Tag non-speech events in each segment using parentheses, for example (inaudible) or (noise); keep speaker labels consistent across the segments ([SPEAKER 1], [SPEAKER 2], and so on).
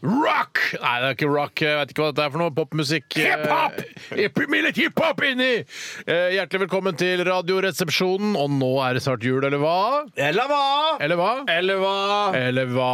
[SPEAKER 1] Rock! Nei, det er ikke rock. Jeg vet ikke hva dette er for noe. Popmusikk.
[SPEAKER 2] Hiphop!
[SPEAKER 1] Hiphop! hiphop inni! Eh, Hjertelig velkommen til Radioresepsjonen. Og nå er det snart jul, eller hva?
[SPEAKER 2] Eller hva?
[SPEAKER 1] Eller hva?
[SPEAKER 2] Eller hva?
[SPEAKER 1] Eller hva?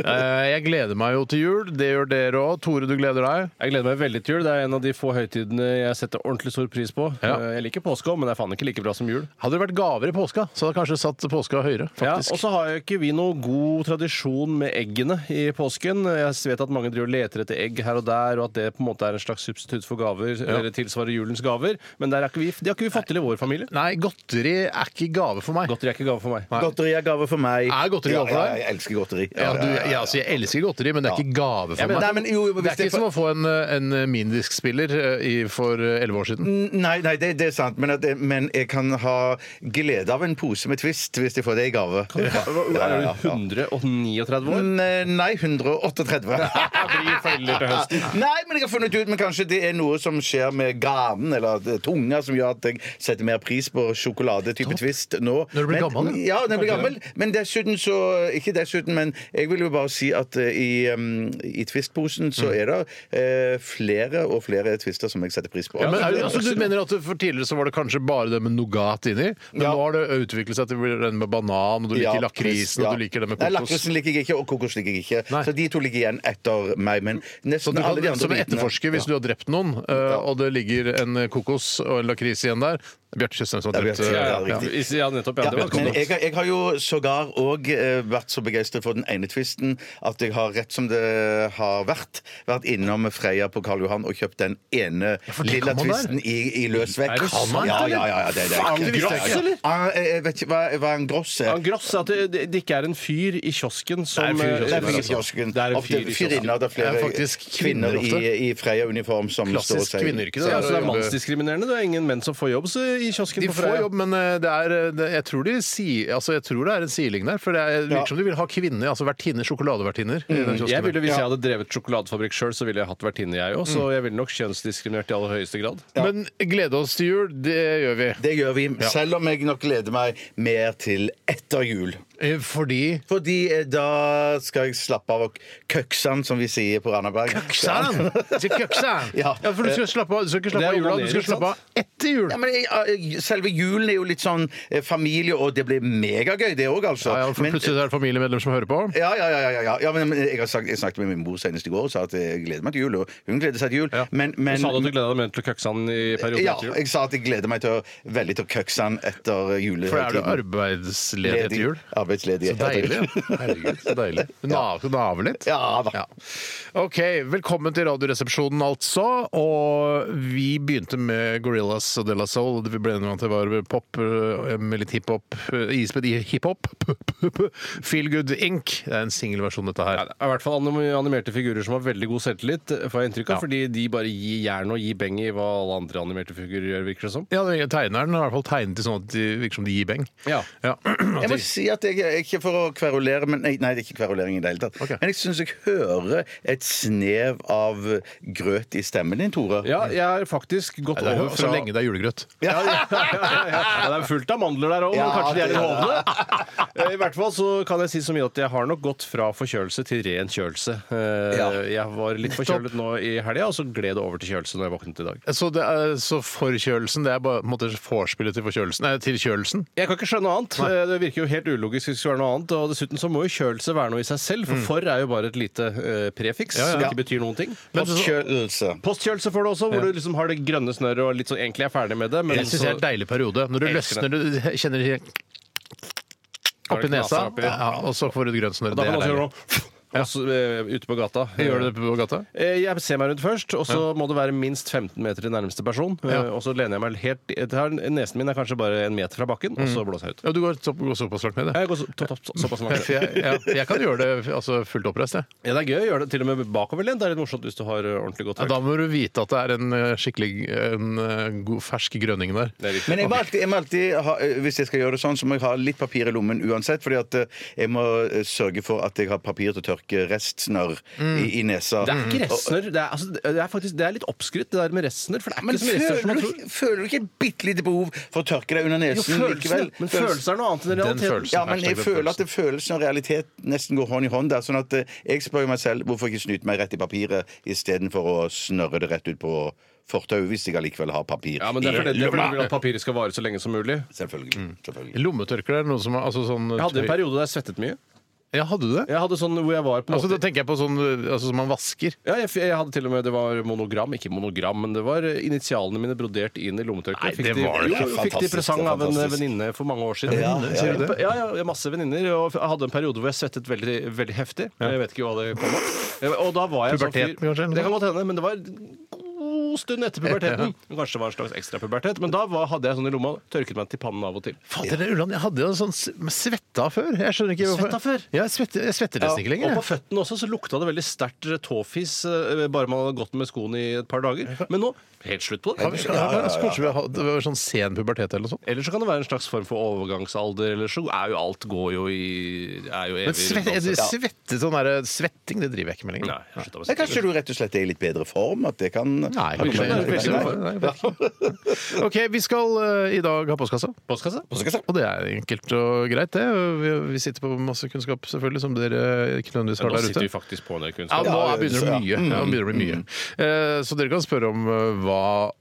[SPEAKER 1] Eh, Jeg gleder meg jo til jul. Det gjør dere òg. Tore, du gleder deg?
[SPEAKER 2] Jeg gleder meg veldig til jul. Det er en av de få høytidene jeg setter ordentlig stor pris på.
[SPEAKER 1] Ja.
[SPEAKER 2] Eh, Jeg liker påske òg, men det er faen ikke like bra som jul.
[SPEAKER 1] Hadde det vært gaver i påska, så hadde jeg kanskje satt påska høyere.
[SPEAKER 2] Ja,
[SPEAKER 1] faktisk.
[SPEAKER 2] og så har jo ikke vi noe god tradisjon med eggene i påsken. Jeg vet at mange driver og leter etter egg her og der, og at det på en måte er en slags substitutt for gaver, eller tilsvarer julens gaver, men der har ikke vi, det har ikke vi fått til i vår familie.
[SPEAKER 1] Nei, godteri er ikke gave for meg.
[SPEAKER 2] Godteri er ikke gave for meg.
[SPEAKER 3] Godteri er gave for meg.
[SPEAKER 1] Er godteri gave for deg?
[SPEAKER 3] Ja, ja, jeg elsker godteri.
[SPEAKER 1] Ja, du, ja, altså, jeg elsker godteri, men det er ikke gave for
[SPEAKER 3] Ja, men-
[SPEAKER 1] meg.
[SPEAKER 3] nei, men jo, hvis
[SPEAKER 1] det er
[SPEAKER 3] det
[SPEAKER 1] ikke
[SPEAKER 3] er
[SPEAKER 1] som å få en, eh, en minidiskspiller eh, i- for elleve år siden.
[SPEAKER 3] Nei, nei det, det er sant, men, at, det- men jeg kan ha glede av en pose med Twist hvis jeg får det i gave. Ja,
[SPEAKER 2] Er du
[SPEAKER 3] ja, ja.
[SPEAKER 2] 139 år?
[SPEAKER 3] Mm, Nei, 138.
[SPEAKER 1] (laughs)
[SPEAKER 2] blir foreldre til høsten.
[SPEAKER 3] Nei, men jeg har funnet ut Men kanskje det er noe som skjer med ganen eller at eh, tunga som gjør at jeg setter mer pris på sjokoladetype Twist nå.
[SPEAKER 1] Når du blir
[SPEAKER 3] men,
[SPEAKER 1] gammel,
[SPEAKER 3] Ja, når jeg blir gammel. Men dessuten så Ikke dessuten, men jeg vil jo bare si at eh, i, um, i Twist-posen så
[SPEAKER 1] Mm.
[SPEAKER 3] er det eh, flere og flere Twister som jeg setter pris på.
[SPEAKER 1] Ja, men, er du- altså, du mener at du- For tidligere så var det kanskje bare det med nougat inni, men
[SPEAKER 3] Ja.
[SPEAKER 1] nå har det utviklet seg til den med banan, og du liker
[SPEAKER 3] Ja,
[SPEAKER 1] lakrisen,
[SPEAKER 3] ja.
[SPEAKER 1] og du liker det med
[SPEAKER 3] Nei,
[SPEAKER 1] kokos.
[SPEAKER 3] lakrisen liker jeg ikke, og kokos liker jeg ikke.
[SPEAKER 1] Nei.
[SPEAKER 3] Så de to ligger igjen etter meg. Men
[SPEAKER 1] Så
[SPEAKER 3] nesten
[SPEAKER 1] du
[SPEAKER 3] alle de
[SPEAKER 1] kan,
[SPEAKER 3] andre
[SPEAKER 1] som en
[SPEAKER 3] bitene-
[SPEAKER 1] etterforsker, hvis du har drept noen, eh, og det ligger en eh, kokos og en lakris igjen der Bjarte Tjøstheim som har
[SPEAKER 3] Ja,
[SPEAKER 1] drept
[SPEAKER 3] Bjarte,
[SPEAKER 1] eh,
[SPEAKER 2] Ja,
[SPEAKER 3] Ja,
[SPEAKER 2] ja, ja, nettopp. Ja,
[SPEAKER 3] Ja,
[SPEAKER 2] det var
[SPEAKER 3] men jeg, har- jeg har jo sågar òg vært så begeistret for den ene twisten at jeg har rett som det har vært, vært innom Freia på Karl Johan og kjøpt den ene
[SPEAKER 1] for det
[SPEAKER 3] lilla
[SPEAKER 1] kan man
[SPEAKER 3] twisten i, i løsvekt.
[SPEAKER 2] Er det sant,
[SPEAKER 3] Ja,
[SPEAKER 2] eller?
[SPEAKER 3] ja, ja, ja, det, det,
[SPEAKER 2] Faen,
[SPEAKER 3] det-
[SPEAKER 2] gross,
[SPEAKER 3] det-
[SPEAKER 2] eller?
[SPEAKER 3] Ja, jeg- jeg vet ikke hva, hva en gross er.
[SPEAKER 2] Han Gross sa at det, det- det ikke er en fyr i kiosken som
[SPEAKER 1] Det er en fyr i
[SPEAKER 3] Det er
[SPEAKER 1] kiosken.
[SPEAKER 2] eh,
[SPEAKER 3] fyringsjosken.
[SPEAKER 2] Det er en fyr i kiosken.
[SPEAKER 3] Fyrinner. Det er
[SPEAKER 1] Det
[SPEAKER 3] flere
[SPEAKER 1] er faktisk kvinner
[SPEAKER 3] kvinner
[SPEAKER 1] ofte.
[SPEAKER 3] i, i Freia-uniform som står og
[SPEAKER 1] Klassisk
[SPEAKER 3] sier
[SPEAKER 1] kvinneyrke.
[SPEAKER 2] Så,
[SPEAKER 1] det
[SPEAKER 2] ja,
[SPEAKER 1] der
[SPEAKER 2] så
[SPEAKER 1] å
[SPEAKER 2] det er
[SPEAKER 1] jobbe-
[SPEAKER 2] mannsdiskriminerende. Det er ingen menn som får jobb så, i kiosken.
[SPEAKER 1] De
[SPEAKER 2] på
[SPEAKER 1] får
[SPEAKER 2] Freia.
[SPEAKER 1] jobb, men eh, det er, eh, det, jeg, tror de si, altså, jeg tror det er en siling der. For det er, virker som de vil ha kvinner, altså vertinner, sjokoladevertinner. i
[SPEAKER 3] Mm.
[SPEAKER 1] den kiosken der.
[SPEAKER 2] Jeg ville, hvis jeg hadde drevet sjokoladefabrikk sjøl, så ville jeg hatt vertinne, jeg
[SPEAKER 1] Mm.
[SPEAKER 2] òg. Så jeg ville nok kjønnsdiskriminert i aller høyeste grad.
[SPEAKER 1] Men glede oss til jul, det gjør vi.
[SPEAKER 3] Det gjør vi, selv om jeg nok gleder meg mer til etter jul.
[SPEAKER 1] Eh, Fordi
[SPEAKER 3] Fordi eh, da skal jeg slappe av og køksan, som vi sier på Randaberg.
[SPEAKER 1] Køksan! Til køksan!
[SPEAKER 3] Ja.
[SPEAKER 1] Ja, for du skal, slappe av, du skal ikke slappe
[SPEAKER 2] Det er
[SPEAKER 1] av i jula, du
[SPEAKER 2] onanering,
[SPEAKER 1] skal slappe av etter jul.
[SPEAKER 3] Ja, men jeg- jeg- Selve julen er jo litt sånn eh, familie, og det blir megagøy, det òg, altså.
[SPEAKER 1] Ja, ja, for
[SPEAKER 3] Men- eh,
[SPEAKER 1] plutselig er det familiemedlemmer som hører på.
[SPEAKER 3] ja, ja, ja, ja, ja. ja men men jeg, har sagt, jeg snakket med min mor senest i går og sa at eh, jeg gleder meg til jul. Og hun gleder seg til jul. Men, men
[SPEAKER 2] Du sa du at du gleda deg mer til å køkse han i perioden
[SPEAKER 3] ja,
[SPEAKER 2] etter jul?
[SPEAKER 3] jeg sa at jeg gleder meg til å, veldig til å køkse han etter julehøytiden.
[SPEAKER 1] For da er du arbeidsledig etter jul.
[SPEAKER 3] Arbeidsledig.
[SPEAKER 1] Så
[SPEAKER 3] (laughs)
[SPEAKER 1] deilig. Herregud, så deilig. Du nav- du naver litt.
[SPEAKER 3] Ja da.
[SPEAKER 1] Ja. OK, velkommen til Radioresepsjonen, altså. Og vi begynte med Gorillas og De La Soul. Vi ble enige om at det var pop eh, med litt hiphop. eh, Ispedd i hiphop. (laughs) Feel Good Inc. Det er en singelversjon, dette
[SPEAKER 2] Ja,
[SPEAKER 1] her.
[SPEAKER 2] det er I hvert fall anim- animerte figurer som har veldig god selvtillit, eh, får jeg inntrykk av. Fordi de bare gir jern og gir beng i hva alle andre animerte figurer gjør, virker det som.
[SPEAKER 1] Ja, det- Tegneren har i hvert fall tegnet det sånn at det virker som de gir beng.
[SPEAKER 2] Ja.
[SPEAKER 1] (clears throat)
[SPEAKER 3] Jeg må si at jeg, jeg ikke for å kverulere, men nei, nei, det er ikke kverulering i det hele tatt.
[SPEAKER 1] Ok.
[SPEAKER 3] Men jeg syns jeg hører et snev av grøt i stemmen din, Tore.
[SPEAKER 2] Ja, jeg har faktisk gått
[SPEAKER 1] Det er jo
[SPEAKER 2] over
[SPEAKER 1] så
[SPEAKER 2] fra
[SPEAKER 1] lenge det er julegrøt.
[SPEAKER 2] Ja, ja, ja, ja. Ja, Det er fullt av mandler der òg, men
[SPEAKER 3] Ja,
[SPEAKER 2] kanskje de er litt
[SPEAKER 3] det er
[SPEAKER 2] hovne. (laughs) Eh, I hvert fall så kan jeg si så mye at jeg har nok gått fra forkjølelse til ren kjølelse. Eh,
[SPEAKER 3] Ja.
[SPEAKER 2] Jeg var litt forkjølet nå i helga, og så gled det over til kjølelse når jeg våknet i dag.
[SPEAKER 1] Så, det er, så forkjølelsen, det er bare på en måte vorspielet til forkjølelsen? Nei, til kjølelsen?
[SPEAKER 2] Jeg kan ikke skjønne noe annet. Eh, Det virker jo helt ulogisk hvis det skulle være noe annet. Og dessuten så må jo kjølelse være noe i seg selv, for for er jo bare et lite eh, prefiks
[SPEAKER 1] Ja, ja.
[SPEAKER 2] som ikke betyr noen ting.
[SPEAKER 3] Postkjølelse.
[SPEAKER 2] Postkjølelse får du også, hvor du liksom har det grønne snøret og litt sånn egentlig er ferdig med det. Men
[SPEAKER 1] Jeg syns det er en deilig periode. Når du
[SPEAKER 2] Elsker
[SPEAKER 1] løsner, du kjenner det
[SPEAKER 2] Har det
[SPEAKER 1] oppi nesa,
[SPEAKER 2] knasa oppi?
[SPEAKER 1] ja, og så får du et grønt snørr.
[SPEAKER 2] da
[SPEAKER 1] Det
[SPEAKER 2] kan
[SPEAKER 1] er
[SPEAKER 2] man også gjøre
[SPEAKER 1] deilig.
[SPEAKER 2] noe og så, eh, ute på gata.
[SPEAKER 1] Gjør du det på gata?
[SPEAKER 2] Eh, Jeg ser meg rundt først, og så må det være minst 15 meter til nærmeste person. eh, Og så lener jeg meg helt det her- Nesen min er kanskje bare en meter fra bakken, og så blåser jeg ut.
[SPEAKER 1] Ja, du går, så, går såpass langt med det.
[SPEAKER 2] Jeg går så, to, to, to, såpass (laughs) langt.
[SPEAKER 1] For jeg, ja, jeg kan gjøre det altså, fullt oppreist, jeg.
[SPEAKER 2] Ja, det er gøy å gjøre det til og med bakoverlent. Det er litt morsomt hvis du har eh, ordentlig godt
[SPEAKER 1] Ja, da
[SPEAKER 2] høyt.
[SPEAKER 1] må du vite at det er en eh, skikkelig en, eh, god, fersk grønning der.
[SPEAKER 2] Det er riktig.
[SPEAKER 3] Men jeg må alltid, jeg må alltid ha, eh, hvis jeg skal gjøre det sånn, så må jeg ha litt papir i lommen uansett. fordi at eh, jeg må eh, sørge for at jeg har papir til å tørke restsnørr i, i nesa.
[SPEAKER 2] Mm. Det er ikke restner. Det er, altså, det er faktisk det er litt oppskrytt, det der med restner. For det er
[SPEAKER 3] Men
[SPEAKER 2] ikke så mye restner som
[SPEAKER 3] føler
[SPEAKER 2] man
[SPEAKER 3] du,
[SPEAKER 2] tror.
[SPEAKER 3] ikke- føler du ikke et bitte lite behov for å tørke deg under
[SPEAKER 2] Jo,
[SPEAKER 3] nesen
[SPEAKER 2] følelsen,
[SPEAKER 3] likevel?
[SPEAKER 2] men følelsen er noe annet enn
[SPEAKER 1] Den
[SPEAKER 2] realiteten.
[SPEAKER 1] følelsen.
[SPEAKER 3] Ja, men jeg
[SPEAKER 1] Hashtag
[SPEAKER 3] føler at det følelsen og realitet nesten går hånd i hånd. der, sånn at eh, Jeg spør meg selv hvorfor ikke snyte meg rett i papiret istedenfor å snørre det rett ut på fortauet, hvis jeg allikevel har papir.
[SPEAKER 2] Ja, men Mm. det er fordi
[SPEAKER 3] i
[SPEAKER 2] det er fordi
[SPEAKER 3] lomma.
[SPEAKER 2] du vil at papiret skal vare så lenge som mulig.
[SPEAKER 3] Selvfølgelig. selvfølgelig.
[SPEAKER 1] Lommetørklær er noe som er- altså, sånn
[SPEAKER 2] Jeg hadde en
[SPEAKER 1] tøy-
[SPEAKER 2] periode der jeg svettet mye.
[SPEAKER 1] Ja, hadde du det?
[SPEAKER 2] Jeg hadde sånn hvor jeg var på en
[SPEAKER 1] Altså, da
[SPEAKER 2] måte
[SPEAKER 1] tenker jeg på sånn eh, altså, som man vasker.
[SPEAKER 2] ja, jeg, jeg hadde til og med, Det var monogram, ikke monogram, men det var eh, initialene mine brodert inn i lommetørkleet.
[SPEAKER 1] Nei, det var
[SPEAKER 2] de,
[SPEAKER 1] det
[SPEAKER 2] jo, jo,
[SPEAKER 3] ikke.
[SPEAKER 2] fikk de i
[SPEAKER 3] Fantastisk,
[SPEAKER 2] presang
[SPEAKER 3] det er
[SPEAKER 2] av en
[SPEAKER 3] fantastisk.
[SPEAKER 2] venninne for mange år siden.
[SPEAKER 3] Ja,
[SPEAKER 2] Venninner,
[SPEAKER 3] ja,
[SPEAKER 2] sier
[SPEAKER 3] ja.
[SPEAKER 2] du det? Ja, ja, jeg har masse venninner. Og jeg hadde en periode hvor jeg svettet veldig, veldig heftig. Jeg vet ikke hva det kom av. Og da var jeg en sånn
[SPEAKER 1] Puberteten, kanskje, eller noe?
[SPEAKER 2] Det kan godt hende, men det var en god stund etter puberteten. Kanskje det var en slags ekstra pubertet. Men da var, hadde jeg sånn i lomma. Tørket meg til pannen av og til.
[SPEAKER 1] Fader, det er Ulland, jeg hadde jo en sånn s- svetta før. Jeg skjønner ikke
[SPEAKER 2] Svetta før?
[SPEAKER 1] Ja, jeg svetter, jeg svetter nesten ikke lenger.
[SPEAKER 2] Og på
[SPEAKER 1] jeg.
[SPEAKER 2] føttene også så lukta det veldig sterkt tåfis eh, bare man hadde gått med skoene i et par dager. Men nå helt slutt på
[SPEAKER 1] Har vi-
[SPEAKER 2] det.
[SPEAKER 1] har vi- altså, Kanskje vi har det var sånn sen pubertet eller noe sånt.
[SPEAKER 2] Eller så kan det være en slags form for overgangsalder, eller så er jo alt går jo i er jo evig
[SPEAKER 1] Men svett, jeg,
[SPEAKER 2] runddans.
[SPEAKER 1] svette, sånn der, svetting, det driver jeg ikke med lenger.
[SPEAKER 2] Nei, jeg slutta med
[SPEAKER 3] Men kanskje du rett og slett er i litt bedre form? At det kan
[SPEAKER 1] Nei,
[SPEAKER 3] Har du-
[SPEAKER 1] kanskje-
[SPEAKER 2] Nei,
[SPEAKER 1] kanskje- nei,
[SPEAKER 2] nei,
[SPEAKER 1] kanskje. (laughs) OK, vi skal eh, i dag ha postkassa.
[SPEAKER 2] Postkassa?
[SPEAKER 1] Og det er enkelt og greit, det. Vi, vi sitter på masse kunnskap, selvfølgelig, som dere ikke nødvendigvis har
[SPEAKER 2] Nå
[SPEAKER 1] der ute.
[SPEAKER 2] sitter vi faktisk på en del
[SPEAKER 1] Ja,
[SPEAKER 2] kunnskap.
[SPEAKER 1] nå
[SPEAKER 3] Ja,
[SPEAKER 1] er- begynner det
[SPEAKER 3] så, ja. Mm.
[SPEAKER 1] mye. Ja, nå begynner det å bli mye. Eh, Så dere kan spørre om eh, hva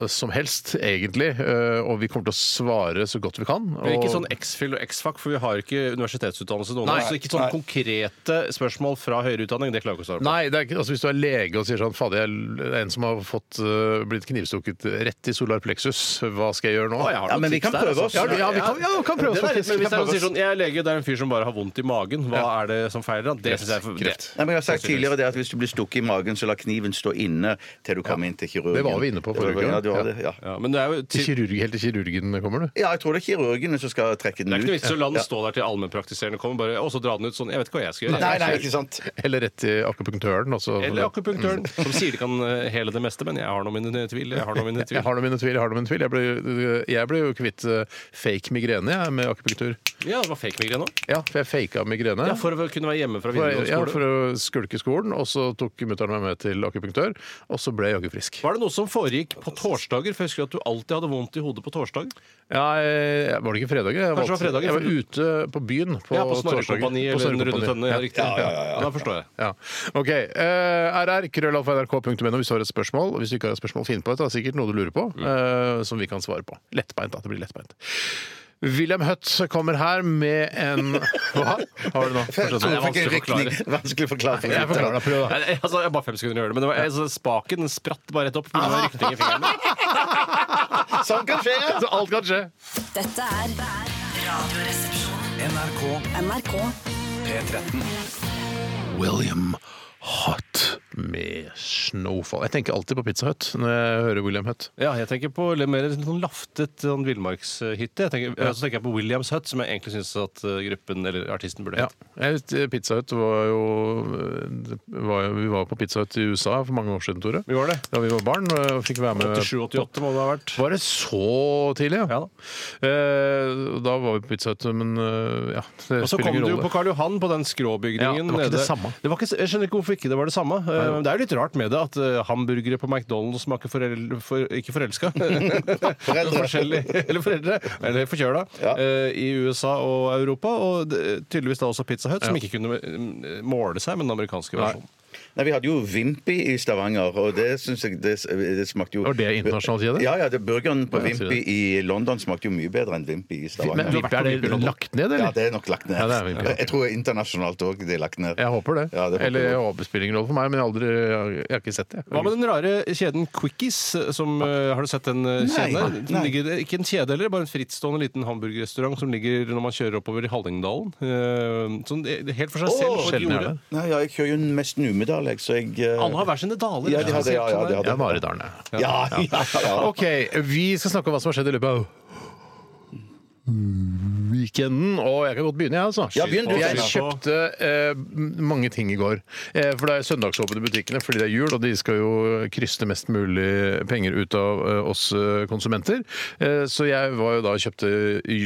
[SPEAKER 1] som helst, egentlig. eh, Og vi kommer til å svare så godt vi kan.
[SPEAKER 2] Men ikke
[SPEAKER 1] og-
[SPEAKER 2] sånn X-fil og X-fac, for vi har ikke universitetsutdannelse noen
[SPEAKER 1] Nei.
[SPEAKER 2] av oss. Så ikke sånn konkrete spørsmål fra høyere utdanning, det klarer vi ikke å svare på.
[SPEAKER 1] Nei, det er ikke, altså hvis du er lege og sier sånn Fader, jeg er en som har fått, eh, blitt knivstukket rett i solar plexus, hva skal jeg gjøre nå?
[SPEAKER 2] Å, jeg har
[SPEAKER 3] Ja,
[SPEAKER 2] noen
[SPEAKER 3] men vi
[SPEAKER 2] tips
[SPEAKER 3] kan
[SPEAKER 2] der,
[SPEAKER 3] prøve
[SPEAKER 2] altså.
[SPEAKER 3] oss.
[SPEAKER 1] Ja, ja, vi kan, ja, vi kan prøve oss
[SPEAKER 2] Det er litt-
[SPEAKER 1] faktisk.
[SPEAKER 2] men
[SPEAKER 1] Vi
[SPEAKER 2] hvis
[SPEAKER 1] kan
[SPEAKER 2] jeg
[SPEAKER 1] prøve
[SPEAKER 2] sier
[SPEAKER 1] oss.
[SPEAKER 2] sånn, jeg er lege, det er en fyr som bare har vondt i magen, hva er det som feiler han? Det synes jeg er for- det-
[SPEAKER 3] Nei, men jeg har sagt tidligere det at Hvis du blir stukket i magen, så la kniven stå inne til du kommer inn til kirurgen.
[SPEAKER 1] Det var vi inne på forrige uke,
[SPEAKER 3] Ja, du
[SPEAKER 1] ja.
[SPEAKER 3] var det, ja.
[SPEAKER 2] Ja, men det er jo
[SPEAKER 1] Til
[SPEAKER 2] til,
[SPEAKER 1] Kirurg, helt til kirurgen kommer du?
[SPEAKER 3] ja, jeg tror det er kirurgene som skal trekke den
[SPEAKER 2] det er ikke noe vits
[SPEAKER 3] ut.
[SPEAKER 2] i å la den stå der til allmennpraktiserende kommer bare, og så dra den ut sånn. Jeg vet ikke hva jeg skal gjøre.
[SPEAKER 3] Nei, nei, ikke sant.
[SPEAKER 1] Eller rett til akupunktøren? Også,
[SPEAKER 2] Eller akupunktøren, (laughs) som sier de kan eh, hele det meste, men jeg har nå mine tvil. Jeg har nå mine
[SPEAKER 1] Jeg
[SPEAKER 2] tvil.
[SPEAKER 1] har noe mine tvil. Jeg har noe mine tvil. Jeg ble, jeg ble jo kvitt eh, fake migrene jeg, med akupunktur.
[SPEAKER 2] Ja, det var fake migrene òg.
[SPEAKER 1] Ja, for jeg faka migrene.
[SPEAKER 2] Ja, for å kunne være hjemme fra
[SPEAKER 1] for,
[SPEAKER 2] videregående
[SPEAKER 1] ja,
[SPEAKER 2] skole.
[SPEAKER 1] for å skulke skolen, og så tok mutter'n meg med til akupunktør, og så ble jeg jaggu frisk.
[SPEAKER 2] Var det noe som foregikk på torsdager? For jeg husker at du alltid hadde vondt i hodet på torsdag.
[SPEAKER 1] Ja, jeg, var det ikke fredager? Jeg
[SPEAKER 2] Kanskje det var fredager,
[SPEAKER 1] jeg var
[SPEAKER 2] for du-
[SPEAKER 1] ute på byen på,
[SPEAKER 2] Ja, på
[SPEAKER 1] torsdager.
[SPEAKER 2] Snorrekompani
[SPEAKER 1] På
[SPEAKER 2] eller Den
[SPEAKER 1] Snorrekompani.
[SPEAKER 2] runde tønne. Ja, riktig.
[SPEAKER 3] Ja, ja, ja, ja.
[SPEAKER 2] Da forstår jeg.
[SPEAKER 1] Ja. OK. eh, RR, krøllalfa.nrk.no hvis du har et spørsmål. Og hvis du ikke har et spørsmål, finn på et. Det er sikkert noe du lurer på,
[SPEAKER 2] Mm.
[SPEAKER 1] eh, som vi kan svare på. Lettbeint, da. Det blir lettbeint. William Hutt kommer her med
[SPEAKER 2] (laughs)
[SPEAKER 1] en Hva? Har du nå? Fortsett.
[SPEAKER 2] det er vanskelig å forklare.
[SPEAKER 3] Riktig, Vanskelig å forklare.
[SPEAKER 1] Jeg forklarer deg, prøv, da.
[SPEAKER 2] Nei, nei, altså, jeg har bare fem sekunder å gjøre det, men det var, altså, spaken den spratt bare rett opp. pga. rykning i fingrene.
[SPEAKER 3] Sånn kan skje, ja.
[SPEAKER 1] Så alt kan skje.
[SPEAKER 4] Dette er Radioresepsjonen.
[SPEAKER 5] NRK
[SPEAKER 4] NRK
[SPEAKER 5] P13.
[SPEAKER 1] William Hutt med Snowfall. Jeg tenker alltid på Pizza Hut når jeg hører William Hutt.
[SPEAKER 2] Ja, jeg tenker på litt mer sånn laftet sånn villmarkshytte. Jeg tenker- Så tenker jeg på Williams Hut, som jeg egentlig syns at eh, gruppen eller artisten burde
[SPEAKER 1] Ja.
[SPEAKER 2] hett.
[SPEAKER 1] Jeg vet, eh, Pizza Hut var jo, det var jo Vi var jo på Pizza Hut i USA for mange år siden, Tore.
[SPEAKER 2] Vi var det.
[SPEAKER 1] Da vi var barn og fikk være med
[SPEAKER 2] 87-88 må det ha vært.
[SPEAKER 1] Var det så tidlig, ja?
[SPEAKER 2] Ja da.
[SPEAKER 1] Eh, da var vi på Pizza Hut, men eh, ja Det
[SPEAKER 2] Og så kom du jo på Karl Johan, på den skråbygningen.
[SPEAKER 1] Ja, det var ikke det
[SPEAKER 2] nede.
[SPEAKER 1] samme.
[SPEAKER 2] Det var ikke, jeg skjønner ikke hvorfor ikke det var det samme. Eh, men Det er jo litt rart med det at eh, hamburgere på McDonald's smaker forel for, ikke
[SPEAKER 1] (laughs)
[SPEAKER 2] forelska. Forskjellig. Eller foreldre. Eller forkjøla.
[SPEAKER 3] Ja.
[SPEAKER 2] eh, I USA og Europa. Og det, tydeligvis da også Pizza Hut, som ikke kunne eh, måle seg med den amerikanske
[SPEAKER 1] Nei.
[SPEAKER 2] versjonen.
[SPEAKER 3] Nei, Vi hadde jo Vimpi i Stavanger, og det syns jeg det, det smakte jo
[SPEAKER 1] Var det internasjonalt kjede?
[SPEAKER 3] Ja, ja, det, burgeren på
[SPEAKER 1] Ja, jeg sier
[SPEAKER 3] Vimpi i London smakte jo mye bedre enn Vimpi i
[SPEAKER 1] Men
[SPEAKER 3] Stavanger.
[SPEAKER 1] Vippi, er det lagt ned, eller?
[SPEAKER 3] Ja, det er nok lagt ned.
[SPEAKER 1] Ja, det er Vimpi, ja.
[SPEAKER 3] Jeg tror internasjonalt òg det er lagt ned.
[SPEAKER 1] Jeg håper det.
[SPEAKER 3] Ja, det håper
[SPEAKER 1] eller
[SPEAKER 3] jeg
[SPEAKER 1] jeg
[SPEAKER 3] også.
[SPEAKER 1] håper spiller ingen rolle for meg, men jeg har, aldri, jeg har ikke sett det.
[SPEAKER 2] Hva med den rare kjeden Quickies? Som, eh, har du sett den eh, kjeden? der? Den
[SPEAKER 3] nei.
[SPEAKER 2] ligger, eh, ikke en kjede heller, bare en frittstående liten hamburgerrestaurant som ligger når man kjører oppover i Hallingdalen. Eh, Sånn, det- det er helt for seg selv.
[SPEAKER 1] Åh,
[SPEAKER 2] på et
[SPEAKER 1] sjelden er
[SPEAKER 2] jorde.
[SPEAKER 1] det.
[SPEAKER 3] Nei, ja, jeg kjører jo mest Numedal, jeg, så jeg eh,
[SPEAKER 2] Alle har hver sine daler.
[SPEAKER 3] Ja, de har det, ja, ja, de har det.
[SPEAKER 1] Ja, Maridalen, ja.
[SPEAKER 3] Ja, ja, ja.
[SPEAKER 1] Ok, vi skal snakke om hva som har skjedd i løpet av weekenden, og jeg kan godt begynne, jeg, altså.
[SPEAKER 3] Ja, begynn du,
[SPEAKER 1] jeg
[SPEAKER 3] Steinar.
[SPEAKER 1] kjøpte eh, m- mange ting i går. Eh, for det er søndagsåpent i butikkene fordi det er jul, og de skal jo kryste mest mulig penger ut av eh, oss eh, konsumenter. Eh, så jeg var jo da og kjøpte,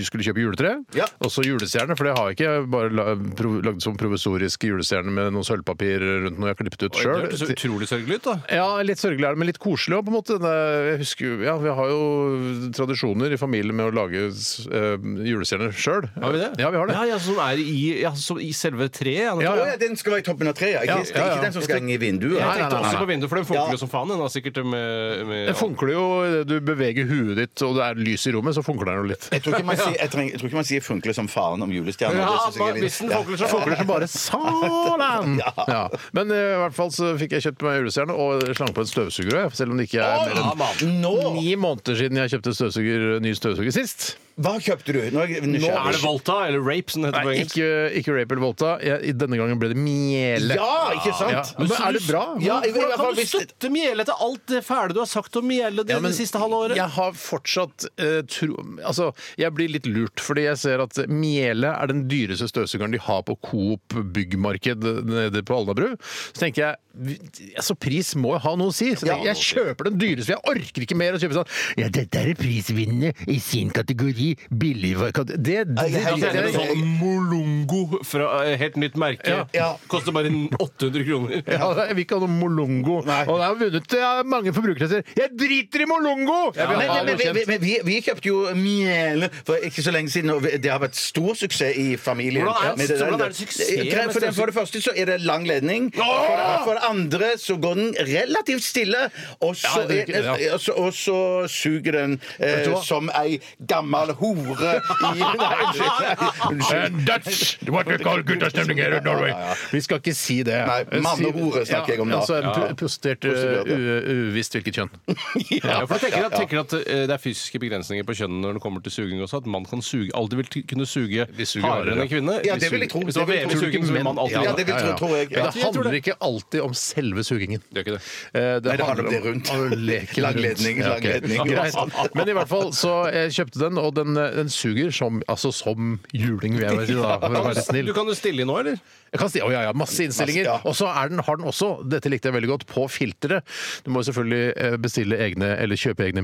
[SPEAKER 1] skulle kjøpe juletre,
[SPEAKER 3] Ja.
[SPEAKER 1] og så julestjerne, for det har jeg ikke. Jeg har bare la, prov, lagd som provisorisk julestjerne med noe sølvpapir rundt noe jeg har klippet ut
[SPEAKER 2] Det hørtes
[SPEAKER 1] sjøl.
[SPEAKER 2] så utrolig sørgelig ut, da.
[SPEAKER 1] Ja, litt sørgelig er det, men litt koselig òg, på en måte. Det er- Jeg husker, jo- ja, vi har jo tradisjoner i familien med å lage eh, julestjerner sjøl.
[SPEAKER 2] Har vi det?
[SPEAKER 1] Ja, vi har det.
[SPEAKER 2] Ja, ja, som er i, ja, som i selve treet? Ja,
[SPEAKER 1] Ja,
[SPEAKER 3] Å, ja, den skal være i toppen av treet, ja.
[SPEAKER 1] Ja,
[SPEAKER 3] Ikke,
[SPEAKER 1] ja, ja.
[SPEAKER 3] ikke den som skal henge i vinduet.
[SPEAKER 1] Nei,
[SPEAKER 2] Jeg tenkte
[SPEAKER 1] nei, nei,
[SPEAKER 2] også
[SPEAKER 1] nei.
[SPEAKER 2] på vinduet, for den funkler
[SPEAKER 3] Ja.
[SPEAKER 2] jo som faen. Den har sikkert med, med
[SPEAKER 1] Det funkler jo, du beveger huet ditt og det er lys i rommet, så funkler det jo litt.
[SPEAKER 3] Jeg tror ikke man sier, jeg trenger, jeg tror ikke man sier 'funkle som faren' om julestjerner.
[SPEAKER 2] Ja,
[SPEAKER 3] det synes jeg er
[SPEAKER 2] men
[SPEAKER 3] litt-
[SPEAKER 2] hvis den
[SPEAKER 3] Ja.
[SPEAKER 2] funkler, så
[SPEAKER 1] Funkler som bare
[SPEAKER 2] (laughs)
[SPEAKER 1] salen! Ja. Men eh, i hvert fall så fikk jeg kjøpt meg julestjerne og slang på en støvsuger òg, selv om det ikke er mer enn
[SPEAKER 3] Nå!
[SPEAKER 1] ni måneder siden jeg kjøpte støvsuger, ny støvsuger sist.
[SPEAKER 3] Hva kjøpte du? Nå er jeg
[SPEAKER 2] Nå er det
[SPEAKER 3] nysgjerrig.
[SPEAKER 2] Volta, eller Rape, som det heter på
[SPEAKER 1] Nei,
[SPEAKER 2] engelsk.
[SPEAKER 1] ikke, ikke Rape eller Volta. Jeg, denne gangen ble det mjele.
[SPEAKER 3] Ja, ikke
[SPEAKER 1] Ja.
[SPEAKER 3] sant?
[SPEAKER 1] Men er det bra?
[SPEAKER 3] Ja, jeg vil i
[SPEAKER 2] Hvordan
[SPEAKER 3] hvert fall
[SPEAKER 2] kan du
[SPEAKER 3] hvis det-
[SPEAKER 2] støtte Mjele etter alt det fæle du har sagt om Mjele det,
[SPEAKER 1] Ja, men
[SPEAKER 2] det siste halve året?
[SPEAKER 1] Jeg har fortsatt eh, tro... Altså, jeg blir litt lurt, fordi jeg ser at Miele er den dyreste støvsugeren de har på Coop byggmarked nede på Alnabru. Så tenker jeg vi- altså, pris må jo ha noe å si. Så tenker jeg, jeg kjøper den dyreste, for jeg orker ikke mer å kjøpe sånn Ja, dette er en prisvinner i sin kategori, billig var- kate- Det, det,
[SPEAKER 3] Jeg er
[SPEAKER 1] det,
[SPEAKER 3] helt
[SPEAKER 2] Det er en
[SPEAKER 1] det
[SPEAKER 3] enig.
[SPEAKER 2] sånn Molongo fra eh, helt nytt merke.
[SPEAKER 1] Ja.
[SPEAKER 3] Ja.
[SPEAKER 2] Koster bare 800 kroner.
[SPEAKER 1] ja, jeg vil ikke ha noe Molongo.
[SPEAKER 3] Nei.
[SPEAKER 1] Og det har vunnet ja, mange forbrukere som sier 'Jeg driter i Molongo!' Jeg vil
[SPEAKER 3] Men,
[SPEAKER 1] ha
[SPEAKER 3] men, men,
[SPEAKER 1] noe
[SPEAKER 3] vi,
[SPEAKER 1] kjent.
[SPEAKER 3] vi, vi, vi kjøpte jo mjele for ikke så lenge siden, og vi- det har vært stor suksess i familien.
[SPEAKER 2] Hvordan er det-
[SPEAKER 3] Med der-
[SPEAKER 2] hvordan er det suksess
[SPEAKER 3] Greit,
[SPEAKER 2] med
[SPEAKER 3] For det, for det første så er det lang ledning. For det, for det andre så går den relativt stille, og så,
[SPEAKER 1] Ja, det er ikke-
[SPEAKER 3] er-
[SPEAKER 1] ja.
[SPEAKER 3] og så, og så suger den
[SPEAKER 1] Vet du
[SPEAKER 3] eh,
[SPEAKER 1] hva?
[SPEAKER 3] som ei gammel hore i Nei, unnskyld.
[SPEAKER 2] Eh,
[SPEAKER 3] unnskyld.
[SPEAKER 1] And that's what we call guttastemning here in Norway. Vi skal ikke si det.
[SPEAKER 3] Nei, mannehore snakker jeg om da.
[SPEAKER 1] Ja, altså en pu- prostert
[SPEAKER 3] Prostituert, ja.
[SPEAKER 1] eh, u- uvisst hvilket kjønn.
[SPEAKER 2] Ja, for jeg tenker at, tenker at eh, Det er fysiske begrensninger på kjønnet når det kommer til suging også. At mann kan suge, aldri vil t- kunne suge
[SPEAKER 1] Vi suger
[SPEAKER 2] hardere enn en kvinne.
[SPEAKER 3] Ja,
[SPEAKER 2] Vi
[SPEAKER 3] det vil jeg
[SPEAKER 2] suger-
[SPEAKER 3] tro.
[SPEAKER 2] Hvis det var
[SPEAKER 3] Det vil jeg
[SPEAKER 2] VM i
[SPEAKER 3] tro.
[SPEAKER 2] suging, så vil man alltid
[SPEAKER 3] Ja,
[SPEAKER 2] gjøre
[SPEAKER 3] det vil jeg tro, tror jeg.
[SPEAKER 1] Men det
[SPEAKER 2] Jeg tror
[SPEAKER 1] handler
[SPEAKER 2] det.
[SPEAKER 1] ikke alltid om selve sugingen.
[SPEAKER 2] Det gjør ikke det.
[SPEAKER 1] Eh,
[SPEAKER 3] Nei, det handler om det rundt.
[SPEAKER 1] å leke
[SPEAKER 3] Lang
[SPEAKER 1] rundt.
[SPEAKER 3] ledning,
[SPEAKER 1] Ja,
[SPEAKER 3] lang
[SPEAKER 1] ok.
[SPEAKER 3] ledning.
[SPEAKER 1] Greit. Men i hvert fall, så eh, jeg kjøpte den, og den, eh, den suger som, altså, som juling, vil jeg si da, for å være snill.
[SPEAKER 2] Du kan jo stille inn nå, eller?
[SPEAKER 1] Jeg kan si, å ja, ja, masse innstillinger.
[SPEAKER 3] Masse, ja.
[SPEAKER 1] Og så er den, har den også, dette likte jeg veldig godt, på filteret. Du må jo selvfølgelig eh, bestille egne, eller kjøpe egne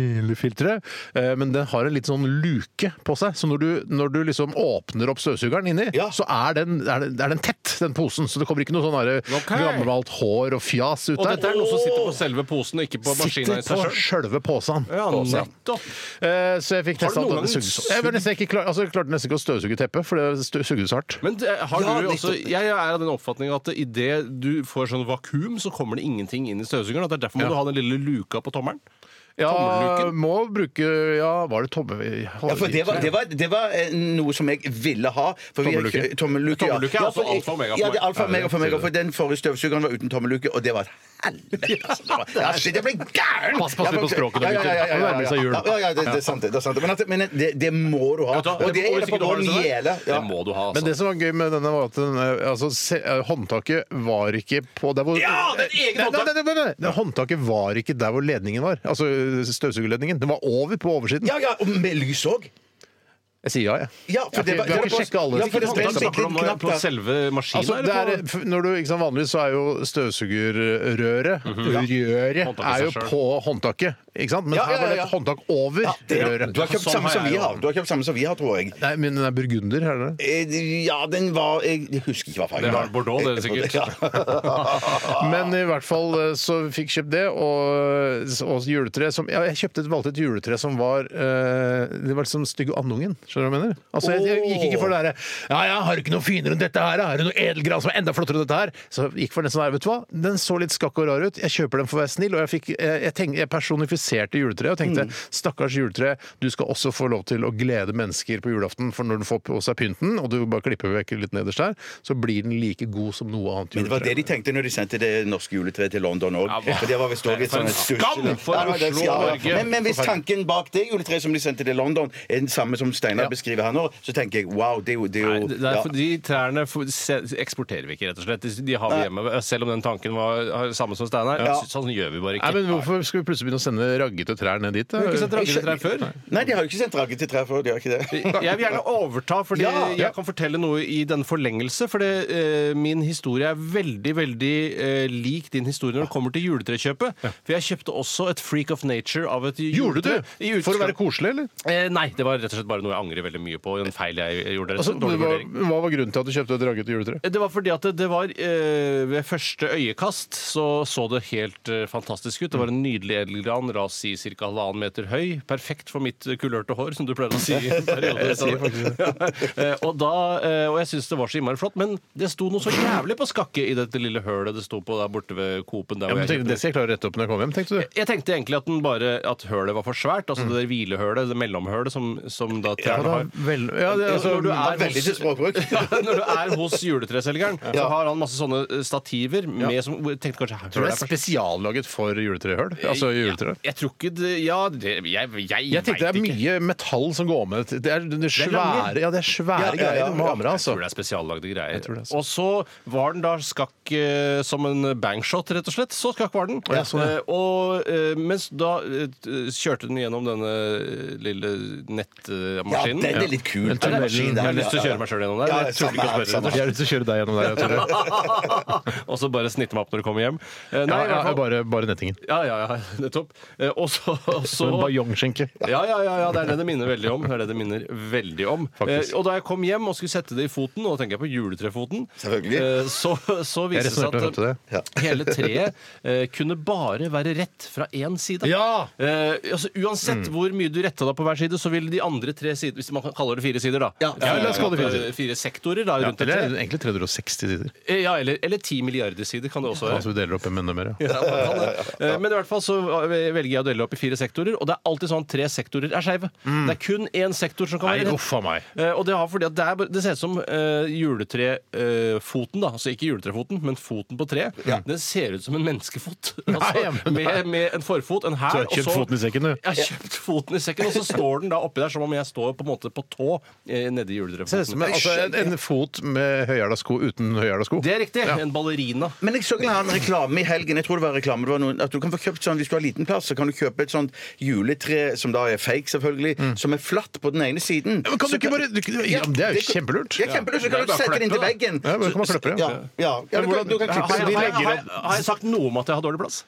[SPEAKER 1] mjelefiltre, eh, men den har en litt sånn luke på seg, så når du, når du liksom åpner opp støvsugeren inni,
[SPEAKER 3] Ja.
[SPEAKER 1] så er den, er, den, er den tett, den posen, så det kommer ikke noe sånn der
[SPEAKER 2] Ok.
[SPEAKER 1] gammelt hår og fjas ut
[SPEAKER 2] Og
[SPEAKER 1] der.
[SPEAKER 2] dette er noe som sitter på selve posen, og ikke på maskina
[SPEAKER 1] Sitter
[SPEAKER 2] i
[SPEAKER 1] på
[SPEAKER 2] seg sjøl.
[SPEAKER 1] sjølve posen.
[SPEAKER 2] Ja,
[SPEAKER 1] Posen.
[SPEAKER 2] nettopp.
[SPEAKER 1] Eh, Så jeg fikk
[SPEAKER 2] Har du
[SPEAKER 1] testa
[SPEAKER 2] noen gang
[SPEAKER 1] sugd Jeg var nesten ikke klar- altså, jeg klarte nesten ikke å støvsuge teppet, for det stu- sugde så hardt.
[SPEAKER 2] Men det- har
[SPEAKER 3] Ja,
[SPEAKER 2] du også,
[SPEAKER 3] nettopp.
[SPEAKER 2] jeg er av den oppfatning at idet du får sånn vakuum, så kommer det ingenting inn i støvsugeren. At det er derfor må
[SPEAKER 1] Ja.
[SPEAKER 2] du ha den lille luka på tommelen.
[SPEAKER 1] Ja,
[SPEAKER 2] Tommelluken.
[SPEAKER 1] må bruke Ja, var det tomme...
[SPEAKER 3] Ja, for det var, det, var, det var eh, noe som jeg ville ha. For vi har
[SPEAKER 1] Tommeluke.
[SPEAKER 3] ikke- tommeluke,
[SPEAKER 2] Tommeluke er
[SPEAKER 3] ja. Ja,
[SPEAKER 2] altså
[SPEAKER 3] for jeg-
[SPEAKER 2] alfa og omega for
[SPEAKER 3] Ja, det
[SPEAKER 2] meg.
[SPEAKER 3] er alfa og
[SPEAKER 1] Ja, det
[SPEAKER 3] omega for meg.
[SPEAKER 1] sier
[SPEAKER 3] og For den forrige støvsugeren var uten tommeluke, og det var et helvete. altså. Det var- Ja, shit, jeg ble gæren!
[SPEAKER 1] Pass- pass litt på språket,
[SPEAKER 3] Ja, ja, ja, ja, ja,
[SPEAKER 1] det
[SPEAKER 3] ja,
[SPEAKER 1] nærmer seg jul.
[SPEAKER 3] ja, ja, ja, det, det er sant, det. det er sant. Men, at, men det, det må du ha.
[SPEAKER 2] Vet du hva?
[SPEAKER 3] Og det er
[SPEAKER 2] hvis
[SPEAKER 3] det
[SPEAKER 2] ikke
[SPEAKER 3] på
[SPEAKER 2] du har
[SPEAKER 3] vår
[SPEAKER 2] det sånn her,
[SPEAKER 3] mjele. Ja.
[SPEAKER 2] Det må du ha, altså.
[SPEAKER 1] Men det som var gøy med denne, var at den, eh, altså, se, eh, håndtaket var ikke på der hvor
[SPEAKER 2] Ja, det er et eget
[SPEAKER 1] Nei, nei, nei, nei, nei, nei. Håndtaket var ikke der hvor ledningen var. Altså eh, støvsugerledningen. Den var over på oversiden.
[SPEAKER 3] ja, ja, og med lys òg.
[SPEAKER 1] Jeg sier ja, jeg.
[SPEAKER 3] Ja, for
[SPEAKER 1] Jeg har
[SPEAKER 3] det
[SPEAKER 1] ikke-
[SPEAKER 3] var-
[SPEAKER 1] vi har
[SPEAKER 3] det
[SPEAKER 1] ikke
[SPEAKER 3] var-
[SPEAKER 1] sjekka alle.
[SPEAKER 3] Ja, for det var-
[SPEAKER 2] Snakker du om
[SPEAKER 3] knapp,
[SPEAKER 2] på
[SPEAKER 3] da.
[SPEAKER 2] selve maskina,
[SPEAKER 1] Altså, det er,
[SPEAKER 2] eller på
[SPEAKER 1] f- når du, ikke sant, vanligvis så er jo støvsugerrøret Røret
[SPEAKER 2] Mhm. Håndtaket
[SPEAKER 1] er jo
[SPEAKER 2] seg selv.
[SPEAKER 1] på håndtaket, ikke sant? Men
[SPEAKER 3] Ja,
[SPEAKER 1] her
[SPEAKER 3] ja,
[SPEAKER 1] var det
[SPEAKER 3] ja,
[SPEAKER 1] et håndtak over
[SPEAKER 3] Det,
[SPEAKER 1] røret.
[SPEAKER 3] du har kjøpt
[SPEAKER 2] Sånn
[SPEAKER 3] samme
[SPEAKER 2] har
[SPEAKER 3] som
[SPEAKER 2] jeg
[SPEAKER 3] vi
[SPEAKER 2] jo.
[SPEAKER 3] har, Du har kjøpt samme som vi har, tror jeg.
[SPEAKER 1] Nei, men den er burgunder, er det det?
[SPEAKER 3] Eh, Ja, den var Jeg jeg husker ikke hva fargen
[SPEAKER 2] Det var Bordeaux, det er sikkert.
[SPEAKER 3] Ja.
[SPEAKER 1] Men i hvert fall eh, så fikk kjøpt det, og, og juletre som ja, Jeg kjøpte et valgte et juletre som var eh, Det var liksom Stygge andungen. skjønner Skjønner du hva jeg mener? Altså, jeg, jeg gikk ikke for det derre Ja, ja, har du ikke noe finere enn dette her? da? Har du noe edelgran som er enda flottere enn dette her? Så jeg gikk for den som er, vet du hva? Den så litt skakk og rar ut. Jeg kjøper den for å være snill, og jeg, fikk, jeg, jeg, tenk, jeg personifiserte juletreet og
[SPEAKER 3] Mm.
[SPEAKER 1] tenkte stakkars juletre, du skal også få lov til å glede mennesker på julaften, for når du får på seg pynten, og du bare klipper vekk litt nederst der, så blir den like god som noe annet
[SPEAKER 3] Men det var det
[SPEAKER 1] juletre.
[SPEAKER 3] de tenkte når de sendte det norske juletreet til London òg.
[SPEAKER 2] hva-
[SPEAKER 3] det var visst også litt
[SPEAKER 2] For en
[SPEAKER 3] sånn
[SPEAKER 2] skam
[SPEAKER 3] stusslig-
[SPEAKER 2] for
[SPEAKER 3] Ja, det var det-
[SPEAKER 2] Oslo og
[SPEAKER 3] ja, ja.
[SPEAKER 2] Norge.
[SPEAKER 3] Men, men hvis tanken bak det juletreet som de sendte til London, er den samme som Steinar
[SPEAKER 1] Ja.
[SPEAKER 3] beskriver her nå, så tenker jeg wow, det er jo, det er
[SPEAKER 2] Nei,
[SPEAKER 3] jo
[SPEAKER 2] det er
[SPEAKER 3] ja.
[SPEAKER 2] for, de trærne for, se, eksporterer vi ikke, rett og slett. De- De har vi hjemme. Selv om den tanken var har- samme som Steinar.
[SPEAKER 3] Ja.
[SPEAKER 2] så- Sånn gjør vi bare
[SPEAKER 1] Nei,
[SPEAKER 2] ikke.
[SPEAKER 1] men Hvorfor skal vi plutselig begynne å sende raggete trær ned dit? da?
[SPEAKER 2] Har du ikke sett raggete trær før?
[SPEAKER 3] Nei, de har jo ikke sendt Ragge til trær før. De har ikke det.
[SPEAKER 2] Jeg vil gjerne overta, fordi
[SPEAKER 3] Ja, ja.
[SPEAKER 2] jeg kan fortelle noe i denne forlengelse. For det, eh, min historie er veldig veldig eh, lik din historie når det kommer til juletrekjøpet. For jeg kjøpte også et Freak of Nature av et
[SPEAKER 1] Gjorde du?
[SPEAKER 2] juletre. i
[SPEAKER 1] For å være
[SPEAKER 2] utgang-
[SPEAKER 1] koselig, eller?
[SPEAKER 2] Eh, nei, det var rett og slett bare noe jeg angrer veldig mye på. En feil jeg gjorde.
[SPEAKER 1] Altså,
[SPEAKER 2] en
[SPEAKER 1] hva,
[SPEAKER 2] dårlig vurdering.
[SPEAKER 1] hva var grunnen til at du kjøpte et raggete juletre?
[SPEAKER 2] Det var fordi at det, det var eh, Ved første øyekast så så det helt eh, fantastisk ut. Det var en nydelig edelgran, la oss si ca. halvannen meter høy. Perfekt for mitt eh, kulørte hår, som du pleier å si.
[SPEAKER 1] (laughs)
[SPEAKER 2] i en periode. Ja. Eh, og, da, eh, og jeg syns det var så innmari flott, men det sto noe så jævlig på skakke i dette lille hølet det sto på der borte ved Coop-en. der
[SPEAKER 1] Ja,
[SPEAKER 2] hvor
[SPEAKER 1] men
[SPEAKER 2] jeg
[SPEAKER 1] tenkte,
[SPEAKER 2] kjøpte
[SPEAKER 1] det skal jeg klare å rette opp når jeg kommer hjem, tenkte du.
[SPEAKER 2] jeg tenkte egentlig at, den bare, at hølet var for svært. Altså det der hvilehølet, det mellomhølet som, som da
[SPEAKER 1] Mm. Ja,
[SPEAKER 2] trærne
[SPEAKER 1] da,
[SPEAKER 2] har.
[SPEAKER 1] vel, ja, det, altså,
[SPEAKER 2] Når du er
[SPEAKER 3] det er veldig
[SPEAKER 2] hos-
[SPEAKER 3] til
[SPEAKER 2] (laughs)
[SPEAKER 3] språkbruk.
[SPEAKER 2] ja, når du er hos juletreselgeren, så har han masse sånne eh, stativer med som hvor jeg tenkte kanskje
[SPEAKER 1] tror du det
[SPEAKER 2] hølet
[SPEAKER 1] er
[SPEAKER 2] for-
[SPEAKER 1] spesiallaget for juletrehøl? Altså juletre?
[SPEAKER 2] Ja, jeg tror ikke det Ja, det, jeg, jeg,
[SPEAKER 1] Jeg tenkte det er
[SPEAKER 2] vet ikke.
[SPEAKER 1] mye metall som går med det. er, det er svære,
[SPEAKER 2] lange.
[SPEAKER 1] ja, det er svære
[SPEAKER 3] Ja, ja, ja,
[SPEAKER 1] greier. Du må ha med deg,
[SPEAKER 2] Jeg tror
[SPEAKER 1] altså.
[SPEAKER 2] det er spesiallagde greier.
[SPEAKER 1] tror det, altså.
[SPEAKER 2] Og så var den da skakk eh, som en bangshot, rett og slett. Så skakk var den.
[SPEAKER 1] Ja, sånn, ja.
[SPEAKER 2] Eh, og eh, mens da eh, kjørte den gjennom denne eh, lille
[SPEAKER 3] (laughs) Ja,
[SPEAKER 2] nettmaskinen.
[SPEAKER 3] den er litt kul.
[SPEAKER 1] Men
[SPEAKER 3] den
[SPEAKER 1] tunnelen-
[SPEAKER 3] maskinen
[SPEAKER 2] Jeg
[SPEAKER 3] der,
[SPEAKER 2] har lyst til å
[SPEAKER 3] ja, ja.
[SPEAKER 2] kjøre meg sjøl gjennom der.
[SPEAKER 3] Ja,
[SPEAKER 2] Jeg turte ikke å
[SPEAKER 3] samme her,
[SPEAKER 2] spørre.
[SPEAKER 3] samme her.
[SPEAKER 1] Jeg har lyst til å kjøre deg gjennom der.
[SPEAKER 2] (laughs)
[SPEAKER 1] Tore.
[SPEAKER 2] og så bare snitte meg opp når du kommer hjem. Eh,
[SPEAKER 1] Ja,
[SPEAKER 2] Nei, i
[SPEAKER 1] ja,
[SPEAKER 2] hvert fall.
[SPEAKER 1] bare, bare nettingen.
[SPEAKER 2] Ja, ja, ja, (laughs) nettopp. Eh, Og så, og så
[SPEAKER 1] Som en bajongskinke.
[SPEAKER 2] ja, ja, ja, ja, det er det det minner veldig om. Det er det det minner veldig om.
[SPEAKER 1] Faktisk.
[SPEAKER 2] Eh, og da jeg kom hjem og skulle sette det i foten, og da tenker jeg på juletrefoten,
[SPEAKER 3] Selvfølgelig.
[SPEAKER 2] eh, så, så
[SPEAKER 1] Jeg
[SPEAKER 2] viste det seg
[SPEAKER 1] resonnerte meg frem
[SPEAKER 2] at
[SPEAKER 1] til det.
[SPEAKER 2] eh, hele treet eh, kunne bare være rett fra én side.
[SPEAKER 1] Ja! Mm.
[SPEAKER 2] Eh, altså, uansett hvor mye du retta deg på hver side, så vil de andre tre sider Hvis man kan kalle det fire sider, da.
[SPEAKER 1] ja, ja, la oss kalle det fire sider.
[SPEAKER 2] Eh, fire sektorer da,
[SPEAKER 1] Ja,
[SPEAKER 2] rundt
[SPEAKER 1] det
[SPEAKER 2] et
[SPEAKER 1] er
[SPEAKER 2] tre.
[SPEAKER 1] egentlig 360 sider.
[SPEAKER 2] Eh, Ja, eller, eller ti milliarder sider kan det også være.
[SPEAKER 1] Altså vi deler opp en enda mer. (laughs) ja.
[SPEAKER 2] Ja, man kan det. Eh, Men i hvert fall så velger jeg å dele opp i fire sektorer, og det er alltid sånn at tre sektorer er skeive. Det er kun én sektor som kan
[SPEAKER 1] Mm. Nei,
[SPEAKER 2] være rett.
[SPEAKER 1] uff a meg.
[SPEAKER 2] Eh, Og det, har fordi at det, er, bare- det ser ut som eh, juletrefoten, da. Altså ikke juletrefoten, men foten på treet. Den ser ut som en menneskefot.
[SPEAKER 1] (laughs) Nei,
[SPEAKER 2] Altså,
[SPEAKER 1] men nei.
[SPEAKER 2] med, med en forfot, en
[SPEAKER 1] Så
[SPEAKER 2] hæl,
[SPEAKER 1] jeg har kjøpt foten i sekken, du.
[SPEAKER 2] Jeg har kjøpt foten i sekken, og så står den da oppi der som om jeg står på en måte på tå eh, nedi
[SPEAKER 1] Ser ut som
[SPEAKER 2] juletrefoten.
[SPEAKER 1] en, altså, en, en fot med høyhæla sko uten høyhæla sko.
[SPEAKER 2] Det er riktig. En ballerina.
[SPEAKER 3] Men jeg så en annen reklame i helgen. Jeg tror det var reklame det var noen, at du kan få kjøpt sånn, Hvis du har liten plass, så kan du kjøpe et sånt juletre som da er fake, selvfølgelig,
[SPEAKER 2] Mm.
[SPEAKER 3] som er flatt på den ene siden.
[SPEAKER 1] Ja, men kan du
[SPEAKER 3] Så
[SPEAKER 1] ikke bare- du- ja, men det er jo kjempelurt.
[SPEAKER 3] Ja, kjempelurt. Så
[SPEAKER 2] Ja,
[SPEAKER 3] kan du
[SPEAKER 2] bare
[SPEAKER 3] sette det inntil
[SPEAKER 2] klippe
[SPEAKER 3] veggen.
[SPEAKER 1] Ja, bare kan man klippe det,
[SPEAKER 3] ja.
[SPEAKER 1] ja.
[SPEAKER 3] ja. ja du, kan, du kan klippe
[SPEAKER 2] Har,
[SPEAKER 3] det.
[SPEAKER 2] jeg- har, jeg- har jeg sagt noe om at jeg har dårlig plass?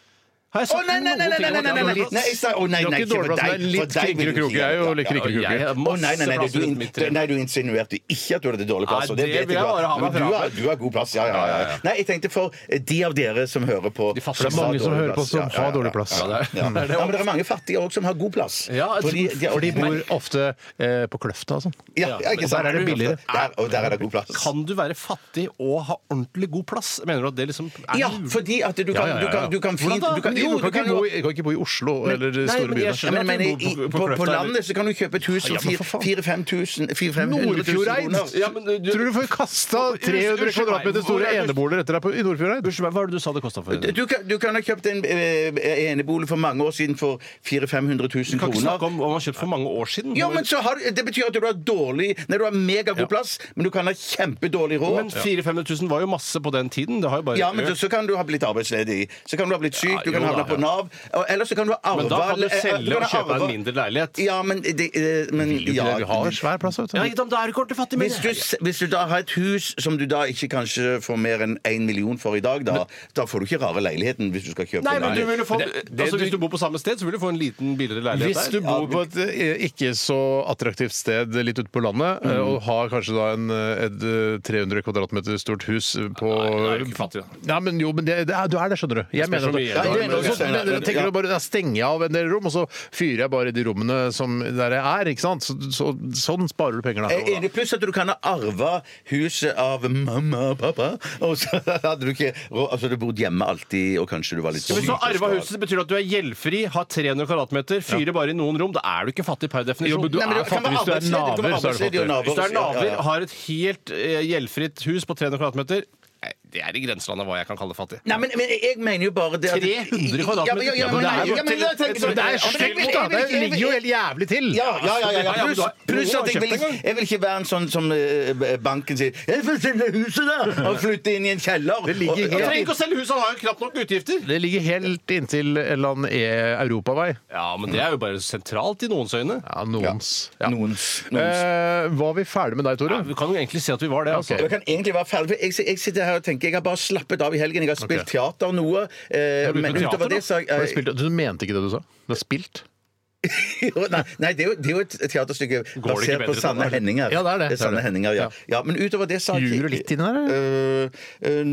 [SPEAKER 2] Har jeg
[SPEAKER 3] Å
[SPEAKER 2] sagt
[SPEAKER 3] nei, nei, nei! nei, nei, nei, nei, nei, nei, nei, jeg sa- å, nei,
[SPEAKER 1] Du har
[SPEAKER 3] nei,
[SPEAKER 1] ikke dårlig
[SPEAKER 3] for
[SPEAKER 1] plass,
[SPEAKER 3] deg-
[SPEAKER 1] det er litt
[SPEAKER 3] for deg vil
[SPEAKER 1] krinkere
[SPEAKER 3] du ikke
[SPEAKER 1] kroke. Jeg er jo
[SPEAKER 3] gjøre det.
[SPEAKER 1] litt
[SPEAKER 3] Ja, ja.
[SPEAKER 1] krinkere
[SPEAKER 2] Jeg
[SPEAKER 1] kroke.
[SPEAKER 2] har
[SPEAKER 3] Å, nei,
[SPEAKER 2] masse
[SPEAKER 3] nei, nei,
[SPEAKER 2] plass
[SPEAKER 3] du,
[SPEAKER 2] rundt mitt tre.
[SPEAKER 3] nei, du insinuerte ikke at du hadde dårlig plass.
[SPEAKER 2] Nei,
[SPEAKER 3] og det
[SPEAKER 2] det
[SPEAKER 3] vet
[SPEAKER 2] vil
[SPEAKER 3] jeg
[SPEAKER 2] jeg bare ha
[SPEAKER 3] godt. Men
[SPEAKER 2] meg
[SPEAKER 3] du,
[SPEAKER 2] fra.
[SPEAKER 3] har, du har god plass, ja, ja, ja. Nei, jeg tenkte for eh, de av dere som hører på.
[SPEAKER 2] De
[SPEAKER 1] For
[SPEAKER 2] fattige.
[SPEAKER 1] det er mange som hører på som har dårlig plass. Mm.
[SPEAKER 3] Ja, ja, ja.
[SPEAKER 2] det er det
[SPEAKER 3] ja, men det er mange fattige òg som har god plass.
[SPEAKER 2] Ja, jeg
[SPEAKER 3] Fordi
[SPEAKER 2] tror-
[SPEAKER 3] de har-
[SPEAKER 1] For de bor ofte eh, på Kløfta og sånn.
[SPEAKER 3] Ja, ja, ikke sant?
[SPEAKER 1] Der er det billigere.
[SPEAKER 3] Der, og der er det god plass.
[SPEAKER 2] Kan du være fattig og ha ordentlig god plass? Mener du at det liksom er
[SPEAKER 3] Ja, fordi at du kan,
[SPEAKER 1] ja, ja, ja.
[SPEAKER 3] Du kan, du kan fint
[SPEAKER 2] Hvordan da?
[SPEAKER 3] du kan,
[SPEAKER 1] Jo,
[SPEAKER 3] jo,
[SPEAKER 1] du kan ikke bo i, kan ikke bo i Oslo eller de
[SPEAKER 2] nei,
[SPEAKER 1] store
[SPEAKER 2] men jeg
[SPEAKER 1] byene.
[SPEAKER 3] ja, men, men, i,
[SPEAKER 2] På- på- på
[SPEAKER 3] på, på
[SPEAKER 2] Kløfta,
[SPEAKER 3] landet så kan du kjøpe et hus for
[SPEAKER 1] Ja, men for faen.
[SPEAKER 3] 4000-5000
[SPEAKER 1] Nordfjordeid!
[SPEAKER 3] kroner.
[SPEAKER 2] Ja, men du-
[SPEAKER 1] Tror du du får kasta
[SPEAKER 2] Unnskyld-
[SPEAKER 1] 300
[SPEAKER 2] unnskyld
[SPEAKER 1] kvadratmeter
[SPEAKER 2] meg, hvor
[SPEAKER 1] store
[SPEAKER 2] er du-
[SPEAKER 1] eneboliger etter deg på- i Nordfjordeid?
[SPEAKER 2] Unnskyld meg, hva var det du sa det kosta for?
[SPEAKER 3] Du- Du kan, du kan ha kjøpt en eh, enebolig for mange år siden for 400 000-500 000
[SPEAKER 2] kan ikke snakke
[SPEAKER 3] kroner.
[SPEAKER 2] om hva man har kjøpt for mange år siden.
[SPEAKER 3] Ja, men så har, du- Det betyr at du har dårlig Nei, du har megagod plass, men du kan ha kjempedårlig råd.
[SPEAKER 2] men 400 000 var jo masse på den tiden. Det har jo bare
[SPEAKER 3] Ja, men så,
[SPEAKER 2] økt.
[SPEAKER 3] så kan du ha blitt arbeidsledig. Så kan du ha blitt syk,
[SPEAKER 2] Ja,
[SPEAKER 3] du kan
[SPEAKER 2] jo
[SPEAKER 3] havne
[SPEAKER 2] da,
[SPEAKER 3] på
[SPEAKER 2] ja.
[SPEAKER 3] Nav. og- Eller så kan du ha arva
[SPEAKER 2] Men da kan du
[SPEAKER 3] eller- eh,
[SPEAKER 2] selge og
[SPEAKER 3] kan ha
[SPEAKER 2] kjøpe deg
[SPEAKER 3] arva-
[SPEAKER 2] en mindre leilighet.
[SPEAKER 3] Ja, men, det, eh, men
[SPEAKER 1] Ja,
[SPEAKER 3] ja,
[SPEAKER 1] vi har svær plass, vet
[SPEAKER 2] Ja,
[SPEAKER 1] du.
[SPEAKER 2] ikke sant, Da er du ikke ordentlig fattig, men
[SPEAKER 3] Hvis du, s- hvis du da har et hus som du da ikke kanskje får mer enn én million for i dag, da, da får du ikke rare leiligheten hvis du skal kjøpe
[SPEAKER 2] Nei,
[SPEAKER 3] en
[SPEAKER 2] men du
[SPEAKER 3] leilighet.
[SPEAKER 2] vil jo få,
[SPEAKER 1] Men det- det
[SPEAKER 2] altså,
[SPEAKER 1] du-
[SPEAKER 2] hvis du bor på samme sted, så vil du få en liten billigere leilighet
[SPEAKER 1] Hvis
[SPEAKER 2] der.
[SPEAKER 1] du bor på et eh, ikke så attraktivt sted litt ute på landet, eh, og har kanskje da en, eh, et eh, 300 kvadratmeter stort hus eh, på
[SPEAKER 2] Nei, da er du ikke fattig, da.
[SPEAKER 1] Nei, men jo, men det, det er, du er det, skjønner du. Jeg
[SPEAKER 2] spørs
[SPEAKER 1] mener
[SPEAKER 2] hvor mye
[SPEAKER 1] at-
[SPEAKER 2] du har,
[SPEAKER 1] Ja,
[SPEAKER 3] men-
[SPEAKER 1] så, så, mener jeg, tenker du bare, da stenger jeg av en del rom, og så fyrer jeg bare i de rommene som der jeg er. ikke sant? Så, så, sånn sparer du penger.
[SPEAKER 3] Jeg er
[SPEAKER 1] da.
[SPEAKER 3] Enig, pluss at du kan ha arva huset av mamma og pappa. Og så hadde du ikke råd Altså, du bodde hjemme alltid, og kanskje du var litt
[SPEAKER 2] Så hvis du
[SPEAKER 3] ung,
[SPEAKER 2] har arva
[SPEAKER 3] så skal-
[SPEAKER 2] huset, betyr det at du er gjeldfri, har 300 kvadratmeter, fyrer bare i noen rom. Da er du ikke fattig per definisjon.
[SPEAKER 1] men du
[SPEAKER 3] Nei, men
[SPEAKER 1] er
[SPEAKER 3] det kan
[SPEAKER 1] fattig hvis
[SPEAKER 3] være
[SPEAKER 1] du er
[SPEAKER 3] arbeidsledig, du kan være
[SPEAKER 1] naver, så er du
[SPEAKER 3] arbeidsledig og
[SPEAKER 1] fattig.
[SPEAKER 3] naver,
[SPEAKER 2] Hvis du er
[SPEAKER 3] ja, ja,
[SPEAKER 2] naver,
[SPEAKER 3] ja.
[SPEAKER 2] har et helt eh, gjeldfritt hus på 300 kvadratmeter, eh, det er i grenselandet hva jeg kan kalle fattig.
[SPEAKER 3] Nei, men, men jeg mener jo bare det at
[SPEAKER 2] 300 kvadratmeter?
[SPEAKER 3] Ja, men- ja, ja,
[SPEAKER 2] Ja, men
[SPEAKER 3] men-
[SPEAKER 2] det er jo
[SPEAKER 3] ja, men
[SPEAKER 2] til-
[SPEAKER 3] jeg tenker
[SPEAKER 1] Men det er
[SPEAKER 3] sånn- Ja, men jeg
[SPEAKER 1] stygt, da!
[SPEAKER 3] vil- jeg vil
[SPEAKER 1] Det
[SPEAKER 3] ikke- jeg vil-
[SPEAKER 1] ligger jo helt jævlig til.
[SPEAKER 3] Ja, ja, ja. ja,
[SPEAKER 2] Ja,
[SPEAKER 3] ja.
[SPEAKER 2] men
[SPEAKER 3] Pluss
[SPEAKER 2] du har- noen
[SPEAKER 3] pluss at jeg
[SPEAKER 2] har
[SPEAKER 3] vil,
[SPEAKER 2] kjøpt en gang.
[SPEAKER 3] jeg vil ikke være en sånn som eh, banken sier 'Jeg får selge huset, da!' og flytte inn i en kjeller.
[SPEAKER 1] Det ligger
[SPEAKER 3] Og-
[SPEAKER 1] helt-
[SPEAKER 2] Han
[SPEAKER 3] ja.
[SPEAKER 2] trenger ikke å selge huset, han har jo knapt nok utgifter.
[SPEAKER 1] Det ligger helt inntil en eller annen e-europavei.
[SPEAKER 2] Ja, men det er jo bare sentralt i noens øyne.
[SPEAKER 1] Ja, noens. Ja.
[SPEAKER 3] Noens. noens.
[SPEAKER 1] Eh, var vi ferdig med deg, Tore?
[SPEAKER 2] Ja, vi kan jo egentlig si at vi var det. Altså.
[SPEAKER 1] ok.
[SPEAKER 3] Eh, Jeg kan egentlig være ferdig, for jeg, jeg sitter her og tenker Jeg har bare slappet av i helgen. Jeg har
[SPEAKER 1] Ok.
[SPEAKER 3] spilt teater noe. Eh,
[SPEAKER 2] Har du
[SPEAKER 3] men
[SPEAKER 2] begynt på
[SPEAKER 3] utover
[SPEAKER 2] teater,
[SPEAKER 3] det så har
[SPEAKER 1] Har du,
[SPEAKER 3] jeg
[SPEAKER 1] spilt, du mente ikke det du sa? Du har spilt?
[SPEAKER 3] Jo, nei, nei, det er jo, det er jo et teaterstykke basert
[SPEAKER 2] bedre
[SPEAKER 3] på
[SPEAKER 2] til
[SPEAKER 3] Sanne
[SPEAKER 2] det?
[SPEAKER 3] Henninger.
[SPEAKER 1] Ja, det er det. Det er
[SPEAKER 3] Sanne
[SPEAKER 1] det.
[SPEAKER 3] Henninger, ja. ja, Men utover det så har jeg-
[SPEAKER 1] Ljuger du litt inni der,
[SPEAKER 3] Øh, øh,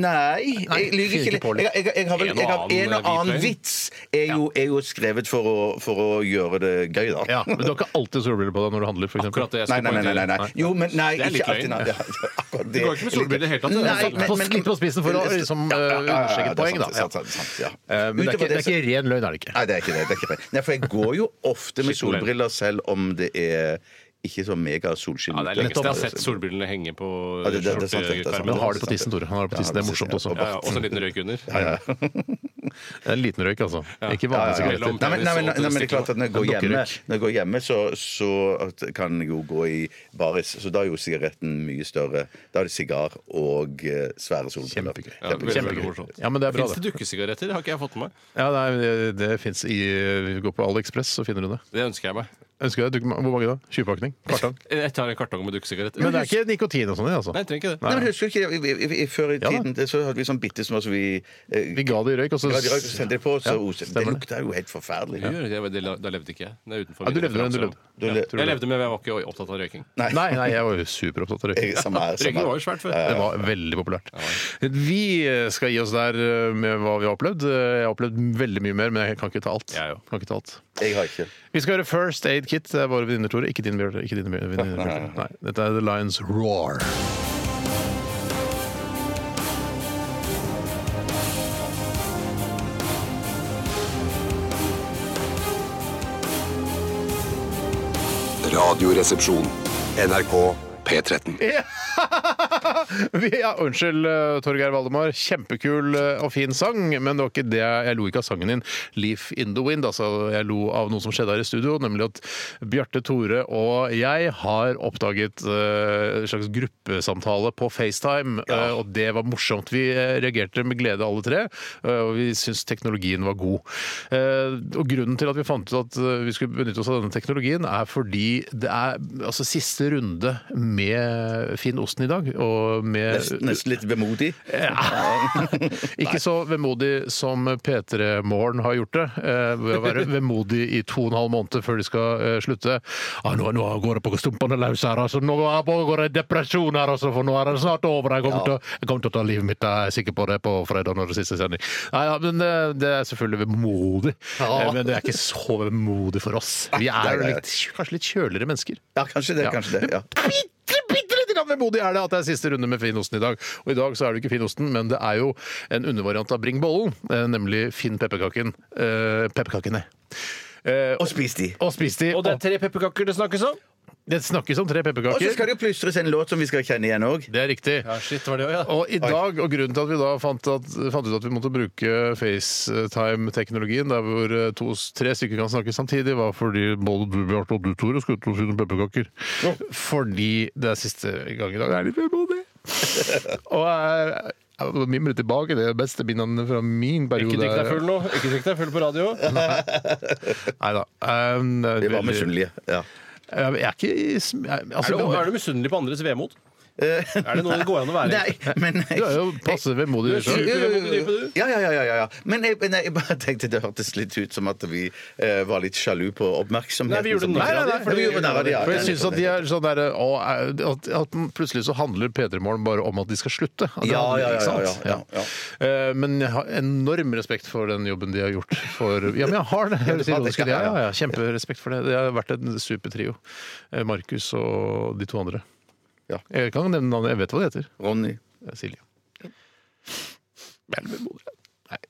[SPEAKER 3] nei, jeg lyver
[SPEAKER 1] fyrer
[SPEAKER 3] ikke.
[SPEAKER 1] ikke på
[SPEAKER 3] litt.
[SPEAKER 1] litt.
[SPEAKER 3] Jeg, jeg, jeg har vel
[SPEAKER 2] En og
[SPEAKER 3] jeg har en
[SPEAKER 2] annen eh,
[SPEAKER 3] og annen
[SPEAKER 2] hvitløgn.
[SPEAKER 3] vits er jo, er jo skrevet for å, for å gjøre det gøy, da.
[SPEAKER 1] Ja, Men du har ikke alltid solbriller på deg når du handler? For
[SPEAKER 2] Akkurat det jeg
[SPEAKER 3] Nei,
[SPEAKER 2] skulle
[SPEAKER 3] nei, nei, nei,
[SPEAKER 2] poengtere.
[SPEAKER 3] nei, nei. Jo, men nei,
[SPEAKER 2] Det er litt
[SPEAKER 3] ikke
[SPEAKER 2] løgn.
[SPEAKER 3] alltid. Nei. Ja, akkurat
[SPEAKER 2] Du
[SPEAKER 3] det.
[SPEAKER 2] går ikke med solbriller i det hele tatt, altså. det er
[SPEAKER 3] Nei,
[SPEAKER 2] sant.
[SPEAKER 3] men-
[SPEAKER 1] På-
[SPEAKER 3] men-
[SPEAKER 1] litt på spissen for å liksom,
[SPEAKER 3] Ja, ja,
[SPEAKER 1] øh,
[SPEAKER 3] ja, ja,
[SPEAKER 1] understreke et
[SPEAKER 3] det er
[SPEAKER 1] poeng,
[SPEAKER 3] sant,
[SPEAKER 1] da.
[SPEAKER 3] det er sant, det er sant, ja.
[SPEAKER 1] Eh, Men det er,
[SPEAKER 3] Utover
[SPEAKER 1] ikke, det er
[SPEAKER 3] så-
[SPEAKER 1] ikke ren løgn, er det ikke?
[SPEAKER 3] Nei, det er ikke det. det er ikke det. Nei, for jeg går jo ofte med
[SPEAKER 2] Skittende.
[SPEAKER 3] solbriller selv om det er ikke så mega solskinn.
[SPEAKER 2] Ja, det er lenge siden jeg har sett solbrillene henge på
[SPEAKER 3] Ja, det- det- det er sant, det er sant.
[SPEAKER 1] Men han
[SPEAKER 2] skjortekarmen.
[SPEAKER 1] har det på tissen, Tore. Han har det på tissen, Det er morsomt også.
[SPEAKER 2] Ja, ja, og så en liten røyk under.
[SPEAKER 3] (laughs)
[SPEAKER 1] Det er en liten røyk, altså. Ikke vanlige
[SPEAKER 2] Ja, ja, ja.
[SPEAKER 1] sigaretter.
[SPEAKER 3] Nei, men, nei, men, nei, men det er klart at når jeg går
[SPEAKER 1] Men
[SPEAKER 3] hjemme,
[SPEAKER 1] dukkerøyk.
[SPEAKER 3] når jeg går hjemme så, så at- kan jeg jo gå i baris, så da er jo sigaretten mye større. Da er det sigar og eh, svære solbriller.
[SPEAKER 1] Kjempegøy.
[SPEAKER 2] Ja, veldig, veldig
[SPEAKER 1] Kjempegøy.
[SPEAKER 2] morsomt.
[SPEAKER 1] Ja, men det er bra,
[SPEAKER 2] Fins det
[SPEAKER 1] det.
[SPEAKER 2] dukkesigaretter? Har ikke jeg fått med meg.
[SPEAKER 1] Ja, nei, det, det fins i vi går på AliExpress, så finner du det.
[SPEAKER 2] Det ønsker jeg meg.
[SPEAKER 1] Ønsker jeg deg dukke- Hvor mange da? 20-pakning? Kvartang?
[SPEAKER 2] Jeg tar en kartong med
[SPEAKER 1] (laughs)
[SPEAKER 2] dukkesigaretter.
[SPEAKER 1] Men det er ikke nikotin og sånn i, altså?
[SPEAKER 2] Nei, jeg trenger ikke det.
[SPEAKER 3] Nei, men husker du ikke, i, i, i, Før i
[SPEAKER 1] Ja da.
[SPEAKER 3] tiden det- så hadde vi sånn bitte små som vi eh,
[SPEAKER 1] Vi ga det i røyk, og så
[SPEAKER 3] Ja, de røyk og sendte det på,
[SPEAKER 1] Ja,
[SPEAKER 3] så oste- Det
[SPEAKER 1] stemmer det.
[SPEAKER 3] lukta jo helt forferdelig.
[SPEAKER 2] Gjør det, det, da levde ikke jeg. Det er utenfor
[SPEAKER 1] Ja, du
[SPEAKER 2] mine
[SPEAKER 1] levde, men du
[SPEAKER 2] referanser.
[SPEAKER 1] levde.
[SPEAKER 3] Du le-
[SPEAKER 2] Jeg levde, men jeg var ikke opptatt av røyking.
[SPEAKER 1] Nei, nei, jeg var jo superopptatt av røyk.
[SPEAKER 3] Jeg- samme her, samme
[SPEAKER 2] Røyking
[SPEAKER 3] her.
[SPEAKER 2] var jo svært før.
[SPEAKER 1] Det var veldig populært. Vi skal gi oss der eh, med hva vi har opplevd. Eh, Jeg har opplevd veldig mye mer, men jeg kan ikke ta alt.
[SPEAKER 2] Jeg òg.
[SPEAKER 1] Kan ikke ta alt.
[SPEAKER 3] Jeg har ikke.
[SPEAKER 1] Vi skal høre First Aid Kit. Det er våre venninner, Tore. Ikke dine, Bjarte. Ikke dine, Bjarte.
[SPEAKER 2] (laughs)
[SPEAKER 1] Nei. Dette er The Lions Roar.
[SPEAKER 6] Radioresepsjon. NRK P13.
[SPEAKER 1] (laughs) Vi- Ja, unnskyld, eh, Torgeir Valdemar. Kjempekul eh, og fin sang, men det var ikke det jeg lo ikke av sangen din. 'Leaf in the Wind'. Altså, jeg lo av noe som skjedde her i studio, nemlig at Bjarte, Tore og jeg har oppdaget eh, en slags gruppesamtale på FaceTime, eh, og det var morsomt. Vi eh, reagerte med glede alle tre, eh, og vi syntes teknologien var god. Eh, og grunnen til at vi fant ut at eh, vi skulle benytte oss av denne teknologien, er fordi det er altså, siste runde med Finn Osten i dag, og med
[SPEAKER 3] Nesten, nesten litt vemodig.
[SPEAKER 1] (laughs) ikke så vemodig som P3 Morgen har gjort det. eh, Ved å være vemodig i to og en halv måned før de skal eh, slutte. Ah, nå, nå går det på stumpene løs her, altså. Nå er- pågår det depresjon her, altså. For nå er det snart over. Jeg kommer, til, å- jeg kommer til å ta livet mitt, jeg er sikker på det, på fredag når det er siste sending. Nei, ja, men eh, det er selvfølgelig vemodig. Eh, Men det er ikke så vemodig for oss. Vi
[SPEAKER 3] Nei,
[SPEAKER 1] er jo
[SPEAKER 3] nei, nei.
[SPEAKER 1] litt, kanskje litt kjøligere mennesker.
[SPEAKER 3] Ja, kanskje det.
[SPEAKER 1] Ja.
[SPEAKER 3] kanskje det, ja.
[SPEAKER 1] Bitte, bitte lite grann vemodig er det at det er siste runde med Finnosten i dag. Og i dag så er det jo ikke Finnosten, men det er jo en undervariant av Bring bollen, eh, nemlig Finn pepperkaken. Eh, pepperkakene. Eh,
[SPEAKER 3] Og spis de.
[SPEAKER 1] og spis de.
[SPEAKER 2] Og det er tre pepperkaker det snakkes om?
[SPEAKER 1] Og det snakkes om tre
[SPEAKER 3] Og så skal
[SPEAKER 1] pepperkaker.
[SPEAKER 3] det jo plystres en låt som vi skal kjenne igjen òg.
[SPEAKER 1] Det er riktig.
[SPEAKER 2] Ja, shit, var det også, ja.
[SPEAKER 1] Og i dag, og grunnen til at vi da fant, at, fant ut at vi måtte bruke FaceTime-teknologien, der hvor eh, to, tre stykker kan snakke samtidig, var fordi både du, Bjarte, og du, Tore, skulle ut og finne pepperkaker. Fordi det er siste gang i dag. Det er litt vemodig. (laughs) og eh, jeg, jeg mimrer tilbake det beste minnene fra min periode.
[SPEAKER 2] Ikke drikk deg full nå. Ikke drikk deg full på (laughs) radio.
[SPEAKER 1] Neida. Um, det er
[SPEAKER 3] Vi var
[SPEAKER 1] veldig-
[SPEAKER 3] misunnelige. Ja.
[SPEAKER 1] Jeg er ikke i sm- jeg- altså,
[SPEAKER 2] Er du, er du misunnelig på andres vemod? Er det noe Eh, (laughs) det går an å være?
[SPEAKER 3] Nei, men
[SPEAKER 1] Du er jo passe vemodig du selv.
[SPEAKER 2] Dype, hvor dype du?
[SPEAKER 3] Ja, ja, ja. ja, ja, ja. Men jeg, nei, jeg bare tenkte det hørtes litt ut som at vi eh, var litt sjalu på oppmerksomheten.
[SPEAKER 2] Nei, vi gjorde
[SPEAKER 3] som-
[SPEAKER 2] narr av det,
[SPEAKER 3] Ja, vi gjorde narr av det, ja.
[SPEAKER 1] For jeg synes at de er sånn der, å, er- at, at plutselig så handler P3 Morgen bare om at de skal slutte. At det
[SPEAKER 3] Ja,
[SPEAKER 1] handler-
[SPEAKER 3] ja, ja,
[SPEAKER 1] ikke sant?
[SPEAKER 3] ja, ja,
[SPEAKER 1] Eh, Men jeg har enorm respekt for den jobben de har gjort. For, ja, men jeg har det! Høres
[SPEAKER 3] du har det,
[SPEAKER 1] ironisk ut. Ja,
[SPEAKER 3] (laughs) ja, ja.
[SPEAKER 1] ja, ja, kjemperespekt for det. Det har vært en super trio. Eh, Markus og de to andre.
[SPEAKER 3] Ja.
[SPEAKER 1] Jeg kan nevne navnet. Jeg vet hva de heter.
[SPEAKER 3] Ronny.
[SPEAKER 1] Det er Silje. Vel bemodig. Nei.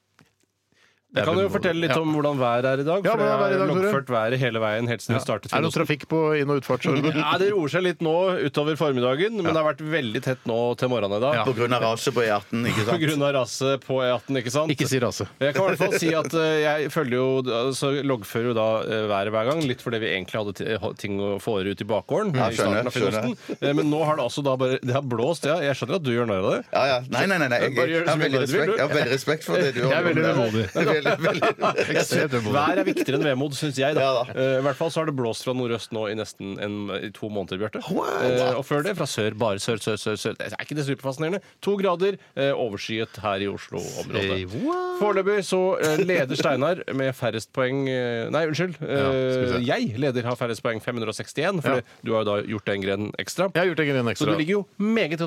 [SPEAKER 2] Jeg kan jo fortelle litt
[SPEAKER 1] Ja.
[SPEAKER 2] om hvordan været er i dag.
[SPEAKER 1] Ja,
[SPEAKER 2] For
[SPEAKER 1] hvordan er været i
[SPEAKER 2] jeg har
[SPEAKER 1] dag, Tore?
[SPEAKER 2] loggført været hele veien helt siden vi
[SPEAKER 1] Er det
[SPEAKER 2] startet.
[SPEAKER 1] noe
[SPEAKER 2] frokosten.
[SPEAKER 1] trafikk på inn- og utfartsordningen?
[SPEAKER 2] Nei, Det roer seg litt nå utover formiddagen, men det har vært veldig tett nå til morgenen i dag.
[SPEAKER 1] Ja.
[SPEAKER 3] På grunn av raset på E18, ikke
[SPEAKER 2] På
[SPEAKER 3] sant?
[SPEAKER 2] grunn av raset på E18, ikke sant?
[SPEAKER 1] Ikke si rase.
[SPEAKER 2] Jeg kan i hvert fall si at eh, jeg følger jo, altså, loggfører jo da eh, været hver gang, litt fordi vi egentlig hadde ti- ha- ting å få ut i bakgården.
[SPEAKER 3] Ja,
[SPEAKER 2] i starten av
[SPEAKER 3] skjønner,
[SPEAKER 2] frokosten. Eh, Men nå har det altså da bare Det har blåst, ja. Jeg skjønner at du gjør narr av det.
[SPEAKER 3] Ja, ja. Nei, nei, nei. nei. Jeg,
[SPEAKER 2] Bare gjør det
[SPEAKER 3] jeg, har
[SPEAKER 2] som du vil,
[SPEAKER 3] veldig respekt,
[SPEAKER 2] du.
[SPEAKER 3] jeg har veldig respekt for det du
[SPEAKER 1] Jeg er veldig vemodig.
[SPEAKER 3] veldig, veldig.
[SPEAKER 1] (laughs) Ekstremt vemodig.
[SPEAKER 2] Vær er viktigere enn vemod, syns jeg. da.
[SPEAKER 3] Ja, da.
[SPEAKER 2] Eh, I hvert fall så har det blåst fra nordøst nå i nesten en, i to måneder, Bjarte.
[SPEAKER 3] Wow.
[SPEAKER 2] Eh, og før det fra sør, bare sør, sør, sør. sør. Er ikke det superfascinerende? To grader, eh, overskyet her i Oslo-området.
[SPEAKER 1] Hey, what?
[SPEAKER 2] Foreløpig så eh, leder Steinar med færrest poeng eh, Nei, unnskyld.
[SPEAKER 1] Ja, skal
[SPEAKER 2] Eh,
[SPEAKER 1] vi se.
[SPEAKER 2] jeg leder har færrest poeng, 561, for
[SPEAKER 1] Ja.
[SPEAKER 2] du har jo da gjort en gren ekstra.
[SPEAKER 1] Jeg har gjort en gren
[SPEAKER 2] Så
[SPEAKER 1] ekstra.
[SPEAKER 2] du ligger jo meget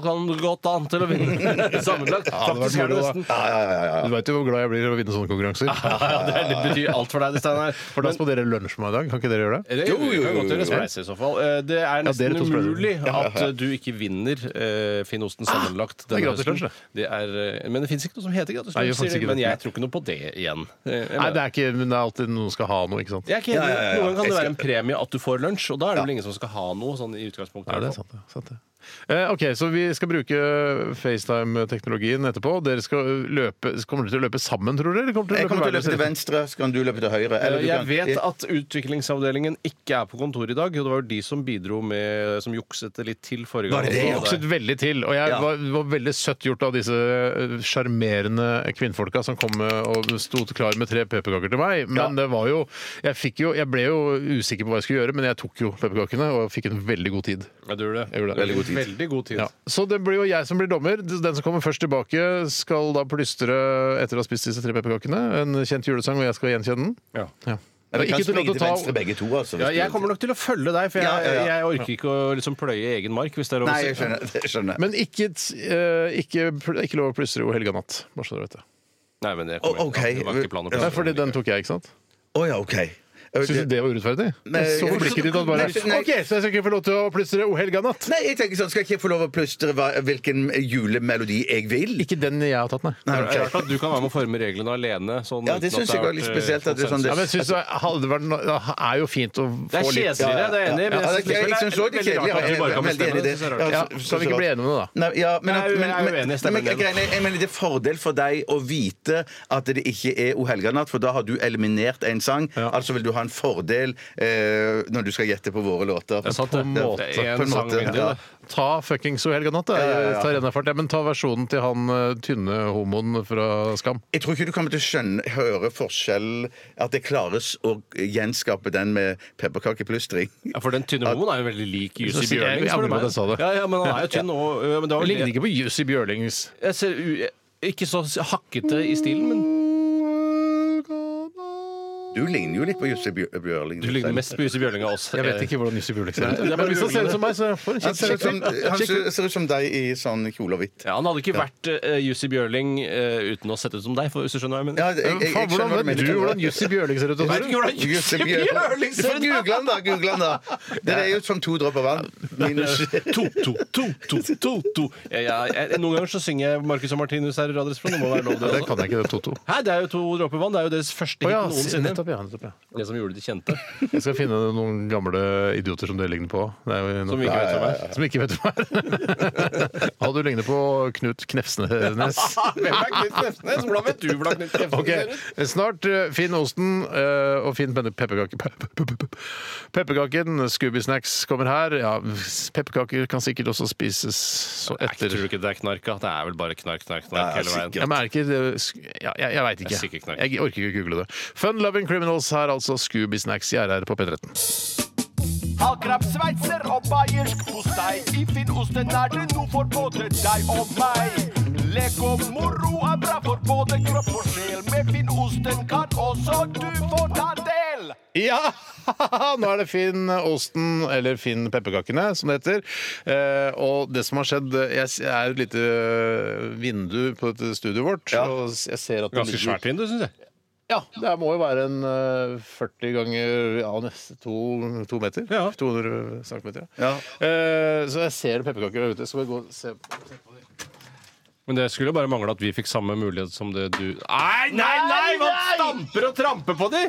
[SPEAKER 2] godt an til å vinne (laughs) sammenlagt.
[SPEAKER 1] Ja, det hadde vært
[SPEAKER 2] Faktisk er det
[SPEAKER 1] moro, da.
[SPEAKER 2] nesten
[SPEAKER 3] Ja, ja, ja, ja, ja.
[SPEAKER 1] Du veit jo hvor glad jeg blir i å vinne sånne konkurranser.
[SPEAKER 2] (laughs) ja, det, det betyr
[SPEAKER 1] (laughs)
[SPEAKER 2] alt Eh, for deg, det, Steinar.
[SPEAKER 1] For da sponderer lunsj meg i dag. Kan ikke dere gjøre det?
[SPEAKER 2] Det
[SPEAKER 3] Jo, jo,
[SPEAKER 2] kan
[SPEAKER 3] jo,
[SPEAKER 2] godt
[SPEAKER 3] jo,
[SPEAKER 2] gjøre
[SPEAKER 3] jo.
[SPEAKER 2] spleis i så fall. Eh, Det er nesten
[SPEAKER 1] dere to spleiser.
[SPEAKER 2] umulig at eh, du ikke vinner eh, Finnosten sammenlagt
[SPEAKER 1] er
[SPEAKER 2] denne
[SPEAKER 1] gratis lunsj,
[SPEAKER 2] høsten.
[SPEAKER 1] Ah, det.
[SPEAKER 2] Det er, eh, men det fins ikke noe som heter gratis
[SPEAKER 1] Nei, det
[SPEAKER 2] lunsj,
[SPEAKER 1] finnes
[SPEAKER 2] sier de,
[SPEAKER 1] ikke
[SPEAKER 2] men
[SPEAKER 1] det.
[SPEAKER 2] jeg tror ikke noe på det igjen. Eh, jeg
[SPEAKER 1] Nei,
[SPEAKER 2] mener-
[SPEAKER 1] det er ikke, men det er alltid noen som skal ha noe, ikke sant?
[SPEAKER 2] Jeg er ikke enig.
[SPEAKER 3] Ja, ja, ja,
[SPEAKER 2] Noen
[SPEAKER 3] ja.
[SPEAKER 2] ganger kan det
[SPEAKER 3] Jeg
[SPEAKER 2] være en premie at du får lunsj, og da er det vel ingen som skal ha noe sånn i utgangspunktet.
[SPEAKER 1] Nei,
[SPEAKER 2] i
[SPEAKER 1] det er
[SPEAKER 2] hvert fall.
[SPEAKER 1] sant, det. sant det. Eh, ok, så vi skal bruke FaceTime-teknologien etterpå. Dere skal løpe, kommer dere til å løpe sammen, tror dere? Eller kommer dere
[SPEAKER 3] Jeg
[SPEAKER 1] til å
[SPEAKER 3] kommer
[SPEAKER 1] løpe
[SPEAKER 3] til å løpe til
[SPEAKER 1] hver deres-
[SPEAKER 3] venstre, så kan du løpe til høyre.
[SPEAKER 2] Eh,
[SPEAKER 3] eller du
[SPEAKER 2] Jeg
[SPEAKER 3] kan-
[SPEAKER 2] vet at utviklingsavdelingen ikke er på kontoret i dag, og det var jo de som bidro med Som jukset det litt til forrige gang.
[SPEAKER 3] det
[SPEAKER 1] Det
[SPEAKER 3] det?
[SPEAKER 2] Så
[SPEAKER 1] jukset veldig til, og jeg
[SPEAKER 3] Ja.
[SPEAKER 1] var, var veldig søtt gjort av disse eh, sjarmerende kvinnfolka som kom eh, og sto klar med tre pepperkaker til meg. Men det var jo jeg, fikk jo jeg ble jo usikker på hva jeg skulle gjøre, men jeg tok jo pepperkakene og fikk en veldig god tid.
[SPEAKER 2] Ja, du gjorde det.
[SPEAKER 1] gjorde det.
[SPEAKER 2] Veldig god tid. Veldig god tid.
[SPEAKER 1] Ja. Så det blir jo jeg som blir dommer. Den som kommer først tilbake, skal da plystre etter å ha spist disse tre pepperkakene. En kjent julesang, og jeg skal gjenkjenne den.
[SPEAKER 2] Ja.
[SPEAKER 1] Ja.
[SPEAKER 3] Eller
[SPEAKER 1] Ikke
[SPEAKER 3] kan
[SPEAKER 1] til å
[SPEAKER 3] springe til
[SPEAKER 1] ta-
[SPEAKER 3] venstre begge to, altså.
[SPEAKER 2] Ja, jeg kommer nok til å følge deg, for jeg,
[SPEAKER 3] Ja, ja, ja.
[SPEAKER 2] jeg orker ikke å liksom pløye egen mark. Hvis det er lov
[SPEAKER 3] Nei,
[SPEAKER 2] å si.
[SPEAKER 3] jeg skjønner. (laughs) Jeg skjønner.
[SPEAKER 1] Men ikke, t- eh, ikke, pl- ikke lov å plystre god helga natt. Bare så dere vet det.
[SPEAKER 2] Nei, men det, kommer
[SPEAKER 3] Å, ok.
[SPEAKER 2] ikke, det var ikke planen å
[SPEAKER 1] Nei,
[SPEAKER 2] pløye.
[SPEAKER 1] fordi den tok jeg, ikke sant?
[SPEAKER 3] Å ja, OK.
[SPEAKER 1] Syns du det var urettferdig?
[SPEAKER 3] Nei,
[SPEAKER 1] så
[SPEAKER 3] jeg-
[SPEAKER 1] blikket ditt at bare
[SPEAKER 3] Nei, nei.
[SPEAKER 1] OK, så jeg skal ikke få lov til å plystre o helga natt?
[SPEAKER 3] Nei, jeg tenker sånn, skal ikke jeg få lov å plystre hva, hvilken julemelodi jeg vil?
[SPEAKER 1] Ikke den jeg har tatt, nei.
[SPEAKER 3] Nei,
[SPEAKER 2] Det er
[SPEAKER 3] ok.
[SPEAKER 2] rart at du kan være med å forme reglene alene. Sånn,
[SPEAKER 3] Ja, det
[SPEAKER 2] uten at
[SPEAKER 3] synes jeg
[SPEAKER 2] har
[SPEAKER 3] var litt
[SPEAKER 2] vært, eh,
[SPEAKER 3] spesielt at det er sånn-
[SPEAKER 1] Ja,
[SPEAKER 2] konsensus.
[SPEAKER 1] men jeg synes det hadde vært no- det er jo fint å få
[SPEAKER 2] Det er
[SPEAKER 1] litt
[SPEAKER 2] kjedeligere, det er jeg enig i. men
[SPEAKER 3] Ja,
[SPEAKER 2] jeg
[SPEAKER 3] det
[SPEAKER 2] synes
[SPEAKER 3] er-
[SPEAKER 2] likevel
[SPEAKER 3] jeg syns også det er
[SPEAKER 2] veldig
[SPEAKER 3] kjedelig.
[SPEAKER 2] rart at vi
[SPEAKER 3] Jeg
[SPEAKER 2] bare
[SPEAKER 3] er
[SPEAKER 2] kan
[SPEAKER 3] veldig
[SPEAKER 2] bestemme
[SPEAKER 3] enig
[SPEAKER 2] det. Det
[SPEAKER 3] i det.
[SPEAKER 2] synes jeg er
[SPEAKER 3] Ja,
[SPEAKER 2] rart.
[SPEAKER 1] Ja, Kan vi ikke bli enige om det, da?
[SPEAKER 3] Nei, ja, men,
[SPEAKER 2] Jeg er jo- jeg
[SPEAKER 3] men,
[SPEAKER 2] er jo enig,
[SPEAKER 3] men,
[SPEAKER 2] stemmer
[SPEAKER 3] men,
[SPEAKER 2] ned.
[SPEAKER 3] greiene- jeg mener, det er fordel for deg å vite at det ikke er O helga natt, for da har du eliminert en sang. Altså vil du ha en fordel eh, når du skal gjette på våre låter.
[SPEAKER 2] Det er sant,
[SPEAKER 3] På
[SPEAKER 2] det.
[SPEAKER 3] en
[SPEAKER 2] Det er
[SPEAKER 3] måte.
[SPEAKER 2] en
[SPEAKER 3] På en
[SPEAKER 2] sang
[SPEAKER 3] måte,
[SPEAKER 2] mindre,
[SPEAKER 3] ja.
[SPEAKER 2] det.
[SPEAKER 1] Ta fuckings O helga natt, da.
[SPEAKER 3] Ja, ja, ja.
[SPEAKER 1] Ta Rennafart. Ja, men ta versjonen til han eh, tynne homoen fra Skam.
[SPEAKER 3] Jeg tror ikke du kommer til å skjønne, høre forskjell At det klares å gjenskape den med pepperkakeplystring.
[SPEAKER 2] Ja, for den tynne homoen er jo veldig lik Jussi
[SPEAKER 1] Så sier jeg- jeg
[SPEAKER 2] Bjørling.
[SPEAKER 3] liksom
[SPEAKER 2] spør du
[SPEAKER 1] angrer på
[SPEAKER 2] meg.
[SPEAKER 1] at jeg
[SPEAKER 3] sånn
[SPEAKER 1] sa det.
[SPEAKER 2] Ja, ja, men han er jo tynn og øh, men det var
[SPEAKER 1] Det
[SPEAKER 2] vel
[SPEAKER 1] ligner
[SPEAKER 2] det.
[SPEAKER 1] ikke på Jussi Bjørlings
[SPEAKER 2] Jeg ser u- ikke så hakkete i stilen, men
[SPEAKER 3] (laughs) Du ligner jo litt på Jussi Bjør- Bjørling.
[SPEAKER 2] du ligner mest på Jussi Bjørling av oss.
[SPEAKER 1] Jeg vet ikke hvordan Jussi Bjørling ser ut.
[SPEAKER 2] Nei, det er bare
[SPEAKER 1] Men hvis han ser
[SPEAKER 2] Bjørling.
[SPEAKER 1] ut som meg, så får
[SPEAKER 3] Han
[SPEAKER 1] han
[SPEAKER 3] ser ut
[SPEAKER 1] kjekt
[SPEAKER 3] som, han
[SPEAKER 1] Kjekt ut.
[SPEAKER 3] ser ser ut som deg i sånn kjole og hvitt.
[SPEAKER 2] Ja, han hadde ikke vært eh, Jussi Bjørling eh, uten å sette ut som deg, for, hvis du skjønner hva jeg mener.
[SPEAKER 3] Ja, jeg, jeg, jeg,
[SPEAKER 1] Faen,
[SPEAKER 3] skjønner hva
[SPEAKER 1] Hvordan vet
[SPEAKER 3] mener.
[SPEAKER 1] du hvordan Jussi Bjørling ser ut?
[SPEAKER 2] Jeg vet ikke
[SPEAKER 1] Tore?
[SPEAKER 2] hvordan Jussi Bjørling
[SPEAKER 3] Du får
[SPEAKER 2] ser ut!
[SPEAKER 3] Google han da! google han da Det er jo som to dråper vann. Minus
[SPEAKER 2] To, to, to, to, to, to. Ja, ja, jeg, noen ganger så synger jeg Marcus og Martinus her i Radioresepsjonen. Det må være lov, det.
[SPEAKER 1] Det
[SPEAKER 2] også.
[SPEAKER 1] kan jeg ikke, det er Toto.
[SPEAKER 2] Hæ, det er jo To dråper vann. Det er jo deres første
[SPEAKER 1] Å
[SPEAKER 2] hit
[SPEAKER 1] ja, se-
[SPEAKER 2] noensinne.
[SPEAKER 1] nettopp, ja, nettopp, ja.
[SPEAKER 2] Det som gjorde de kjente.
[SPEAKER 1] Jeg skal finne noen gamle idioter som det ligner på. Det er jo
[SPEAKER 2] Som
[SPEAKER 1] nok-
[SPEAKER 2] vi ikke vet hvem er.
[SPEAKER 1] Som vi ikke vet hvem er. (laughs) Ja, du ligner på Knut Knefsnes. (laughs)
[SPEAKER 2] Hvem er Knut (laughs) Knefsnes? Hvordan vet du hvordan Knut Knefsnes
[SPEAKER 1] Ok, Snart eh, Finn Osten eh, og Finn Penne- pepperkake pe- pe- pe- pe- Pepperkaken, Scooby-snacks kommer her. Ja, pepperkaker kan sikkert også spises så
[SPEAKER 2] Jeg
[SPEAKER 1] etter
[SPEAKER 2] tror ikke det er knark, da. Det er vel bare knark, knark, knark
[SPEAKER 3] Ja, ja,
[SPEAKER 2] hele veien.
[SPEAKER 1] jeg merker det sk- ja, Jeg, jeg veit
[SPEAKER 2] Det er sikkert
[SPEAKER 1] ikke.
[SPEAKER 2] knark.
[SPEAKER 1] Jeg orker ikke å google det. Fun Loving Criminals her, altså. Scooby Snacks i RR på P13.
[SPEAKER 7] Akrab, sveitser og bayersk postei. I Finnosten er det noe for både deg og meg. Lek og moro er bra for både kropp og sjel. Med Finnosten kan også du få ta del.
[SPEAKER 1] Ja! (laughs) Nå er det Finn Osten, eller Finn pepperkakene, som det heter. Eh, og det som har skjedd Jeg s- er et lite eh, vindu på dette studioet vårt. Og s- jeg ser at det
[SPEAKER 2] Ganske svært vindu, syns jeg.
[SPEAKER 1] Ja, det må jo være en eh, 40 ganger ja, nesten to, to meter.
[SPEAKER 2] Ja.
[SPEAKER 1] 200 centimeter.
[SPEAKER 3] Ja.
[SPEAKER 1] Eh, så jeg ser pepperkaker der ute. Skal vi gå og se
[SPEAKER 2] Men det skulle jo bare mangle at vi fikk samme mulighet som det du Nei, nei, nei! Man stamper og tramper på de!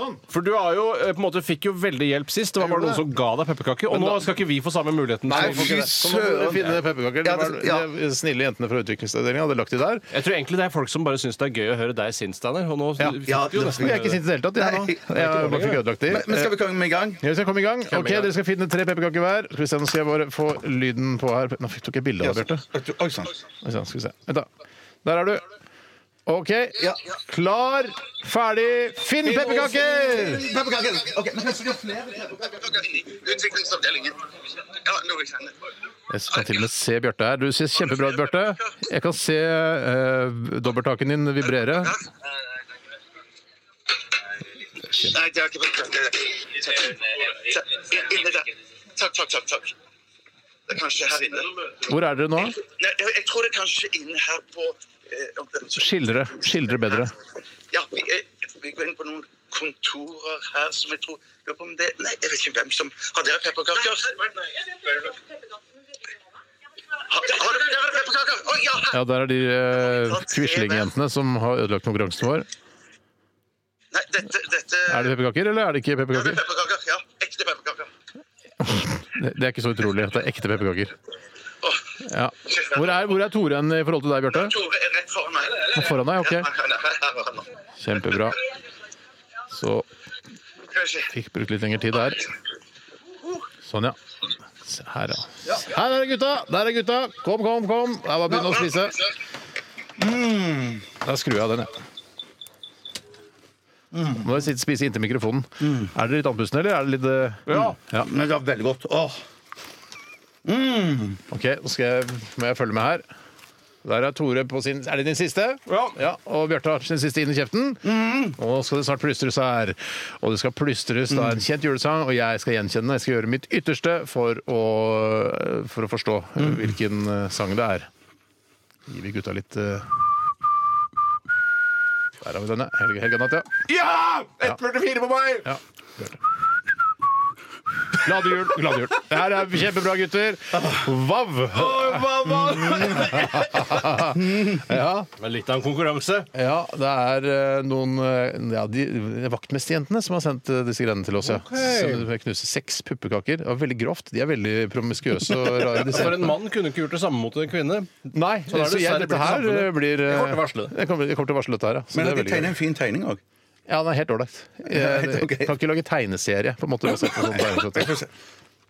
[SPEAKER 1] Sånn.
[SPEAKER 2] For du har jo eh, på en måte fikk jo veldig hjelp sist. Det var bare
[SPEAKER 1] gjorde
[SPEAKER 2] noen som ga deg pepperkaker. Og nå skal ikke vi få samme muligheten.
[SPEAKER 1] Nei,
[SPEAKER 2] som-
[SPEAKER 1] fy søren! Finne pepperkaker.
[SPEAKER 3] Ja,
[SPEAKER 1] Det
[SPEAKER 3] det-
[SPEAKER 1] var,
[SPEAKER 3] ja.
[SPEAKER 1] de snille jentene fra utviklingsavdelingen hadde lagt de der.
[SPEAKER 2] Jeg tror egentlig det er folk som bare syns det er gøy å høre deg sint, Steiner. Og nå
[SPEAKER 1] Ja.
[SPEAKER 2] fikk
[SPEAKER 3] Ja,
[SPEAKER 2] du jo
[SPEAKER 3] det-
[SPEAKER 2] nesten
[SPEAKER 1] Men jeg er ikke sint i det hele tatt. Jeg,
[SPEAKER 3] Nei.
[SPEAKER 1] nå. jeg bare fikk ødelagt de.
[SPEAKER 3] Men, men skal vi komme i gang?
[SPEAKER 1] Ja, vi skal komme i gang. Ok,
[SPEAKER 2] i gang.
[SPEAKER 1] Dere skal finne tre pepperkaker hver. Skal vi se, Nå skal jeg bare få lyden på her. Nå fikk- tok jeg bilde av det, Bjarte.
[SPEAKER 3] Oi sann.
[SPEAKER 1] Oi, sånn, Skal vi se. Vent, da. Der er du. OK.
[SPEAKER 3] Ja.
[SPEAKER 1] Klar, ferdig, finn pepperkaker!
[SPEAKER 3] Pepperkaker. Ok, men skal vi ha flere?
[SPEAKER 8] Utviklingsavdelingen. Ja, nå er jeg kjent.
[SPEAKER 1] Jeg kan til og med se Bjarte her. Du ser kjempebra ut, Bjarte. Jeg kan se uh, dobbelttaken din vibrere.
[SPEAKER 8] Nei, det har ikke vært Takk. Inne der. Takk, takk, takk. takk. Det er kanskje her inne.
[SPEAKER 1] Hvor er dere nå?
[SPEAKER 8] Nei, jeg, jeg tror det er kanskje inne her på eh,
[SPEAKER 1] Skildre. Skildre bedre.
[SPEAKER 8] Ja, vi, er, vi går inn på noen kontorer her som jeg tror lurer på om det, Nei, jeg vet ikke hvem som Har dere pepperkaker? Har, har dere pepperkaker? Å ja! her-
[SPEAKER 1] Ja, der er de eh, Quisling-jentene som har ødelagt konkurransen vår.
[SPEAKER 8] Nei, dette, dette
[SPEAKER 1] Er det pepperkaker, eller er det ikke
[SPEAKER 8] Ja, det er
[SPEAKER 1] pepperkaker?
[SPEAKER 8] pepperkaker. Ja, ekte pepperkaker.
[SPEAKER 1] Det det er ikke så utrolig at det er ekte pepperkaker.
[SPEAKER 8] Åh,
[SPEAKER 1] Ja. Hvor, er, hvor er Tore hen i forhold til deg, Bjarte?
[SPEAKER 8] Tore er rett foran meg.
[SPEAKER 1] Foran deg, ok.
[SPEAKER 8] Ja, han er her, her er han nå.
[SPEAKER 1] Kjempebra. Så
[SPEAKER 8] Skal vi se.
[SPEAKER 1] fikk brukt litt lengre tid der. Sånn, ja. Se Her, ja. Her er det gutta! Der er gutta! Kom, kom, kom! Det er bare å begynne å spise. Da skrur jeg av den, jeg. Må jeg sitte og spise inntil mikrofonen. Er dere litt andpustne, eller er det litt eh,
[SPEAKER 2] Ja.
[SPEAKER 1] ja.
[SPEAKER 3] Men det var veldig godt. Åh.
[SPEAKER 1] OK, nå skal jeg, må jeg følge med her. Der er Tore på sin Er det din siste?
[SPEAKER 2] Ja. Mhm.
[SPEAKER 1] Og Bjarte har sin siste inn i kjeften. Og nå skal det snart plystres her. Og det skal plystres da
[SPEAKER 2] Mhm.
[SPEAKER 1] en kjent julesang, og jeg skal gjenkjenne den. Jeg skal gjøre mitt ytterste for å, for å forstå
[SPEAKER 2] Mhm.
[SPEAKER 1] hvilken eh, sang det er. Gir vi gutta litt eh. Der har vi denne. Helga, Helga Natt, ja.
[SPEAKER 2] Ja! 1,44 på meg!
[SPEAKER 1] Ja. Glade jul. Glade jul. Det her er kjempebra, gutter. Vav! Ja.
[SPEAKER 2] Men litt av en konkurranse.
[SPEAKER 1] Ja, det er eh, noen eh, ja, de, de vaktmesterjentene som har sendt eh, disse greiene til oss. Ja. Så jeg knuser seks puppekaker. Det var veldig grovt. De er veldig promiskuøse og rare. disse
[SPEAKER 2] Altså, For en
[SPEAKER 1] jentene.
[SPEAKER 2] mann kunne ikke gjort det samme mot en kvinne.
[SPEAKER 1] Nei,
[SPEAKER 2] Så da
[SPEAKER 1] så,
[SPEAKER 2] er det
[SPEAKER 1] jeg, dette
[SPEAKER 2] dessverre blitt
[SPEAKER 1] her
[SPEAKER 2] samfunnet.
[SPEAKER 1] eh, blir eh,
[SPEAKER 2] Jeg kommer til å varsle det.
[SPEAKER 1] Jeg kommer, jeg kommer til å varsle dette her, ja. Så
[SPEAKER 3] Men
[SPEAKER 1] det
[SPEAKER 3] at
[SPEAKER 1] er
[SPEAKER 3] de
[SPEAKER 1] veldig
[SPEAKER 3] tegner en fin tegning òg.
[SPEAKER 1] gøy. Ja, den er helt ålreit.
[SPEAKER 2] (laughs)
[SPEAKER 1] Jeg,
[SPEAKER 3] Helt ok.
[SPEAKER 1] jeg kan ikke lage tegneserie, på en måte. basert på sånn tegneserie.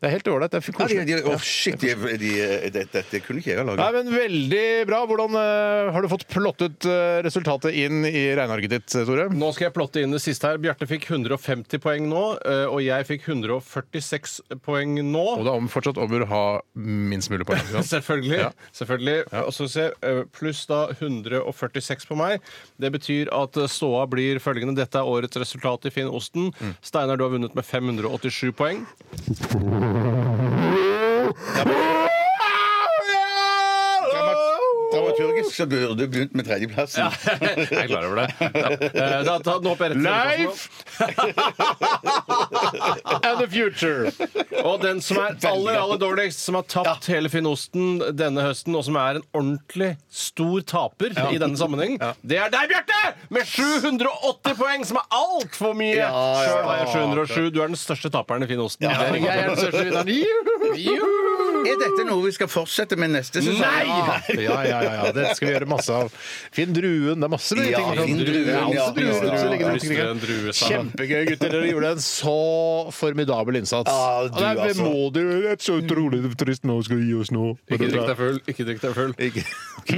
[SPEAKER 1] Det er helt ålreit. Det er
[SPEAKER 3] Ja, de,
[SPEAKER 1] koselig.
[SPEAKER 3] de, å, shit, de, de, det- dette kunne ikke jeg ha laga.
[SPEAKER 1] Nei, men Veldig bra. Hvordan eh, har du fått plottet eh, resultatet inn i regnearket ditt, eh, Tore?
[SPEAKER 2] Nå skal jeg plotte inn det siste her. Bjarte fikk 150 poeng nå, eh, og jeg fikk 146 poeng
[SPEAKER 1] Og
[SPEAKER 2] nå.
[SPEAKER 1] det er om fortsatt om å ha minst mulig poeng.
[SPEAKER 2] (laughs)
[SPEAKER 1] Ja.
[SPEAKER 2] Selvfølgelig.
[SPEAKER 1] Ja.
[SPEAKER 2] selvfølgelig. Og så se, eh, Pluss da 146 på meg. Det betyr at eh, ståa blir følgende. Dette er årets resultat i Finn Osten. Steinar, du har vunnet med 587 poeng.
[SPEAKER 3] Dramaturgisk så burde du begynt med tredjeplassen.
[SPEAKER 2] Jeg er klar over det. Ja. Eh, Da, da, nå hopper jeg rett til
[SPEAKER 1] Leif! And the future.
[SPEAKER 2] Og den som er aller aller dårligst, som har tapt hele Finnosten denne høsten, og som er en ordentlig stor taper i denne sammenheng, det er deg, Bjarte! Med 780 poeng, som er altfor mye! Ja,
[SPEAKER 3] ja,
[SPEAKER 2] Sjøl har jeg 707. Du er den største taperen i Finnosten.
[SPEAKER 1] Jeg er den største vinneren. Juhu!
[SPEAKER 3] Er dette noe vi skal fortsette med neste sesong?
[SPEAKER 1] Ja, ja, ja, ja. Det skal vi gjøre masse av. Finn druen. Det er masse
[SPEAKER 3] Ja,
[SPEAKER 1] ting.
[SPEAKER 3] Finn druen,
[SPEAKER 1] Det er masse
[SPEAKER 3] ja.
[SPEAKER 1] druer
[SPEAKER 3] Finn
[SPEAKER 1] som
[SPEAKER 3] druen.
[SPEAKER 1] ligger rundt
[SPEAKER 2] Lystre enn
[SPEAKER 1] omkring.
[SPEAKER 2] druesand.
[SPEAKER 1] Kjempegøy, gutter. Dere gjorde en så formidabel innsats.
[SPEAKER 3] Ja,
[SPEAKER 1] Og
[SPEAKER 3] du,
[SPEAKER 1] det er
[SPEAKER 3] altså.
[SPEAKER 1] vemodig. Det er så utrolig trist nå. Skal vi gi oss nå?
[SPEAKER 2] Ikke drikk deg full. Ikke drikk deg full.
[SPEAKER 1] Ikke- ok.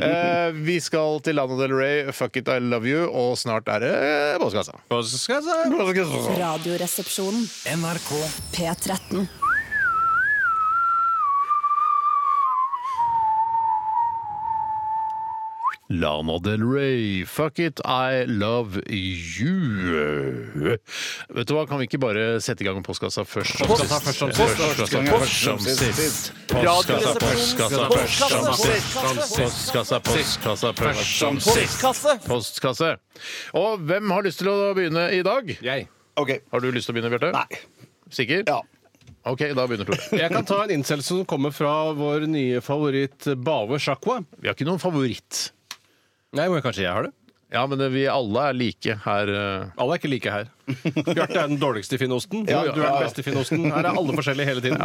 [SPEAKER 1] (laughs) Eh, vi skal til Lana Del Rey, Fuck It, I Love You, og snart er det postkassa.
[SPEAKER 2] Hva skal jeg si?
[SPEAKER 4] Radioresepsjonen.
[SPEAKER 5] NRK
[SPEAKER 4] P13.
[SPEAKER 1] Lana Del Rey, Fuck It, I Love You. Vet du hva, kan vi ikke bare sette i gang postkassa først? Postkassa først som sist. Postkassa først som sist. Postkassa først som sist. Postkassa postkassa først som sist. Postkasse. Og hvem har lyst til å begynne i dag?
[SPEAKER 2] Jeg.
[SPEAKER 3] Ok.
[SPEAKER 1] Har du lyst til å begynne, Bjarte?
[SPEAKER 3] Nei.
[SPEAKER 1] Sikker?
[SPEAKER 3] Ja.
[SPEAKER 1] OK, da begynner Tore.
[SPEAKER 2] Jeg kan ta en innsendelse som kommer eh, fra vår nye favoritt Bave Shakwa.
[SPEAKER 1] Vi har ikke noen favoritt.
[SPEAKER 2] Nei, men kanskje jeg har det?
[SPEAKER 1] Ja, men det- vi alle er like her. eh.
[SPEAKER 2] Alle er ikke like her. Bjarte er den dårligste i finnosten. Du er den beste i finnosten. Her er alle forskjellige hele tiden.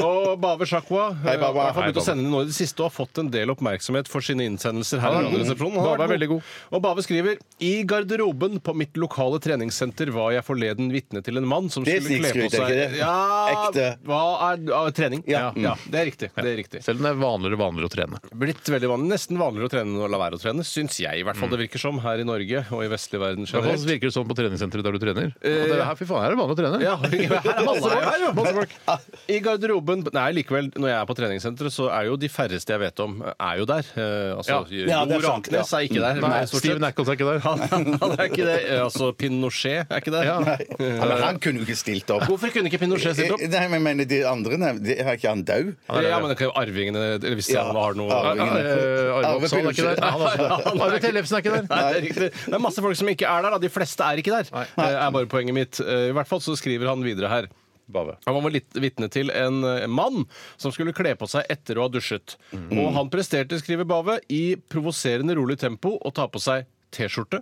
[SPEAKER 2] Og Bave Shakwa eh,
[SPEAKER 3] Hei, Baba.
[SPEAKER 2] har fått
[SPEAKER 3] Hei,
[SPEAKER 2] begynt å sende inn nå i det siste og har fått en del oppmerksomhet for sine innsendelser her. i Radioresepsjonen. Han har
[SPEAKER 1] Bave er
[SPEAKER 2] vært
[SPEAKER 1] veldig god.
[SPEAKER 2] Og Bave skriver I garderoben på mitt lokale treningssenter var jeg forleden vitne til en mann som
[SPEAKER 3] Det er
[SPEAKER 2] skulle kle på
[SPEAKER 3] snikskryt, er
[SPEAKER 2] seg
[SPEAKER 3] ikke det?
[SPEAKER 2] Ja,
[SPEAKER 3] Ekte.
[SPEAKER 2] Hva er ja, trening? Ja. ja, det er riktig. Det er riktig.
[SPEAKER 1] Selv om det er vanligere og vanligere å trene.
[SPEAKER 2] Blitt veldig vanlig. Nesten vanligere å trene enn å la være å trene, syns jeg i hvert fall det virker som her i Norge og i vestlig
[SPEAKER 1] I
[SPEAKER 2] verden
[SPEAKER 1] hvert fall så
[SPEAKER 2] generelt.
[SPEAKER 1] virker det sånn på treningssenteret der du trener. At det er, her, fy faen, her er det vanlig å trene.
[SPEAKER 2] Ja, her er alle her, jo. I garderoben Nei, likevel, når jeg er på treningssenteret, så er jo de færreste jeg vet om, er jo der. Eh, altså,
[SPEAKER 3] Ja, det er
[SPEAKER 2] Ro
[SPEAKER 3] sant, ja.
[SPEAKER 2] Raknes er ikke der.
[SPEAKER 1] Nei,
[SPEAKER 2] men stort
[SPEAKER 1] Steven
[SPEAKER 2] sett. (laughs)
[SPEAKER 1] Ackles er ikke (laughs) der.
[SPEAKER 2] han, han er ikke det. Eh, Altså, Pinochet er ikke der.
[SPEAKER 3] Ja, men han kunne jo ikke stilt opp. Eh,
[SPEAKER 2] Hvorfor kunne ikke Pinochet stilt opp?
[SPEAKER 3] Nei, men jeg mener de andre nevnt- de- Er ikke han død?
[SPEAKER 2] Ja, men det kan jo arvingene Eller hvis de
[SPEAKER 3] Ja,
[SPEAKER 2] har noe
[SPEAKER 3] arvingene.
[SPEAKER 1] Ja, eh, Arve
[SPEAKER 3] Arve
[SPEAKER 1] Oppsal er ikke
[SPEAKER 3] Pilsrud.
[SPEAKER 1] der. (laughs) Han er også der.
[SPEAKER 2] Nei.
[SPEAKER 1] Arve Tellefsen er ikke der.
[SPEAKER 2] Nei, det er riktig. Det er masse folk som ikke er der. Da. De fleste er ikke der. Det er bare poenget mitt. Eh, I hvert fall så skriver han videre her. Han var litt vitne til en eh, mann som skulle kle på seg etter å ha dusjet. Og han presterte, skriver Bave, i provoserende rolig tempo å ta på seg T-skjorte,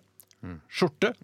[SPEAKER 2] skjorte,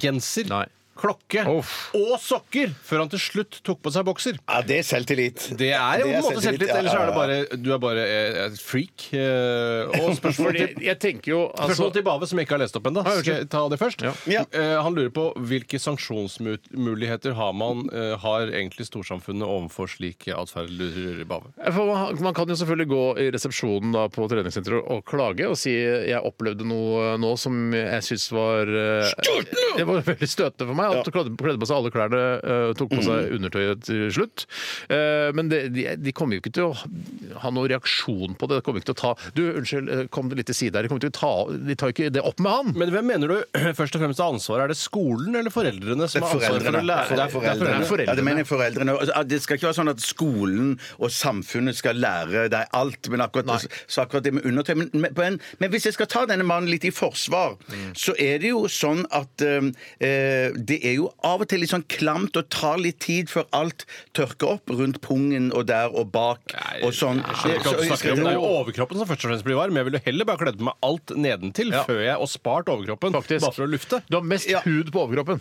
[SPEAKER 2] genser,
[SPEAKER 1] Nei.
[SPEAKER 2] klokke
[SPEAKER 1] Uff.
[SPEAKER 2] og sokker før han til slutt tok på seg bokser.
[SPEAKER 3] Ja, det er selvtillit.
[SPEAKER 2] Det er jo på en måte selvtillit,
[SPEAKER 3] ja,
[SPEAKER 2] ellers er
[SPEAKER 3] ja,
[SPEAKER 2] det
[SPEAKER 3] ja.
[SPEAKER 2] bare du er bare eh, et freak. eh, Og spørsmål til
[SPEAKER 1] Fordi jeg tenker jo altså,
[SPEAKER 2] Spørsmål til Bave, som jeg ikke har lest opp ennå.
[SPEAKER 1] Ah, ok.
[SPEAKER 2] Skal jeg ta det først?
[SPEAKER 1] Ja.
[SPEAKER 3] Ja.
[SPEAKER 2] Eh, han lurer på hvilke sanksjonsmuligheter har man eh, har egentlig storsamfunnet overfor slik atferd, lurer Bave.
[SPEAKER 1] for man- Man kan jo selvfølgelig gå i resepsjonen da på treningssenteret og klage og si jeg opplevde noe nå som jeg syns var eh, Det var veldig støtende for meg. At du kledde kledde på seg alle klærne, eh, tok på
[SPEAKER 2] Mm.
[SPEAKER 1] seg undertøyet til slutt. Eh, Men det, de, de kommer jo ikke til å ha noen reaksjon på det. De kommer ikke til å ta Du, unnskyld, eh, kom litt til side her. De, kommer til å ta, de tar ikke det opp med han.
[SPEAKER 2] Men hvem mener du (clears throat) først og fremst har ansvaret? Er det skolen eller foreldrene som
[SPEAKER 3] Det er
[SPEAKER 2] har ansvaret for
[SPEAKER 3] foreldrene.
[SPEAKER 2] å lære? Det er foreldrene.
[SPEAKER 1] Det er foreldrene.
[SPEAKER 3] Ja, det mener jeg foreldrene. Og, ah, Det skal ikke være sånn at skolen og samfunnet skal lære deg alt, men akkurat, så akkurat det med undertøy men, men, men- men hvis jeg skal ta denne mannen litt i forsvar,
[SPEAKER 2] Mm.
[SPEAKER 3] så er det jo sånn at eh, eh, det er jo av og til litt sånn klamt og tar litt tid før alt tørker opp rundt pungen og der og bak
[SPEAKER 2] Nei,
[SPEAKER 3] og sånn.
[SPEAKER 2] Jeg skjønner ikke hva du snakker om. Det er jo overkroppen som først og fremst blir varm. Jeg ville heller bare kledd på meg alt nedentil før jeg og spart overkroppen.
[SPEAKER 1] Faktisk.
[SPEAKER 2] Bare for å lufte.
[SPEAKER 1] Du har mest
[SPEAKER 3] Ja.
[SPEAKER 1] hud på overkroppen.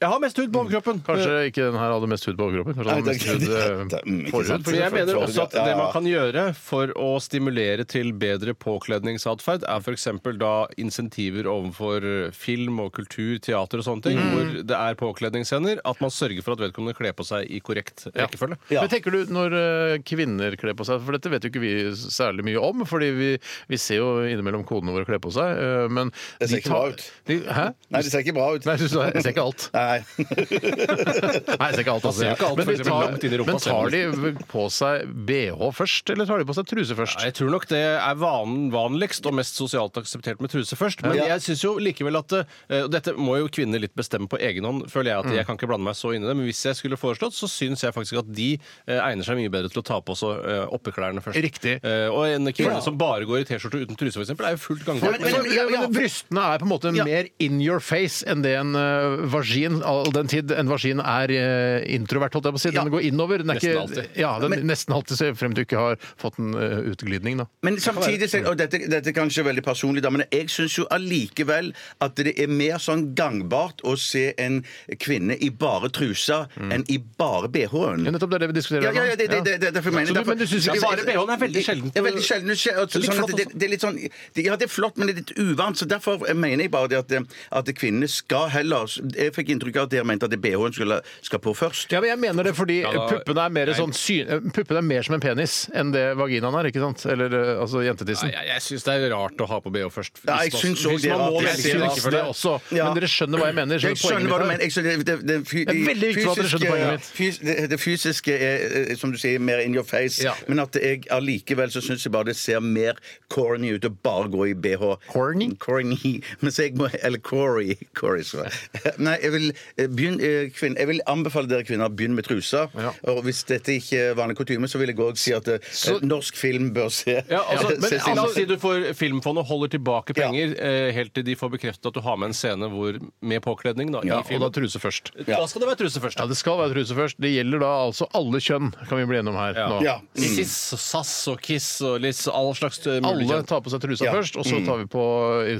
[SPEAKER 2] Jeg har mest hud på overkroppen.
[SPEAKER 1] Kanskje ikke den her hadde mest hud på overkroppen. Kanskje den hadde mest hud
[SPEAKER 2] (laughs)
[SPEAKER 1] eh,
[SPEAKER 2] mm,
[SPEAKER 1] forhud.
[SPEAKER 2] Men jeg mener også at
[SPEAKER 3] Ja, ja, ja.
[SPEAKER 2] det man kan gjøre for å stimulere til bedre påkledningsatferd, er f.eks. da insentiver overfor film og kultur, teater og sånne ting,
[SPEAKER 3] Mm.
[SPEAKER 2] hvor det er påkledningsscener, at man sørger for at vedkommende kler på seg i korrekt rekkefølge.
[SPEAKER 3] Ja.
[SPEAKER 1] Men tenker du når eh, kvinner kler på seg, for dette vet jo ikke vi særlig mye om, fordi vi, vi ser jo innimellom kodene våre kle på seg, eh, men
[SPEAKER 3] Det ser
[SPEAKER 1] de
[SPEAKER 3] ikke
[SPEAKER 1] tar-
[SPEAKER 3] bra ut.
[SPEAKER 1] De, hæ?
[SPEAKER 3] Nei, det ser ikke bra ut.
[SPEAKER 1] Nei, du sa- jeg ser ikke alt. (laughs) Nei, jeg ser ikke alt. Altså.
[SPEAKER 2] ser ikke alt,
[SPEAKER 1] men,
[SPEAKER 2] for
[SPEAKER 1] de
[SPEAKER 2] eksempel, langt inn i
[SPEAKER 1] tar,
[SPEAKER 2] rumpa
[SPEAKER 1] men tar de på seg BH først, eller tar de på seg truse
[SPEAKER 2] Ja,
[SPEAKER 1] først?
[SPEAKER 2] Jeg tror nok det er vanen vanligst og mest sosialt akseptert med truse først. Men
[SPEAKER 3] Ja.
[SPEAKER 2] jeg syns jo likevel at eh, Og dette må jo kvinner litt bestemme på egen hånd, føler
[SPEAKER 3] Mm.
[SPEAKER 2] jeg at jeg kan ikke blande meg så inn i det. Men hvis jeg skulle foreslått, så syns jeg faktisk at de eh, egner seg mye bedre til å ta på seg eh, oppeklærne først.
[SPEAKER 1] Riktig.
[SPEAKER 2] Eh, og en kvinne
[SPEAKER 3] Ja.
[SPEAKER 2] som bare går i T-skjorte uten truse, f.eks., er jo fullt gangbar.
[SPEAKER 3] Men- men-
[SPEAKER 1] Ja, men Brystene er på en måte mer in your face enn det en eh, vagin den, all den tid en vaskin er eh, introvert, holdt jeg på å si. Den
[SPEAKER 3] Ja.
[SPEAKER 1] går innover. Den er
[SPEAKER 2] Nesten
[SPEAKER 1] ikke,
[SPEAKER 2] alltid.
[SPEAKER 1] Ja, den,
[SPEAKER 3] Men-
[SPEAKER 1] nesten alltid, så frem til du ikke har fått en eh, utglidning, da.
[SPEAKER 3] Men samtidig, så- og dette, dette er kanskje veldig personlig, da, men jeg syns jo allikevel at det er mer sånn gangbart å se en kvinne i bare trusa enn i bare BH-en.
[SPEAKER 1] Mm. Ja, nettopp det er det vi diskuterer
[SPEAKER 3] Ja, ja, ja, det,
[SPEAKER 1] her nå.
[SPEAKER 3] det, det, det, derfor
[SPEAKER 1] Ja.
[SPEAKER 3] mener
[SPEAKER 1] Så
[SPEAKER 3] jeg
[SPEAKER 1] du-
[SPEAKER 3] derfor,
[SPEAKER 1] men du synes ikke-
[SPEAKER 2] Bare BH-en er veldig sjeldent.
[SPEAKER 3] Det er veldig sjelden. skje- og så-
[SPEAKER 2] Det er litt
[SPEAKER 3] Sånn at
[SPEAKER 2] flott
[SPEAKER 3] det, det er litt sånn det- Ja, det er flott, men det er litt uvant. Så derfor mener jeg bare det at, at kvinnene skal heller Jeg fikk inntrykk av at dere mente at det BH-en skulle, skal på først.
[SPEAKER 1] Ja, men jeg mener det fordi
[SPEAKER 2] Ja, da-
[SPEAKER 1] puppene er mer
[SPEAKER 2] Nei.
[SPEAKER 1] sånn syn... eh, Puppene er mer som en penis enn det vaginaen er, ikke sant? Eller eh, altså jentetissen.
[SPEAKER 9] Nei, jeg jeg syns det er rart å ha på BH først.
[SPEAKER 3] Ja, jeg syns også
[SPEAKER 9] hvis
[SPEAKER 3] det er
[SPEAKER 9] man
[SPEAKER 3] rart.
[SPEAKER 9] må
[SPEAKER 3] Jeg
[SPEAKER 9] velge
[SPEAKER 3] ser
[SPEAKER 9] det.
[SPEAKER 1] Synes det også.
[SPEAKER 3] Ja.
[SPEAKER 1] Men dere skjønner hva jeg mener.
[SPEAKER 3] Jeg skjønner hva du mener. Jeg skjønner, det, det, fy-
[SPEAKER 1] Det er veldig viktig at dere skjønner
[SPEAKER 3] fysiske-
[SPEAKER 1] poenget mitt.
[SPEAKER 3] fys- det, det fysiske er, eh, som du sier, mer in your face,
[SPEAKER 9] Ja.
[SPEAKER 3] men at jeg allikevel så syns jeg bare det ser mer corny ut å bare gå i BH.
[SPEAKER 1] Corny?
[SPEAKER 3] Corny. (laughs) Men så jeg må, eller corey. corey så.
[SPEAKER 1] (laughs)
[SPEAKER 3] Nei, jeg vil, eh, begynn, eh, kvinn, jeg vil anbefale dere kvinner å begynne med trusa.
[SPEAKER 1] Ja.
[SPEAKER 3] Og hvis dette ikke er vanlig kutyme, så vil jeg òg si at eh,
[SPEAKER 1] Så-
[SPEAKER 3] norsk film bør se
[SPEAKER 2] Ja, altså,
[SPEAKER 3] (laughs) se sin-
[SPEAKER 2] men La oss si du får Filmfondet holder tilbake
[SPEAKER 3] Ja.
[SPEAKER 2] penger eh, helt til de får bekreftet at du har med en scene hvor, med påkledning. Da,
[SPEAKER 3] Ja,
[SPEAKER 2] i
[SPEAKER 3] og
[SPEAKER 1] Og
[SPEAKER 2] filmen.
[SPEAKER 1] da truse først.
[SPEAKER 2] da, skal det være truse først.
[SPEAKER 1] Ja,
[SPEAKER 2] Da.
[SPEAKER 1] det skal være truse først. Det gjelder da altså alle kjønn, kan vi bli enige om her nå.
[SPEAKER 3] ja. Mm.
[SPEAKER 2] Siss og sass og kiss og liss og all slags eh, mulig
[SPEAKER 1] Alle
[SPEAKER 2] kjønn.
[SPEAKER 1] tar på seg trusa
[SPEAKER 3] Ja. Mm.
[SPEAKER 1] først, og så tar vi på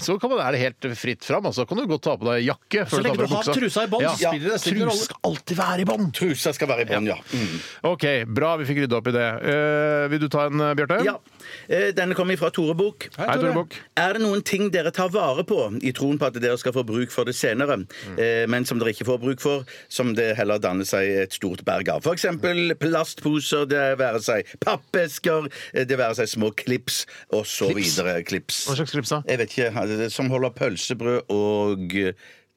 [SPEAKER 1] Så kan man, er det helt fritt fram. Altså, kan du godt ta på deg jakke
[SPEAKER 2] Så
[SPEAKER 1] før du
[SPEAKER 2] lenge
[SPEAKER 1] tar på
[SPEAKER 2] du
[SPEAKER 1] deg
[SPEAKER 2] har
[SPEAKER 1] buksa.
[SPEAKER 2] trusa i bånd, så spiller det nesten ingen rolle.
[SPEAKER 1] Trus skal alltid være i bånd!
[SPEAKER 3] Trusa skal være i bånn, ja. Mm.
[SPEAKER 1] OK, bra vi fikk rydda opp i det. Eh, vil du ta en, eh, Bjarte?
[SPEAKER 3] Ja. Eh, Denne kommer fra Tore Bukk.
[SPEAKER 1] Hei, Tore Bukk.
[SPEAKER 3] Er det noen ting dere tar vare på i troen på at dere skal få bruk for det senere, eh, men som dere ikke får bruk for, som det heller danner seg et stort berg av? F.eks. plastposer, det være seg pappesker, eh, det være seg små klips og så videre. Klips.
[SPEAKER 1] Hva slags klips da?
[SPEAKER 3] Jeg vet ikke. eh, Som holder pølsebrød og eh,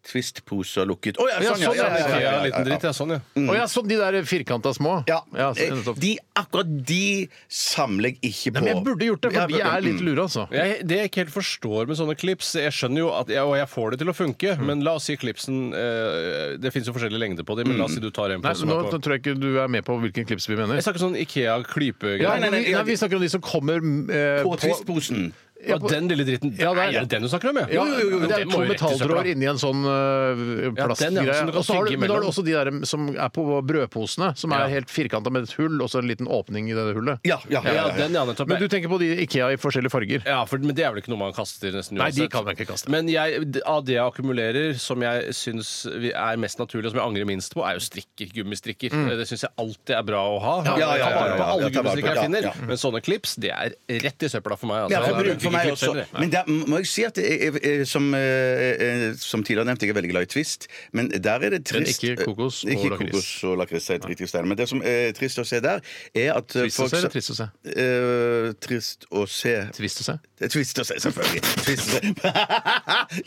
[SPEAKER 3] Twist-poser lukket. Å ja,
[SPEAKER 1] Ja,
[SPEAKER 3] sånn, ja!
[SPEAKER 1] sånn, ja,
[SPEAKER 3] ja, ja,
[SPEAKER 2] Ja,
[SPEAKER 3] ja,
[SPEAKER 2] en
[SPEAKER 3] ja,
[SPEAKER 2] liten
[SPEAKER 3] ja.
[SPEAKER 2] dritt, ja. Sånn, ja.
[SPEAKER 1] Å ja, sånn de der firkanta små?
[SPEAKER 3] Ja.
[SPEAKER 1] så-
[SPEAKER 3] Eh,
[SPEAKER 1] nettopp.
[SPEAKER 3] de, akkurat de samler jeg ikke på.
[SPEAKER 1] Nei, men jeg burde gjort det, for
[SPEAKER 3] Ja,
[SPEAKER 1] de er litt
[SPEAKER 3] mm.
[SPEAKER 1] lure, altså.
[SPEAKER 2] Jeg, det jeg ikke helt forstår med sånne klips Jeg skjønner jo at jeg, Og jeg får det til å funke, men la oss si klipsen eh, Det fins jo forskjellige lengder på dem, men la oss si du tar en på
[SPEAKER 1] Nei,
[SPEAKER 2] som
[SPEAKER 1] nå
[SPEAKER 2] er på
[SPEAKER 1] tror jeg ikke du er med på hvilken klips vi mener.
[SPEAKER 2] Jeg snakker sånn Ikea-klypegreier.
[SPEAKER 1] Ja,
[SPEAKER 3] Nei, nei,
[SPEAKER 1] men
[SPEAKER 3] nei,
[SPEAKER 1] vi-
[SPEAKER 3] ja,
[SPEAKER 1] nei, vi snakker om de som kommer eh,
[SPEAKER 3] På Twist-posen.
[SPEAKER 1] ja, på-
[SPEAKER 2] Og den lille dritten
[SPEAKER 1] Ja, det er-
[SPEAKER 2] Nei, er det den du snakker om, ja?
[SPEAKER 1] Ja, det er
[SPEAKER 2] Den må
[SPEAKER 1] to
[SPEAKER 2] jo rett i søpla.
[SPEAKER 1] metalltråder inni en sånn øh,
[SPEAKER 2] Ja, den,
[SPEAKER 1] plastgreie.
[SPEAKER 2] ja, som du kan
[SPEAKER 1] og så har du,
[SPEAKER 2] tygge
[SPEAKER 1] men da har du
[SPEAKER 2] imellom.
[SPEAKER 1] også de der mm, som er på brødposene, som er
[SPEAKER 2] Ja.
[SPEAKER 1] helt firkanta med et hull og så en liten åpning i det hullet.
[SPEAKER 3] Ja, ja, ja,
[SPEAKER 2] Ja,
[SPEAKER 3] ja, ja.
[SPEAKER 2] den, ja, nettopp.
[SPEAKER 1] Men du tenker på de Ikea i forskjellige farger.
[SPEAKER 2] ja, for, men det er vel ikke noe man kaster nesten
[SPEAKER 1] Nei,
[SPEAKER 2] uansett.
[SPEAKER 1] de kan man ikke kaste.
[SPEAKER 2] Men jeg, d- av det jeg akkumulerer, som jeg syns er mest naturlig, og som jeg angrer minst på, er jo strikker. Gummistrikker. Det syns jeg alltid er bra å ha.
[SPEAKER 3] Ja, ja, ja,
[SPEAKER 2] Jeg tar vare
[SPEAKER 3] ja,
[SPEAKER 2] på
[SPEAKER 3] ja, ja,
[SPEAKER 2] alle
[SPEAKER 3] jeg tar vare på-
[SPEAKER 2] gummistrikker
[SPEAKER 3] ja,
[SPEAKER 2] jeg finner.
[SPEAKER 3] ja.
[SPEAKER 2] Men sånne klips, det er rett i søpla for meg. Altså.
[SPEAKER 3] Ja, for
[SPEAKER 2] Jeg
[SPEAKER 3] bruk for
[SPEAKER 2] bruker ikke klips
[SPEAKER 3] meg også.
[SPEAKER 2] heller, jeg.
[SPEAKER 3] Men der må jeg si at jeg, jeg, jeg, som, eh, eh, som tidligere nevnt, jeg er veldig glad i Twist. Men der er det trist eh,
[SPEAKER 1] ikke kokos og
[SPEAKER 3] Ikke
[SPEAKER 1] lakris.
[SPEAKER 3] kokos og lakris, helt riktig, Steiner. Men det som er trist å se der, er at eh,
[SPEAKER 1] Trist å se
[SPEAKER 3] folk-
[SPEAKER 1] eller trist å se?
[SPEAKER 3] Eh, trist å se.
[SPEAKER 1] Trist å se.
[SPEAKER 3] Det er Twist å se, selvfølgelig. Twist å se.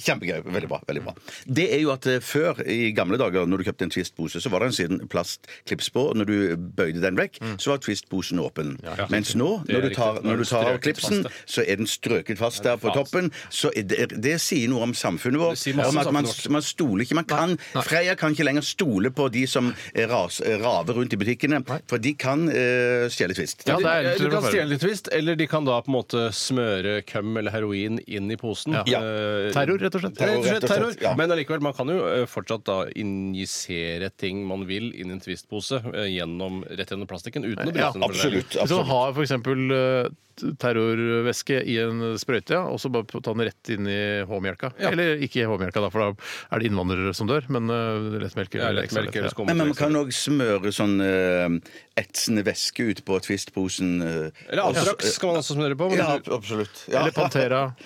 [SPEAKER 3] (laughs) Kjempegøy. Veldig bra. veldig bra Det er jo at eh, Før, i gamle dager, når du kjøpte en Twist-pose, så var det en siden plastklips på. Og når du bøyde den vekk, så var Twist-posen åpen. Mens nå,
[SPEAKER 2] Det er
[SPEAKER 3] når du tar,
[SPEAKER 2] riktig.
[SPEAKER 3] når du tar av
[SPEAKER 2] Strøket
[SPEAKER 3] klipsen,
[SPEAKER 2] fast,
[SPEAKER 3] så er den strøket fast der på
[SPEAKER 2] fast.
[SPEAKER 3] toppen. Så er det, det sier noe om samfunnet vårt.
[SPEAKER 2] sier masse
[SPEAKER 3] Om
[SPEAKER 2] om
[SPEAKER 3] at man,
[SPEAKER 2] samfunnet vårt.
[SPEAKER 3] man stoler ikke. Man kan, Freia kan ikke lenger stole på de som eh, ras, eh, raver rundt i butikkene, for de kan eh, stjele Twist.
[SPEAKER 1] Ja, det er
[SPEAKER 2] Ja,
[SPEAKER 1] litt
[SPEAKER 2] du kan
[SPEAKER 1] forferdelig.
[SPEAKER 2] stjele litt twist, eller de kan da på en måte smøre køm eller heroin inn i posen.
[SPEAKER 3] Ja.
[SPEAKER 2] Eh,
[SPEAKER 1] Terror, rett og slett.
[SPEAKER 2] Terror, rett og slett, terror.
[SPEAKER 3] ja.
[SPEAKER 2] Men allikevel, man kan jo eh, fortsatt da injisere ting man vil inn i en twistpose eh, gjennom, rett gjennom plastikken uten å bryte
[SPEAKER 1] Ja,
[SPEAKER 2] den. for det.
[SPEAKER 3] absolutt.
[SPEAKER 1] Hvis man har f.eks. terrorvæske i en sprøyte, ja, og så bare ta den rett inn i H-melka.
[SPEAKER 2] Ja.
[SPEAKER 1] Eller ikke i H-melka, da, for da er det innvandrere som dør, men øh, lettmelk
[SPEAKER 2] Ja,
[SPEAKER 1] eller
[SPEAKER 2] lett
[SPEAKER 1] ekstra
[SPEAKER 2] melk eller
[SPEAKER 1] lett. Ja.
[SPEAKER 2] skum.
[SPEAKER 3] Men man kan òg smøre sånn eh, etsende væske ut på Twist-posen. eh,
[SPEAKER 2] Eller
[SPEAKER 3] og så-
[SPEAKER 2] Antrax skal man også smøre på. Men
[SPEAKER 3] Ja,
[SPEAKER 2] du-
[SPEAKER 3] absolutt. Ja.
[SPEAKER 1] Eller Pantera.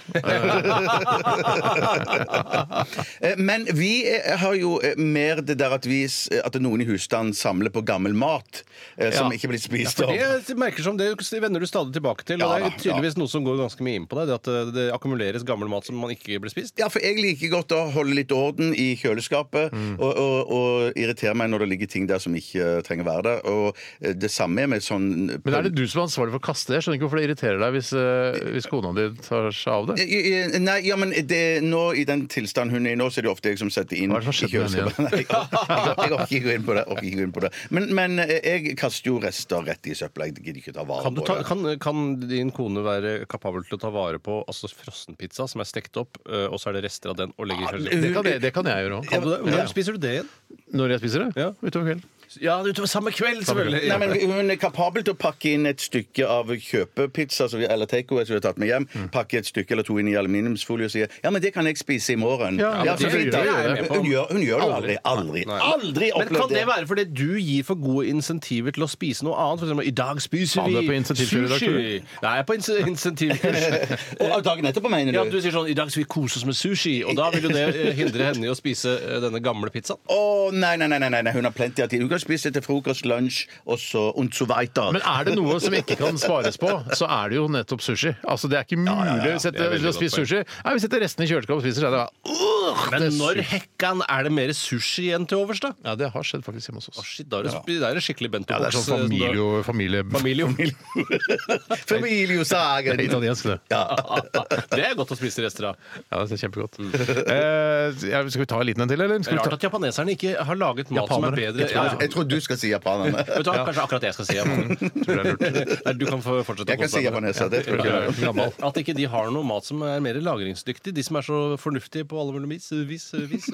[SPEAKER 3] Eh, Men vi eh, har jo eh, mer det der at, vi, s- eh, at noen i husstanden samler på gammel mat eh, som
[SPEAKER 1] Ja.
[SPEAKER 3] ikke blir spist
[SPEAKER 2] For
[SPEAKER 3] opp.
[SPEAKER 2] det merker som det vender du stadig tilbake til. Og
[SPEAKER 3] Ja,
[SPEAKER 2] det er
[SPEAKER 3] da,
[SPEAKER 2] tydeligvis noe som går ganske mye inn på deg. Det at eh, det akkumuleres gammel mat som man ikke blir spist.
[SPEAKER 3] Ja, for jeg liker godt å holde litt orden i kjøleskapet
[SPEAKER 1] Mm.
[SPEAKER 3] og, og, og irritere meg når det ligger ting der som ikke eh, trenger være der. Og eh, det samme er med sånn
[SPEAKER 1] Men er det du som er ansvarlig for å kaste det? Jeg skjønner ikke hvorfor det irriterer deg hvis, eh, hvis kona di tar seg av det.
[SPEAKER 3] Eh, eh, Nei, ja, men det, nå, I den tilstanden hun er i nå, så er det ofte jeg som setter inn
[SPEAKER 1] Hva er det som
[SPEAKER 3] i
[SPEAKER 1] skjedde med
[SPEAKER 3] kjøleskapet. (laughs) Nei, Jeg orker jeg orker ikke gå inn på det. orker ikke gå inn på det. Men, men eh, jeg kaster jo rester rett i søpla. Jeg gidder ikke ta vare
[SPEAKER 2] Kan, du
[SPEAKER 3] på
[SPEAKER 2] ta,
[SPEAKER 3] det.
[SPEAKER 2] kan, kan din kone være kapabel til å ta vare på altså, frossenpizza som er stekt opp, ø, og så er det rester av den og legger i kjøleskapet?
[SPEAKER 1] Det kan jeg, det kan jeg gjøre òg.
[SPEAKER 2] Kan du det? Hvordan spiser du det igjen?
[SPEAKER 1] Når jeg spiser det?
[SPEAKER 2] Ja.
[SPEAKER 1] Utover kvelden.
[SPEAKER 2] Ja, utover samme kveld,
[SPEAKER 3] Nei, men Hun er kapabel til å pakke inn et stykke av kjøpepizza som vi- eller takeaway som vi har tatt med hjem. Pakke et stykke eller to inn i aluminiumsfolie og si ja, men det kan jeg spise i morgen.
[SPEAKER 1] Ja, men det-
[SPEAKER 3] selvfølgelig.
[SPEAKER 1] det
[SPEAKER 9] er jeg med på.
[SPEAKER 3] hun, gjør, hun gjør det jo aldri. Aldri! aldri
[SPEAKER 2] Men kan
[SPEAKER 3] opplevd
[SPEAKER 2] det være fordi du gir for gode insentiver til å spise noe annet? For eksempel, i dag spiser
[SPEAKER 1] Faen, du er på
[SPEAKER 2] vi
[SPEAKER 1] insentivkjør i dag, tror
[SPEAKER 2] sushi. Nei, jeg er på ins-
[SPEAKER 1] (laughs)
[SPEAKER 2] insentivkurs.
[SPEAKER 3] (laughs) Og dagen etterpå, mener
[SPEAKER 2] Ja, du sier sånn I dag skal vi kose oss med sushi. Og da vil jo det eh, hindre henne i å spise eh, denne gamle pizzaen.
[SPEAKER 3] Å, nei, nei, nei, nei, nei, hun har plenty av tid. Hun kan spise til frokost, lunsj og så und so weiter.
[SPEAKER 1] Men er det noe som ikke kan spares på, så er det jo nettopp sushi. Altså, Det er ikke mulig å
[SPEAKER 9] Det
[SPEAKER 1] sette,
[SPEAKER 9] er veldig
[SPEAKER 1] å spise
[SPEAKER 9] godt
[SPEAKER 1] sushi. Nei, Vi setter restene i kjøleskapet og spiser. så er det bare,
[SPEAKER 2] Men når hekkan er det mer sushi igjen til overs, da?
[SPEAKER 1] ja, det har skjedd faktisk hjemme hos oss.
[SPEAKER 2] Shit, da er det, da er det skikkelig bento
[SPEAKER 1] Ja, det er sånn familie, familie
[SPEAKER 2] eh,
[SPEAKER 1] (laughs)
[SPEAKER 2] Familie.
[SPEAKER 1] Det er italiensk, det. ah.
[SPEAKER 2] Det er godt å spise rester av.
[SPEAKER 1] Ja, det er kjempegodt. Eh, ja, skal vi ta en liten en til, eller? Skal vi
[SPEAKER 2] Rart
[SPEAKER 1] ta
[SPEAKER 2] at japaneserne ikke har laget mat som er
[SPEAKER 1] Japanere.
[SPEAKER 2] bedre. Ja, ja.
[SPEAKER 3] (laughs) Jeg tror du skal
[SPEAKER 1] (laughs)
[SPEAKER 3] si japanerne.
[SPEAKER 2] Vet du hva, Kanskje akkurat det jeg skal si. Japaner.
[SPEAKER 1] tror det er lurt.
[SPEAKER 2] Nei, du kan få fortsette. å
[SPEAKER 3] Jeg kan
[SPEAKER 2] kose deg med
[SPEAKER 3] si
[SPEAKER 2] det.
[SPEAKER 3] japaneser. Det tror jeg ikke.
[SPEAKER 1] Ja, gammel.
[SPEAKER 2] At ikke de har noe mat som er mer lagringsdyktig. De som er så fornuftige på alle mulige vis. vis, vis.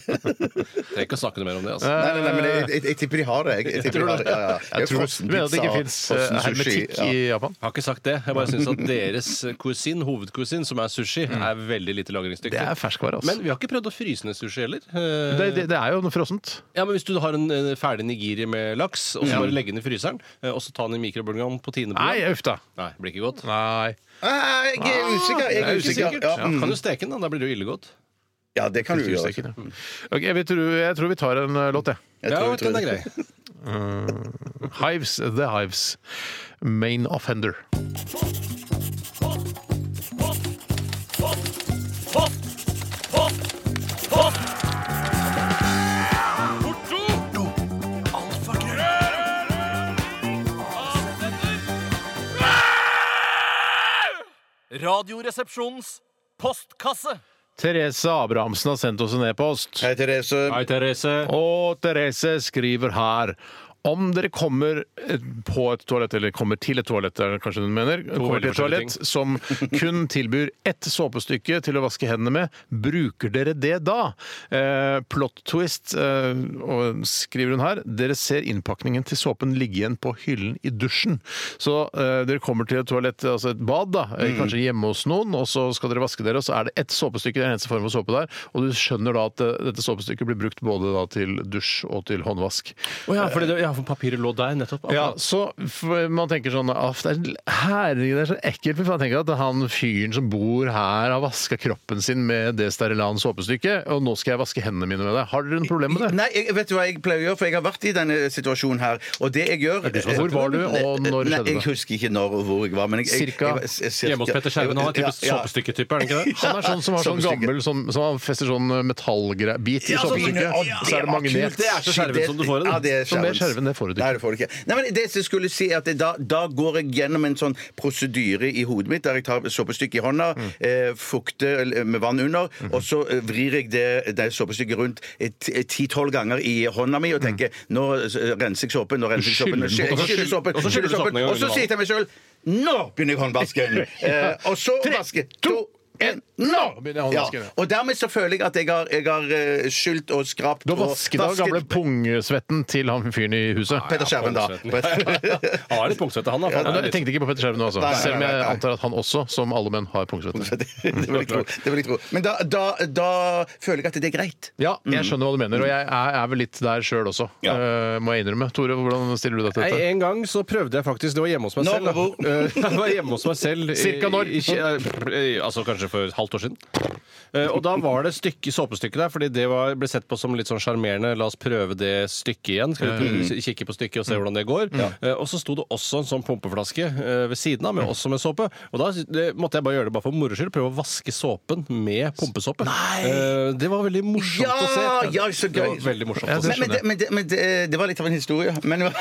[SPEAKER 2] Trenger ikke å snakke noe mer om det. altså.
[SPEAKER 3] Nei, nei, nei, men jeg, jeg, jeg tipper de har det. Jeg, jeg tipper de har det. Ja, ja. Det er
[SPEAKER 1] Jeg tror,
[SPEAKER 3] frossen
[SPEAKER 1] du mener at det
[SPEAKER 3] pizza,
[SPEAKER 1] ikke fins
[SPEAKER 3] frossen sushi,
[SPEAKER 1] hermetikk
[SPEAKER 3] ja.
[SPEAKER 1] i Japan?
[SPEAKER 2] Jeg har ikke sagt det. Jeg bare syns at deres kuisin, hovedkuisin, som er sushi, er veldig lite lagringsdyktig.
[SPEAKER 1] Det er ferskvare, altså.
[SPEAKER 2] Men vi har ikke prøvd å fryse ned sushi heller. Eh,
[SPEAKER 1] Det, det, det er jo noe frossent.
[SPEAKER 2] Ja, men Hvis du har en eh, ferdig nigiri med laks, og så bare legge den i fryseren, eh, og så ta den i mikrobølgeovn på
[SPEAKER 1] Nei,
[SPEAKER 2] tiendebordet
[SPEAKER 1] uff da.
[SPEAKER 2] Nei, det blir ikke godt.
[SPEAKER 1] Nei.
[SPEAKER 3] Ah, Jeg er usikker. Jeg er usikker.
[SPEAKER 2] Sikkert.
[SPEAKER 3] Ja,
[SPEAKER 2] Ja,
[SPEAKER 3] mm.
[SPEAKER 2] Kan du steke den, da? Da blir det jo illegodt.
[SPEAKER 3] ja det kan du
[SPEAKER 1] Tusen
[SPEAKER 3] gjøre.
[SPEAKER 1] takk, ja. Ok, vi tror, jeg tror vi tar en eh, låt, jeg.
[SPEAKER 3] Jeg
[SPEAKER 2] Ja,
[SPEAKER 3] tror-
[SPEAKER 2] den er grei.
[SPEAKER 1] Hives The Hives. Main Offender.
[SPEAKER 10] Radioresepsjonens postkasse.
[SPEAKER 1] Therese Abrahamsen har sendt oss en e-post.
[SPEAKER 3] Hei, Therese.
[SPEAKER 2] Hei, Therese.
[SPEAKER 1] Og Therese skriver her om dere kommer eh, på et toalett, eller kommer til et toalett, er det kanskje hun mener, kommer til
[SPEAKER 2] veldig
[SPEAKER 1] et toalett som kun tilbyr ett såpestykke til å vaske hendene med, bruker dere det da? Eh, plot twist, eh, og skriver hun her, dere ser innpakningen til såpen ligge igjen på hyllen i dusjen. Så eh, dere kommer til et toalett, altså et bad da, eh, kanskje hjemme hos noen, og så skal dere vaske dere, og så er det ett såpestykke, det er den eneste form for såpe der, og du skjønner da at eh, dette såpestykket blir brukt både da til dusj og til håndvask.
[SPEAKER 2] Å ja, fordi det, ja, for papiret lå der nettopp.
[SPEAKER 1] Ja, så f- man tenker sånn «Aff, det er, Herregud, det er så ekkelt. Men man tenker at han fyren som bor her, har vaska kroppen sin med det Sterilan såpestykket, og nå skal jeg vaske hendene mine med det. Har dere noe problem med det?
[SPEAKER 3] Nei, jeg, vet du hva jeg pleier å gjøre, for jeg har vært i denne situasjonen her. Og det jeg gjør
[SPEAKER 1] som har sagt det? Hvor var du, og når
[SPEAKER 3] Nei,
[SPEAKER 1] skjedde det?
[SPEAKER 3] Jeg husker ikke når og hvor jeg var. Men jeg, jeg,
[SPEAKER 1] Cirka?
[SPEAKER 3] jeg, jeg, cirka-
[SPEAKER 2] Hjemme hos Petter Skjerven. Han er typisk
[SPEAKER 3] Ja, ja.
[SPEAKER 2] såpestykketype, er han ikke det? (laughs)
[SPEAKER 1] Han er sånn som har sånn
[SPEAKER 3] Såpestykke.
[SPEAKER 1] gammel sånn, som han fester sånn metallbit i
[SPEAKER 3] Ja, sånn-
[SPEAKER 1] såpestykket,
[SPEAKER 3] Ja,
[SPEAKER 1] så er det
[SPEAKER 3] var kult.
[SPEAKER 1] magnet.
[SPEAKER 2] Det er så skjerven som du får i det.
[SPEAKER 3] Ja, det er
[SPEAKER 1] Så mer skjerven, det får du ikke.
[SPEAKER 3] Nei, det får du ikke. Nei, men det som jeg skulle si er at det, da, da går jeg gjennom en sånn prosedyre i hodet mitt, der jeg tar såpestykket i hånda,
[SPEAKER 2] Mm.
[SPEAKER 3] eh, fukter eller, med vann under,
[SPEAKER 2] Mhm.
[SPEAKER 3] og så eh, vrir jeg det, det såpestykket rundt eh, ti-tolv ganger i hånda mi og
[SPEAKER 2] Mm.
[SPEAKER 3] tenker nå eh, renser jeg såpen, nå renser jeg såpen, nå
[SPEAKER 1] skyller den
[SPEAKER 3] skyller
[SPEAKER 1] på-
[SPEAKER 3] jeg skyller såpen,
[SPEAKER 2] og så skyller
[SPEAKER 3] skyller
[SPEAKER 2] du såpen en
[SPEAKER 3] såpen,
[SPEAKER 2] gang
[SPEAKER 3] og så
[SPEAKER 2] under
[SPEAKER 3] sier jeg til meg sjøl nå begynner jeg håndvasken!
[SPEAKER 2] (laughs)
[SPEAKER 3] Eh, og så vaske to, en, nå!
[SPEAKER 1] begynner jeg
[SPEAKER 3] Ja,
[SPEAKER 1] håndvasken, ja.
[SPEAKER 3] og dermed så føler jeg at jeg har, jeg har eh, skylt og skrapt
[SPEAKER 1] Du har
[SPEAKER 3] og
[SPEAKER 1] vasket av gamle pungesvetten til han fyren i huset.
[SPEAKER 3] Petter Skjerven, da. (laughs)
[SPEAKER 2] Han er litt punksvette, han. da, for
[SPEAKER 1] Ja,
[SPEAKER 2] han er
[SPEAKER 1] Jeg tenkte ikke på Petter Skjerven nå, altså.
[SPEAKER 3] Nei, nei, nei,
[SPEAKER 1] Selv om jeg
[SPEAKER 3] nei.
[SPEAKER 1] antar at han også, som alle menn, har pungesvette.
[SPEAKER 3] det vil jeg tro. Det vil jeg tro. Men da, da, da føler jeg at det er greit.
[SPEAKER 1] Ja, jeg skjønner hva du mener, og jeg er, er vel litt der sjøl også,
[SPEAKER 3] Mm. Ja.
[SPEAKER 1] eh, må jeg innrømme. Tore, hvordan stiller du deg til
[SPEAKER 2] Nei,
[SPEAKER 1] dette?
[SPEAKER 2] en gang så prøvde jeg faktisk Det var hjemme hos meg
[SPEAKER 3] Nå,
[SPEAKER 2] selv. da.
[SPEAKER 3] hvor?
[SPEAKER 2] (laughs) Eh, Jeg var hjemme hos meg selv i-
[SPEAKER 1] Cirka når?
[SPEAKER 2] i- i- eh, altså kanskje for et halvt år siden. Eh, Og da var det stykke, såpestykke der, fordi det var, ble sett på som litt sånn sjarmerende. La oss prøve det stykket igjen. Skal vi prøve- kikke på stykket og se hvordan det går? Eh, Og så sto det også en sånn pumpeflaske eh, ved siden av, med også med såpe. Og da sy- det, måtte jeg bare gjøre det bare for moro skyld. Prøve å vaske såpen med pumpesåpe. Eh, Det var veldig morsomt
[SPEAKER 3] Ja,
[SPEAKER 2] å se.
[SPEAKER 3] ja, så
[SPEAKER 2] Det var
[SPEAKER 3] gøy.
[SPEAKER 2] veldig morsomt å se.
[SPEAKER 3] Men, men, det, men, det, men det, det var litt av en historie. Men, (laughs) nei,
[SPEAKER 2] Det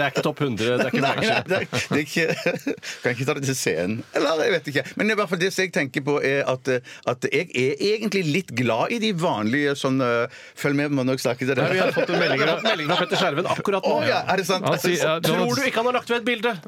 [SPEAKER 2] er ikke topp 100. Det er ikke
[SPEAKER 3] nei,
[SPEAKER 2] flagship.
[SPEAKER 3] det, er- det er ikke (laughs) Kan ikke ta det til scenen. Eller jeg vet ikke. Men i hvert fall det som jeg tenker på, er at, eh, at jeg er egentlig litt glad i de vanlige sånn eh, Følg med på når jeg snakker til dere.
[SPEAKER 2] Vi har fått en melding fra- melding fra Petter Skjerven akkurat
[SPEAKER 3] (laughs) Å
[SPEAKER 2] nå.
[SPEAKER 3] ja, er det sant?
[SPEAKER 1] Han sier- ja, det var-
[SPEAKER 2] Tror du ikke han har lagt ved et bilde?
[SPEAKER 3] Åh!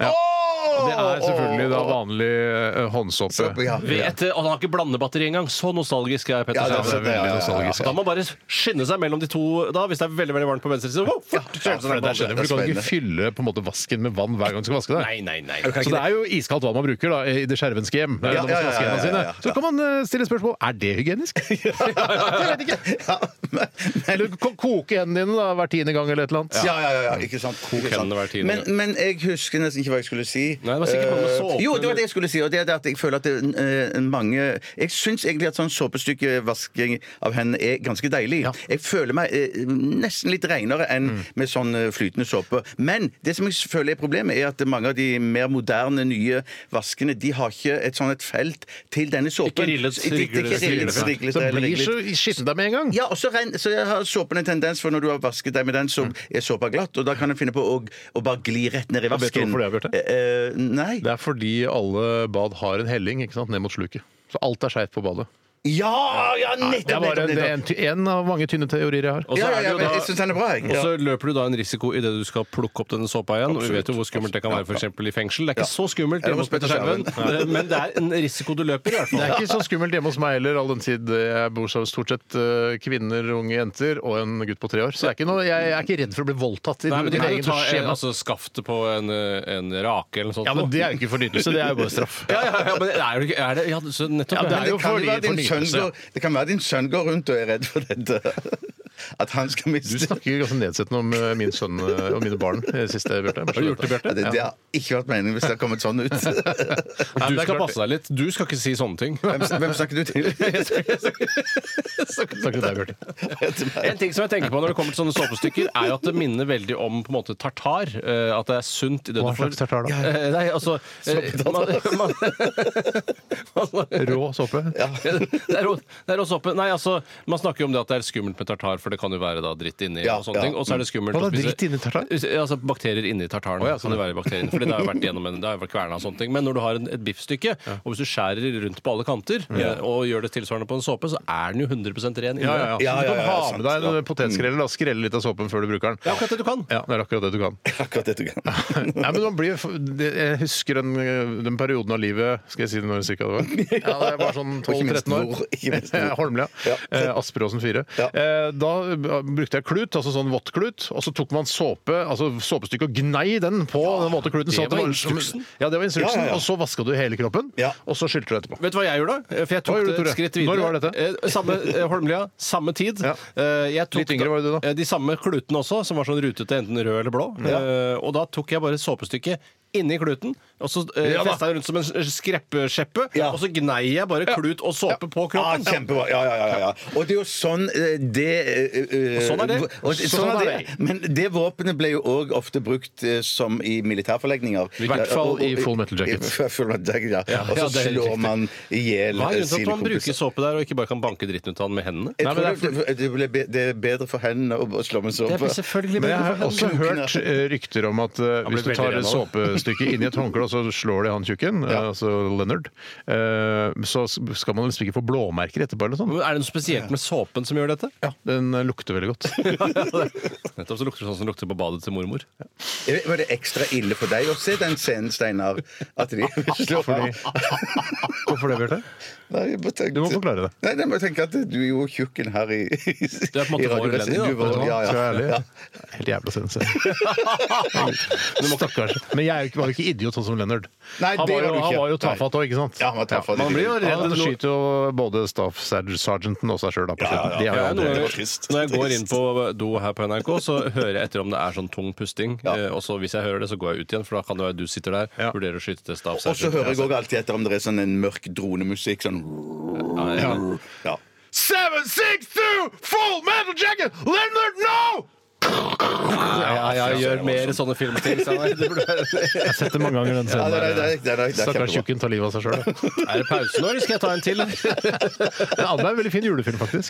[SPEAKER 1] Det er selvfølgelig da vanlig eh, håndsoppe.
[SPEAKER 3] Soppe, ja.
[SPEAKER 2] Ved et, og han har ikke blandebatteri engang. Så nostalgisk er Petter
[SPEAKER 3] Ja, det
[SPEAKER 1] Det er
[SPEAKER 3] er
[SPEAKER 2] Skjerven.
[SPEAKER 1] veldig
[SPEAKER 3] ja, ja, ja.
[SPEAKER 1] nostalgisk.
[SPEAKER 2] Da må man bare skynde seg mellom de to da, hvis det er veldig veldig varmt på venstre side. Wow, fort, skynde seg
[SPEAKER 3] for
[SPEAKER 2] ned på
[SPEAKER 3] det
[SPEAKER 2] andre.
[SPEAKER 3] er
[SPEAKER 1] For Du kan ikke fylle på en måte vasken med vann hver gang du skal vaske deg.
[SPEAKER 2] Nei, nei, nei.
[SPEAKER 1] Så det er jo iskaldt vann man bruker da, i det skjervenske hjem. Det er
[SPEAKER 3] Ja,
[SPEAKER 1] når man skal
[SPEAKER 3] ja, ja,
[SPEAKER 1] vaske
[SPEAKER 3] ja,
[SPEAKER 1] hendene
[SPEAKER 3] ja,
[SPEAKER 1] sine.
[SPEAKER 3] ja, ja.
[SPEAKER 1] Så kan man eh, stille spørsmål er det hygienisk. (laughs)
[SPEAKER 3] (laughs)
[SPEAKER 1] Jeg vet ikke.
[SPEAKER 3] Ja, men, men,
[SPEAKER 1] Eller ko- koke hendene dine da, hver tiende gang eller et eller annet.
[SPEAKER 3] ja, ja, ja, ja, ikke sant. Ikke sant.
[SPEAKER 2] hendene hver tiende
[SPEAKER 3] Men, men jeg husker nesten ikke hva jeg skulle si.
[SPEAKER 2] Nei, det var sikkert noe med
[SPEAKER 3] Eh,
[SPEAKER 2] såpe,
[SPEAKER 3] Jo, det var
[SPEAKER 2] eller-
[SPEAKER 3] det jeg skulle si. Og det er det at jeg føler at det, eh, mange Jeg syns egentlig at sånn såpestykkevasking av hendene er ganske deilig. Jeg føler meg eh, nesten litt renere enn med sånn eh, flytende såpe. Men det som jeg føler er problemet, er at mange av de mer moderne, nye vaskene, de har ikke et sånn et felt til denne såpen.
[SPEAKER 2] Ikke rillet,
[SPEAKER 3] Så- ikke- ikke
[SPEAKER 2] striglet,
[SPEAKER 3] rillet,
[SPEAKER 2] striglet,
[SPEAKER 3] striglet
[SPEAKER 1] Så
[SPEAKER 3] eller
[SPEAKER 1] blir
[SPEAKER 3] riglet.
[SPEAKER 1] så skittent deg med en gang.
[SPEAKER 3] Ja, og så, ren, så jeg har såpen en tendens, for når du har vasket deg med den,
[SPEAKER 1] Mm.
[SPEAKER 3] så er såpa glatt, og da kan jeg finne på å, å bare gli rett ned i
[SPEAKER 1] vet du
[SPEAKER 3] vasken.
[SPEAKER 1] hvorfor det er, Bjarte?
[SPEAKER 3] Eh, eh, nei.
[SPEAKER 1] Det er fordi alle bad har en helling ikke sant, ned mot sluket. Så alt er skeivt på badet.
[SPEAKER 3] Ja, ja,
[SPEAKER 1] Det er
[SPEAKER 3] nettopp!
[SPEAKER 1] bare
[SPEAKER 3] nettopp,
[SPEAKER 1] det er
[SPEAKER 3] nettopp.
[SPEAKER 1] en, ty- en av mange tynne teorier jeg har.
[SPEAKER 2] Og så
[SPEAKER 3] Ja, ja,
[SPEAKER 2] er det
[SPEAKER 3] ja,
[SPEAKER 2] jo
[SPEAKER 3] men
[SPEAKER 2] da-
[SPEAKER 3] jeg syns den er bra, jeg.
[SPEAKER 2] Og
[SPEAKER 3] Ja.
[SPEAKER 2] så løper du da en risiko idet du skal plukke opp denne såpa igjen. og Vi vet jo hvor skummelt det kan være for eksempel i fengsel. Det er ikke så skummelt
[SPEAKER 3] Eller
[SPEAKER 2] hjemme
[SPEAKER 3] hos
[SPEAKER 2] hos Petter Skjerven, men det er en risiko du løper, i
[SPEAKER 1] Det
[SPEAKER 2] hvert fall.
[SPEAKER 1] er ikke så skummelt hjemme hos meg heller, all den tid jeg bor sammen med stort sett eh, kvinner, unge jenter og en gutt på tre år. Så det er ikke noe, jeg, jeg er ikke redd for å bli voldtatt i
[SPEAKER 9] Nei, men de
[SPEAKER 1] min
[SPEAKER 9] kan jo
[SPEAKER 1] egen
[SPEAKER 9] ta en,
[SPEAKER 1] dusj hjemme.
[SPEAKER 9] altså, skaftet på en, eh, en rake eller noe sånt.
[SPEAKER 1] Ja, men det er jo ikke fornyelse, det er jo bare straff.
[SPEAKER 9] ja, ja, ja, men er det, ikke- er det, ja, så nettopp,
[SPEAKER 1] Ja, det
[SPEAKER 3] Men
[SPEAKER 1] er jo
[SPEAKER 3] det kan,
[SPEAKER 1] fordi-
[SPEAKER 3] jo være din
[SPEAKER 1] fornyelse,
[SPEAKER 3] sønn
[SPEAKER 1] ja.
[SPEAKER 3] går, det kan være din sønn går rundt og er redd for dette. (laughs) At han skal
[SPEAKER 1] Du
[SPEAKER 3] miste
[SPEAKER 1] snakker ganske nedsettende om eh, min sønn eh, og mine barn eh, sist, eh, Bjarte. Har du gjort det,
[SPEAKER 3] Ja, det, det har ikke vært meningen hvis det har kommet sånn
[SPEAKER 1] (laughs)
[SPEAKER 3] ut.
[SPEAKER 9] Du skal passe deg litt. Du skal ikke si sånne ting.
[SPEAKER 3] Hvem, hvem snakker du til?
[SPEAKER 1] Takk til deg, Bjarte.
[SPEAKER 2] (laughs) En ting som jeg tenker på når det kommer til sånne såpestykker, er jo at det minner veldig om på en måte tartar. eh, At det er sunt i det
[SPEAKER 1] Hva slags tartar da?
[SPEAKER 2] Eh, Nei, altså eh, man, man, man, (laughs)
[SPEAKER 1] Rå såpe.
[SPEAKER 2] det er, ro- det er også oppe. Nei, altså, man snakker jo om det at det er skummelt med tartar, for det kan jo være da dritt inni
[SPEAKER 3] Ja,
[SPEAKER 2] og sånne
[SPEAKER 3] ja.
[SPEAKER 2] ting. Og så er det skummelt
[SPEAKER 1] Hva
[SPEAKER 2] å
[SPEAKER 1] da,
[SPEAKER 2] spise-
[SPEAKER 1] dritt inni tartaren?
[SPEAKER 2] Altså bakterier inni tartaren.
[SPEAKER 1] ja, sånn,
[SPEAKER 2] kan det være bakterier, fordi det har jo vært gjennom en, det har jo vært kverna og sånne ting. Men når du har en, et biffstykke, og hvis du skjærer rundt på alle kanter eh, og gjør det tilsvarende på en såpe, så er den jo 100 ren inni
[SPEAKER 1] Ja, ja, ja.
[SPEAKER 3] Ja,
[SPEAKER 1] Så
[SPEAKER 3] ja,
[SPEAKER 1] du kan
[SPEAKER 3] ja,
[SPEAKER 1] ha med
[SPEAKER 3] sant,
[SPEAKER 1] deg en potetskrelle og skrelle litt av såpen før du bruker
[SPEAKER 2] Det
[SPEAKER 1] den.
[SPEAKER 2] er akkurat det du kan.
[SPEAKER 1] Ja, det er akkurat det du kan.
[SPEAKER 3] Akkurat dette.
[SPEAKER 1] Nei, men man blir, det- jeg husker den, den perioden av livet Skal jeg si det når cirka
[SPEAKER 3] (laughs)
[SPEAKER 1] det var? Ja, det var sånn
[SPEAKER 3] Og ikke minst
[SPEAKER 1] 12-13 år.
[SPEAKER 3] nord, ikke
[SPEAKER 1] (laughs)
[SPEAKER 3] minst nord.
[SPEAKER 1] Holmlia.
[SPEAKER 3] Ja.
[SPEAKER 1] Eh, Asperåsen 4.
[SPEAKER 3] Ja.
[SPEAKER 1] Eh, da eh, brukte jeg klut, altså sånn våttklut, og så tok man såpe, altså såpestykke og gnei den på den våte kluten. sånn at
[SPEAKER 2] det var
[SPEAKER 1] var-
[SPEAKER 2] instruksen.
[SPEAKER 1] Ja, det var instruksen.
[SPEAKER 3] Ja, ja, ja.
[SPEAKER 1] Og så vaska du hele kroppen,
[SPEAKER 3] Ja.
[SPEAKER 1] og så skylte du etterpå.
[SPEAKER 2] Vet du hva jeg gjorde? da? For jeg tok
[SPEAKER 1] Hva gjorde
[SPEAKER 2] det
[SPEAKER 1] du, Tore?
[SPEAKER 2] et skritt videre.
[SPEAKER 1] Når var dette?
[SPEAKER 2] Eh, Samme eh, Holmlia, samme tid.
[SPEAKER 1] Ja.
[SPEAKER 2] Eh, jeg tok
[SPEAKER 1] Litt yngre var du da.
[SPEAKER 2] eh, De samme klutene også, som var sånn rutete, enten rød eller blå. Eh, og da tok jeg bare såpestykket inni kluten, og så uh,
[SPEAKER 1] Ja da.
[SPEAKER 2] festa jeg rundt som en skreppeskjeppe,
[SPEAKER 3] Ja.
[SPEAKER 2] og så gnei jeg bare klut og såpe på
[SPEAKER 3] Ah,
[SPEAKER 2] kroppen.
[SPEAKER 3] kjempebra. Ja, ja, ja, ja. Og det er jo sånn eh, det eh, eh,
[SPEAKER 2] Sånn er det.
[SPEAKER 3] og det- Sånn er det. Men det våpenet ble jo òg ofte brukt eh, som i militærforlegninger.
[SPEAKER 1] I hvert fall i Full Metal Jacket.
[SPEAKER 3] I (laughs) Full metal jacket ja. Og
[SPEAKER 2] ja,
[SPEAKER 3] så
[SPEAKER 2] det er helt
[SPEAKER 3] slår
[SPEAKER 2] riktig.
[SPEAKER 3] man i hjel
[SPEAKER 2] Hva er grunnen til
[SPEAKER 3] eh,
[SPEAKER 2] at
[SPEAKER 3] sine
[SPEAKER 2] man bruker
[SPEAKER 3] kompiser.
[SPEAKER 2] såpe der, og ikke bare kan banke dritten ut av den med hendene?
[SPEAKER 3] Jeg
[SPEAKER 1] Nei, men
[SPEAKER 3] tror
[SPEAKER 1] det er
[SPEAKER 3] det, det, ble be, det er bedre for hendene å å slå med sånn. såpe.
[SPEAKER 2] selvfølgelig
[SPEAKER 1] Men jeg har også
[SPEAKER 3] Kluken, ja.
[SPEAKER 1] hørt eh, rykter om at eh, hvis du
[SPEAKER 2] blir
[SPEAKER 1] tar et
[SPEAKER 2] veldig ren av
[SPEAKER 1] såpestykke inn i et håndkle, og så slår det han tjukken, eh, altså Leonard, eh, så skal man liksom ikke få blåmerker etterpå eller noe sånt.
[SPEAKER 2] Er det noe spesielt med såpen som gjør dette?
[SPEAKER 1] Den eh, lukter veldig godt.
[SPEAKER 2] (laughs) Nettopp så lukter det sånn som det lukter på badet til mormor.
[SPEAKER 3] Jeg vet- Var det ekstra ille for deg å se den scenen, Steinar?
[SPEAKER 1] (laughs)
[SPEAKER 3] At de slår
[SPEAKER 1] Fordi... Hvorfor det, Bjarte?
[SPEAKER 3] Nei, jeg bare tenkte-
[SPEAKER 1] Du må forklare det.
[SPEAKER 3] Nei, nei, men jeg tenker at du er jo tjukken her i Du
[SPEAKER 2] er på en måte vår Lenny, da.
[SPEAKER 1] Vet du hva? Skal jeg være ærlig? Helt jævla
[SPEAKER 3] (laughs)
[SPEAKER 1] sinnssykt. Stakkars. Men jeg er jo ikke- var jo ikke idiot sånn som Leonard.
[SPEAKER 3] Nei,
[SPEAKER 1] han, var jo,
[SPEAKER 3] det var du
[SPEAKER 1] han
[SPEAKER 3] ikke.
[SPEAKER 1] var jo tafatt òg, ikke sant?
[SPEAKER 3] Ja, han var tafatt.
[SPEAKER 1] Man blir jo redd. Han
[SPEAKER 2] når-
[SPEAKER 1] skyter jo både staff serg- sergeanten og seg sjøl. Ja, ja,
[SPEAKER 2] Ja, noen
[SPEAKER 3] var
[SPEAKER 2] ganger,
[SPEAKER 3] trist.
[SPEAKER 2] når jeg går inn på do her på NRK, så hører jeg etter om det er sånn tung pusting. eh, Og så hvis jeg hører det, så går jeg ut igjen, for da kan det være du sitter der,
[SPEAKER 1] Ja.
[SPEAKER 2] vurderer å skyte til
[SPEAKER 3] Og så altså-
[SPEAKER 2] stabssergeant.
[SPEAKER 3] hører jeg òg alltid etter om det er sånn en mørk dronemusikk. Sånn ja.
[SPEAKER 1] Seven, six, two, full metal jacket! Leonard, no!
[SPEAKER 2] Ja, ja, gjør mer sånne filmting.
[SPEAKER 3] (laughs)
[SPEAKER 2] Steinar. Det burde være-
[SPEAKER 1] Jeg har sett det mange ganger, den
[SPEAKER 3] Ja, det er- det
[SPEAKER 1] scenen.
[SPEAKER 3] er- det er- det er
[SPEAKER 1] Stakkars
[SPEAKER 3] kjempebra.
[SPEAKER 1] tjukken tar livet av seg sjøl.
[SPEAKER 2] Er det pause nå, eller skal jeg ta en til?
[SPEAKER 1] Det andre er en veldig fin julefilm, faktisk.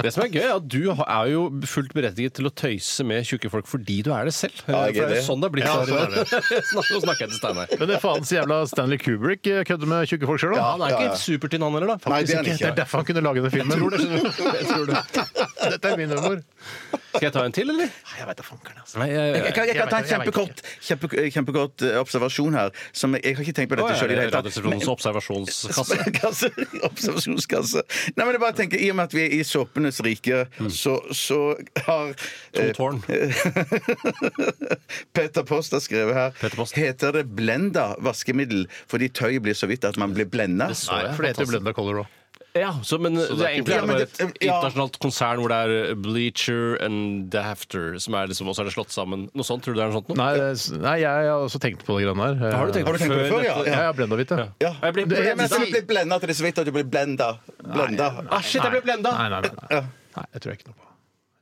[SPEAKER 2] Det som er gøy, er at du er jo fullt berettiget til å tøyse med tjukke folk fordi du er det selv.
[SPEAKER 3] Ja, jeg
[SPEAKER 2] For det
[SPEAKER 3] er
[SPEAKER 2] er
[SPEAKER 3] det.
[SPEAKER 2] jo sånn det er blitt.
[SPEAKER 1] Ja, sånn er det.
[SPEAKER 2] (laughs) Nå snakker jeg til Steinar.
[SPEAKER 1] Men det er faens jævla Stanley Kubrick eh, kødder med tjukke folk sjøl, da.
[SPEAKER 2] Han er
[SPEAKER 3] Ja,
[SPEAKER 2] ikke
[SPEAKER 3] ja.
[SPEAKER 2] supertynn, han heller, da.
[SPEAKER 3] Nei,
[SPEAKER 1] Hvis
[SPEAKER 3] det er han
[SPEAKER 1] ikke, det er
[SPEAKER 3] ikke.
[SPEAKER 1] derfor han kunne lage den filmen. Dette er min humor.
[SPEAKER 2] Skal jeg ta en til, eller?
[SPEAKER 1] Jeg vet da fankeren, altså.
[SPEAKER 2] Nei, jeg,
[SPEAKER 3] Jeg kan, jeg kan ta en
[SPEAKER 1] Jeg vet ikke, jeg
[SPEAKER 3] kjempekort, kjempe, kjempekort eh, observasjon her. Som jeg, jeg har ikke tenkt på dette sjøl i det hele tatt.
[SPEAKER 2] Radioresepsjonens observasjonskasse.
[SPEAKER 3] (laughs) Kasse, observasjonskasse. Nei, men jeg bare tenker, I og med at vi er i såpenes rike, så, så har eh,
[SPEAKER 2] To tårn.
[SPEAKER 3] (laughs) Peter Post har skrevet her
[SPEAKER 2] Peter Post.
[SPEAKER 3] Heter det blenda vaskemiddel fordi tøyet blir så vidt at man blir blenda?
[SPEAKER 1] Nei, for det heter jo Blenda Color òg.
[SPEAKER 2] Ja, så, men det er egentlig
[SPEAKER 3] Ja, men
[SPEAKER 2] bare
[SPEAKER 3] det-
[SPEAKER 2] et
[SPEAKER 3] ja.
[SPEAKER 2] internasjonalt konsern hvor det er Bleacher and The After, som er liksom, og så er det slått sammen. Noe sånt, tror du det er noe sånt nå?
[SPEAKER 1] Nei, det er- nei, jeg har også tenkt på det greiene der.
[SPEAKER 2] Har du tenkt
[SPEAKER 3] Har du tenkt på det før, ja?
[SPEAKER 1] Ja,
[SPEAKER 3] ja.
[SPEAKER 1] ja, Blenda Hvitt, ja.
[SPEAKER 3] ja.
[SPEAKER 2] Jeg blir
[SPEAKER 3] Det-
[SPEAKER 2] blendet.
[SPEAKER 3] Jeg mener at du blir blenda til det er så vidt at du blir blenda. blenda.
[SPEAKER 2] Ah, shit, jeg ble blenda!
[SPEAKER 1] Nei, nei, nei, nei. nei, jeg tror jeg ikke noe på.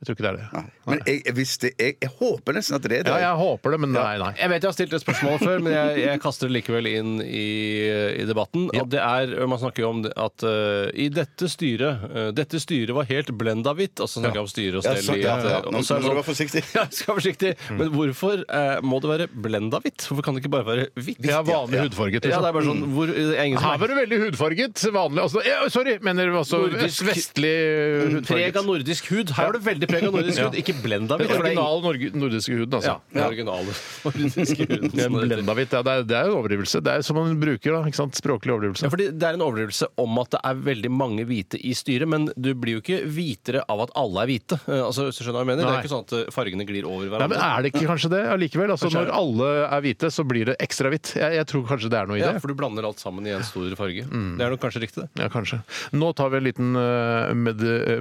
[SPEAKER 1] Jeg tror ikke det er det.
[SPEAKER 3] Nei. Men jeg, hvis det, jeg, jeg håper nesten at det er det.
[SPEAKER 1] Ja, jeg håper det, men nei, nei.
[SPEAKER 2] Jeg vet jeg har stilt et spørsmål før, men jeg, jeg kaster det likevel inn i, i debatten. Og det er, Man snakker jo om det, at eh, i dette styret eh, Dette styret var helt blenda hvitt. Og så snakker jeg om styre og
[SPEAKER 3] Ja,
[SPEAKER 2] stell
[SPEAKER 3] sant,
[SPEAKER 2] i
[SPEAKER 3] ja,
[SPEAKER 2] at,
[SPEAKER 3] ja.
[SPEAKER 2] eh,
[SPEAKER 3] Nå
[SPEAKER 2] og så er det
[SPEAKER 3] må du
[SPEAKER 2] sånn-
[SPEAKER 3] være
[SPEAKER 2] (laughs)
[SPEAKER 3] forsiktig. Mm.
[SPEAKER 2] Ja, jeg skal være forsiktig. Men hvorfor eh, må det være blenda hvitt? Hvorfor kan det ikke bare være hvitt?
[SPEAKER 1] Jeg har vanlig hudfarget.
[SPEAKER 2] Ja, det
[SPEAKER 1] Liksom.
[SPEAKER 2] er bare sånn hvor, det er ingen som
[SPEAKER 1] Her var du veldig hudfarget. Vanlig altså, ja, Sorry, mener du altså
[SPEAKER 2] Nordisk-
[SPEAKER 1] vestlig
[SPEAKER 2] Preg
[SPEAKER 1] hudfarget?
[SPEAKER 2] av nordisk hud. Her var det veldig preg av nordisk hud, ikke blenda
[SPEAKER 1] Den
[SPEAKER 2] hvitt. for det er ingen-
[SPEAKER 1] originale norge- nordiske huden, altså.
[SPEAKER 2] Ja, den originale nordiske huden.
[SPEAKER 1] En blenda hvitt, ja, det, er- det er jo en overdrivelse. Det er jo som man bruker, da. Ikke sant? Språklig
[SPEAKER 2] Ja,
[SPEAKER 1] overdrivelse.
[SPEAKER 2] fordi Det er en overdrivelse om at det er veldig mange hvite i styret, men du blir jo ikke hvitere av at alle er hvite. Eh, Altså, hvis du skjønner hva jeg mener? Det
[SPEAKER 1] Nei.
[SPEAKER 2] er ikke sånn at eh, fargene glir over
[SPEAKER 1] Nei, men
[SPEAKER 2] hverandre.
[SPEAKER 1] Er det ikke kanskje det allikevel? Altså, når alle er hvite, så blir det ekstra hvitt. Jeg, jeg tror kanskje det er noe i
[SPEAKER 2] ja, Mm.
[SPEAKER 1] det.
[SPEAKER 2] for du blander alt sammen i en stor farge. Det er nok kanskje riktig, det.
[SPEAKER 1] Ja, kanskje. Nå tar vi en liten eh, med, eh,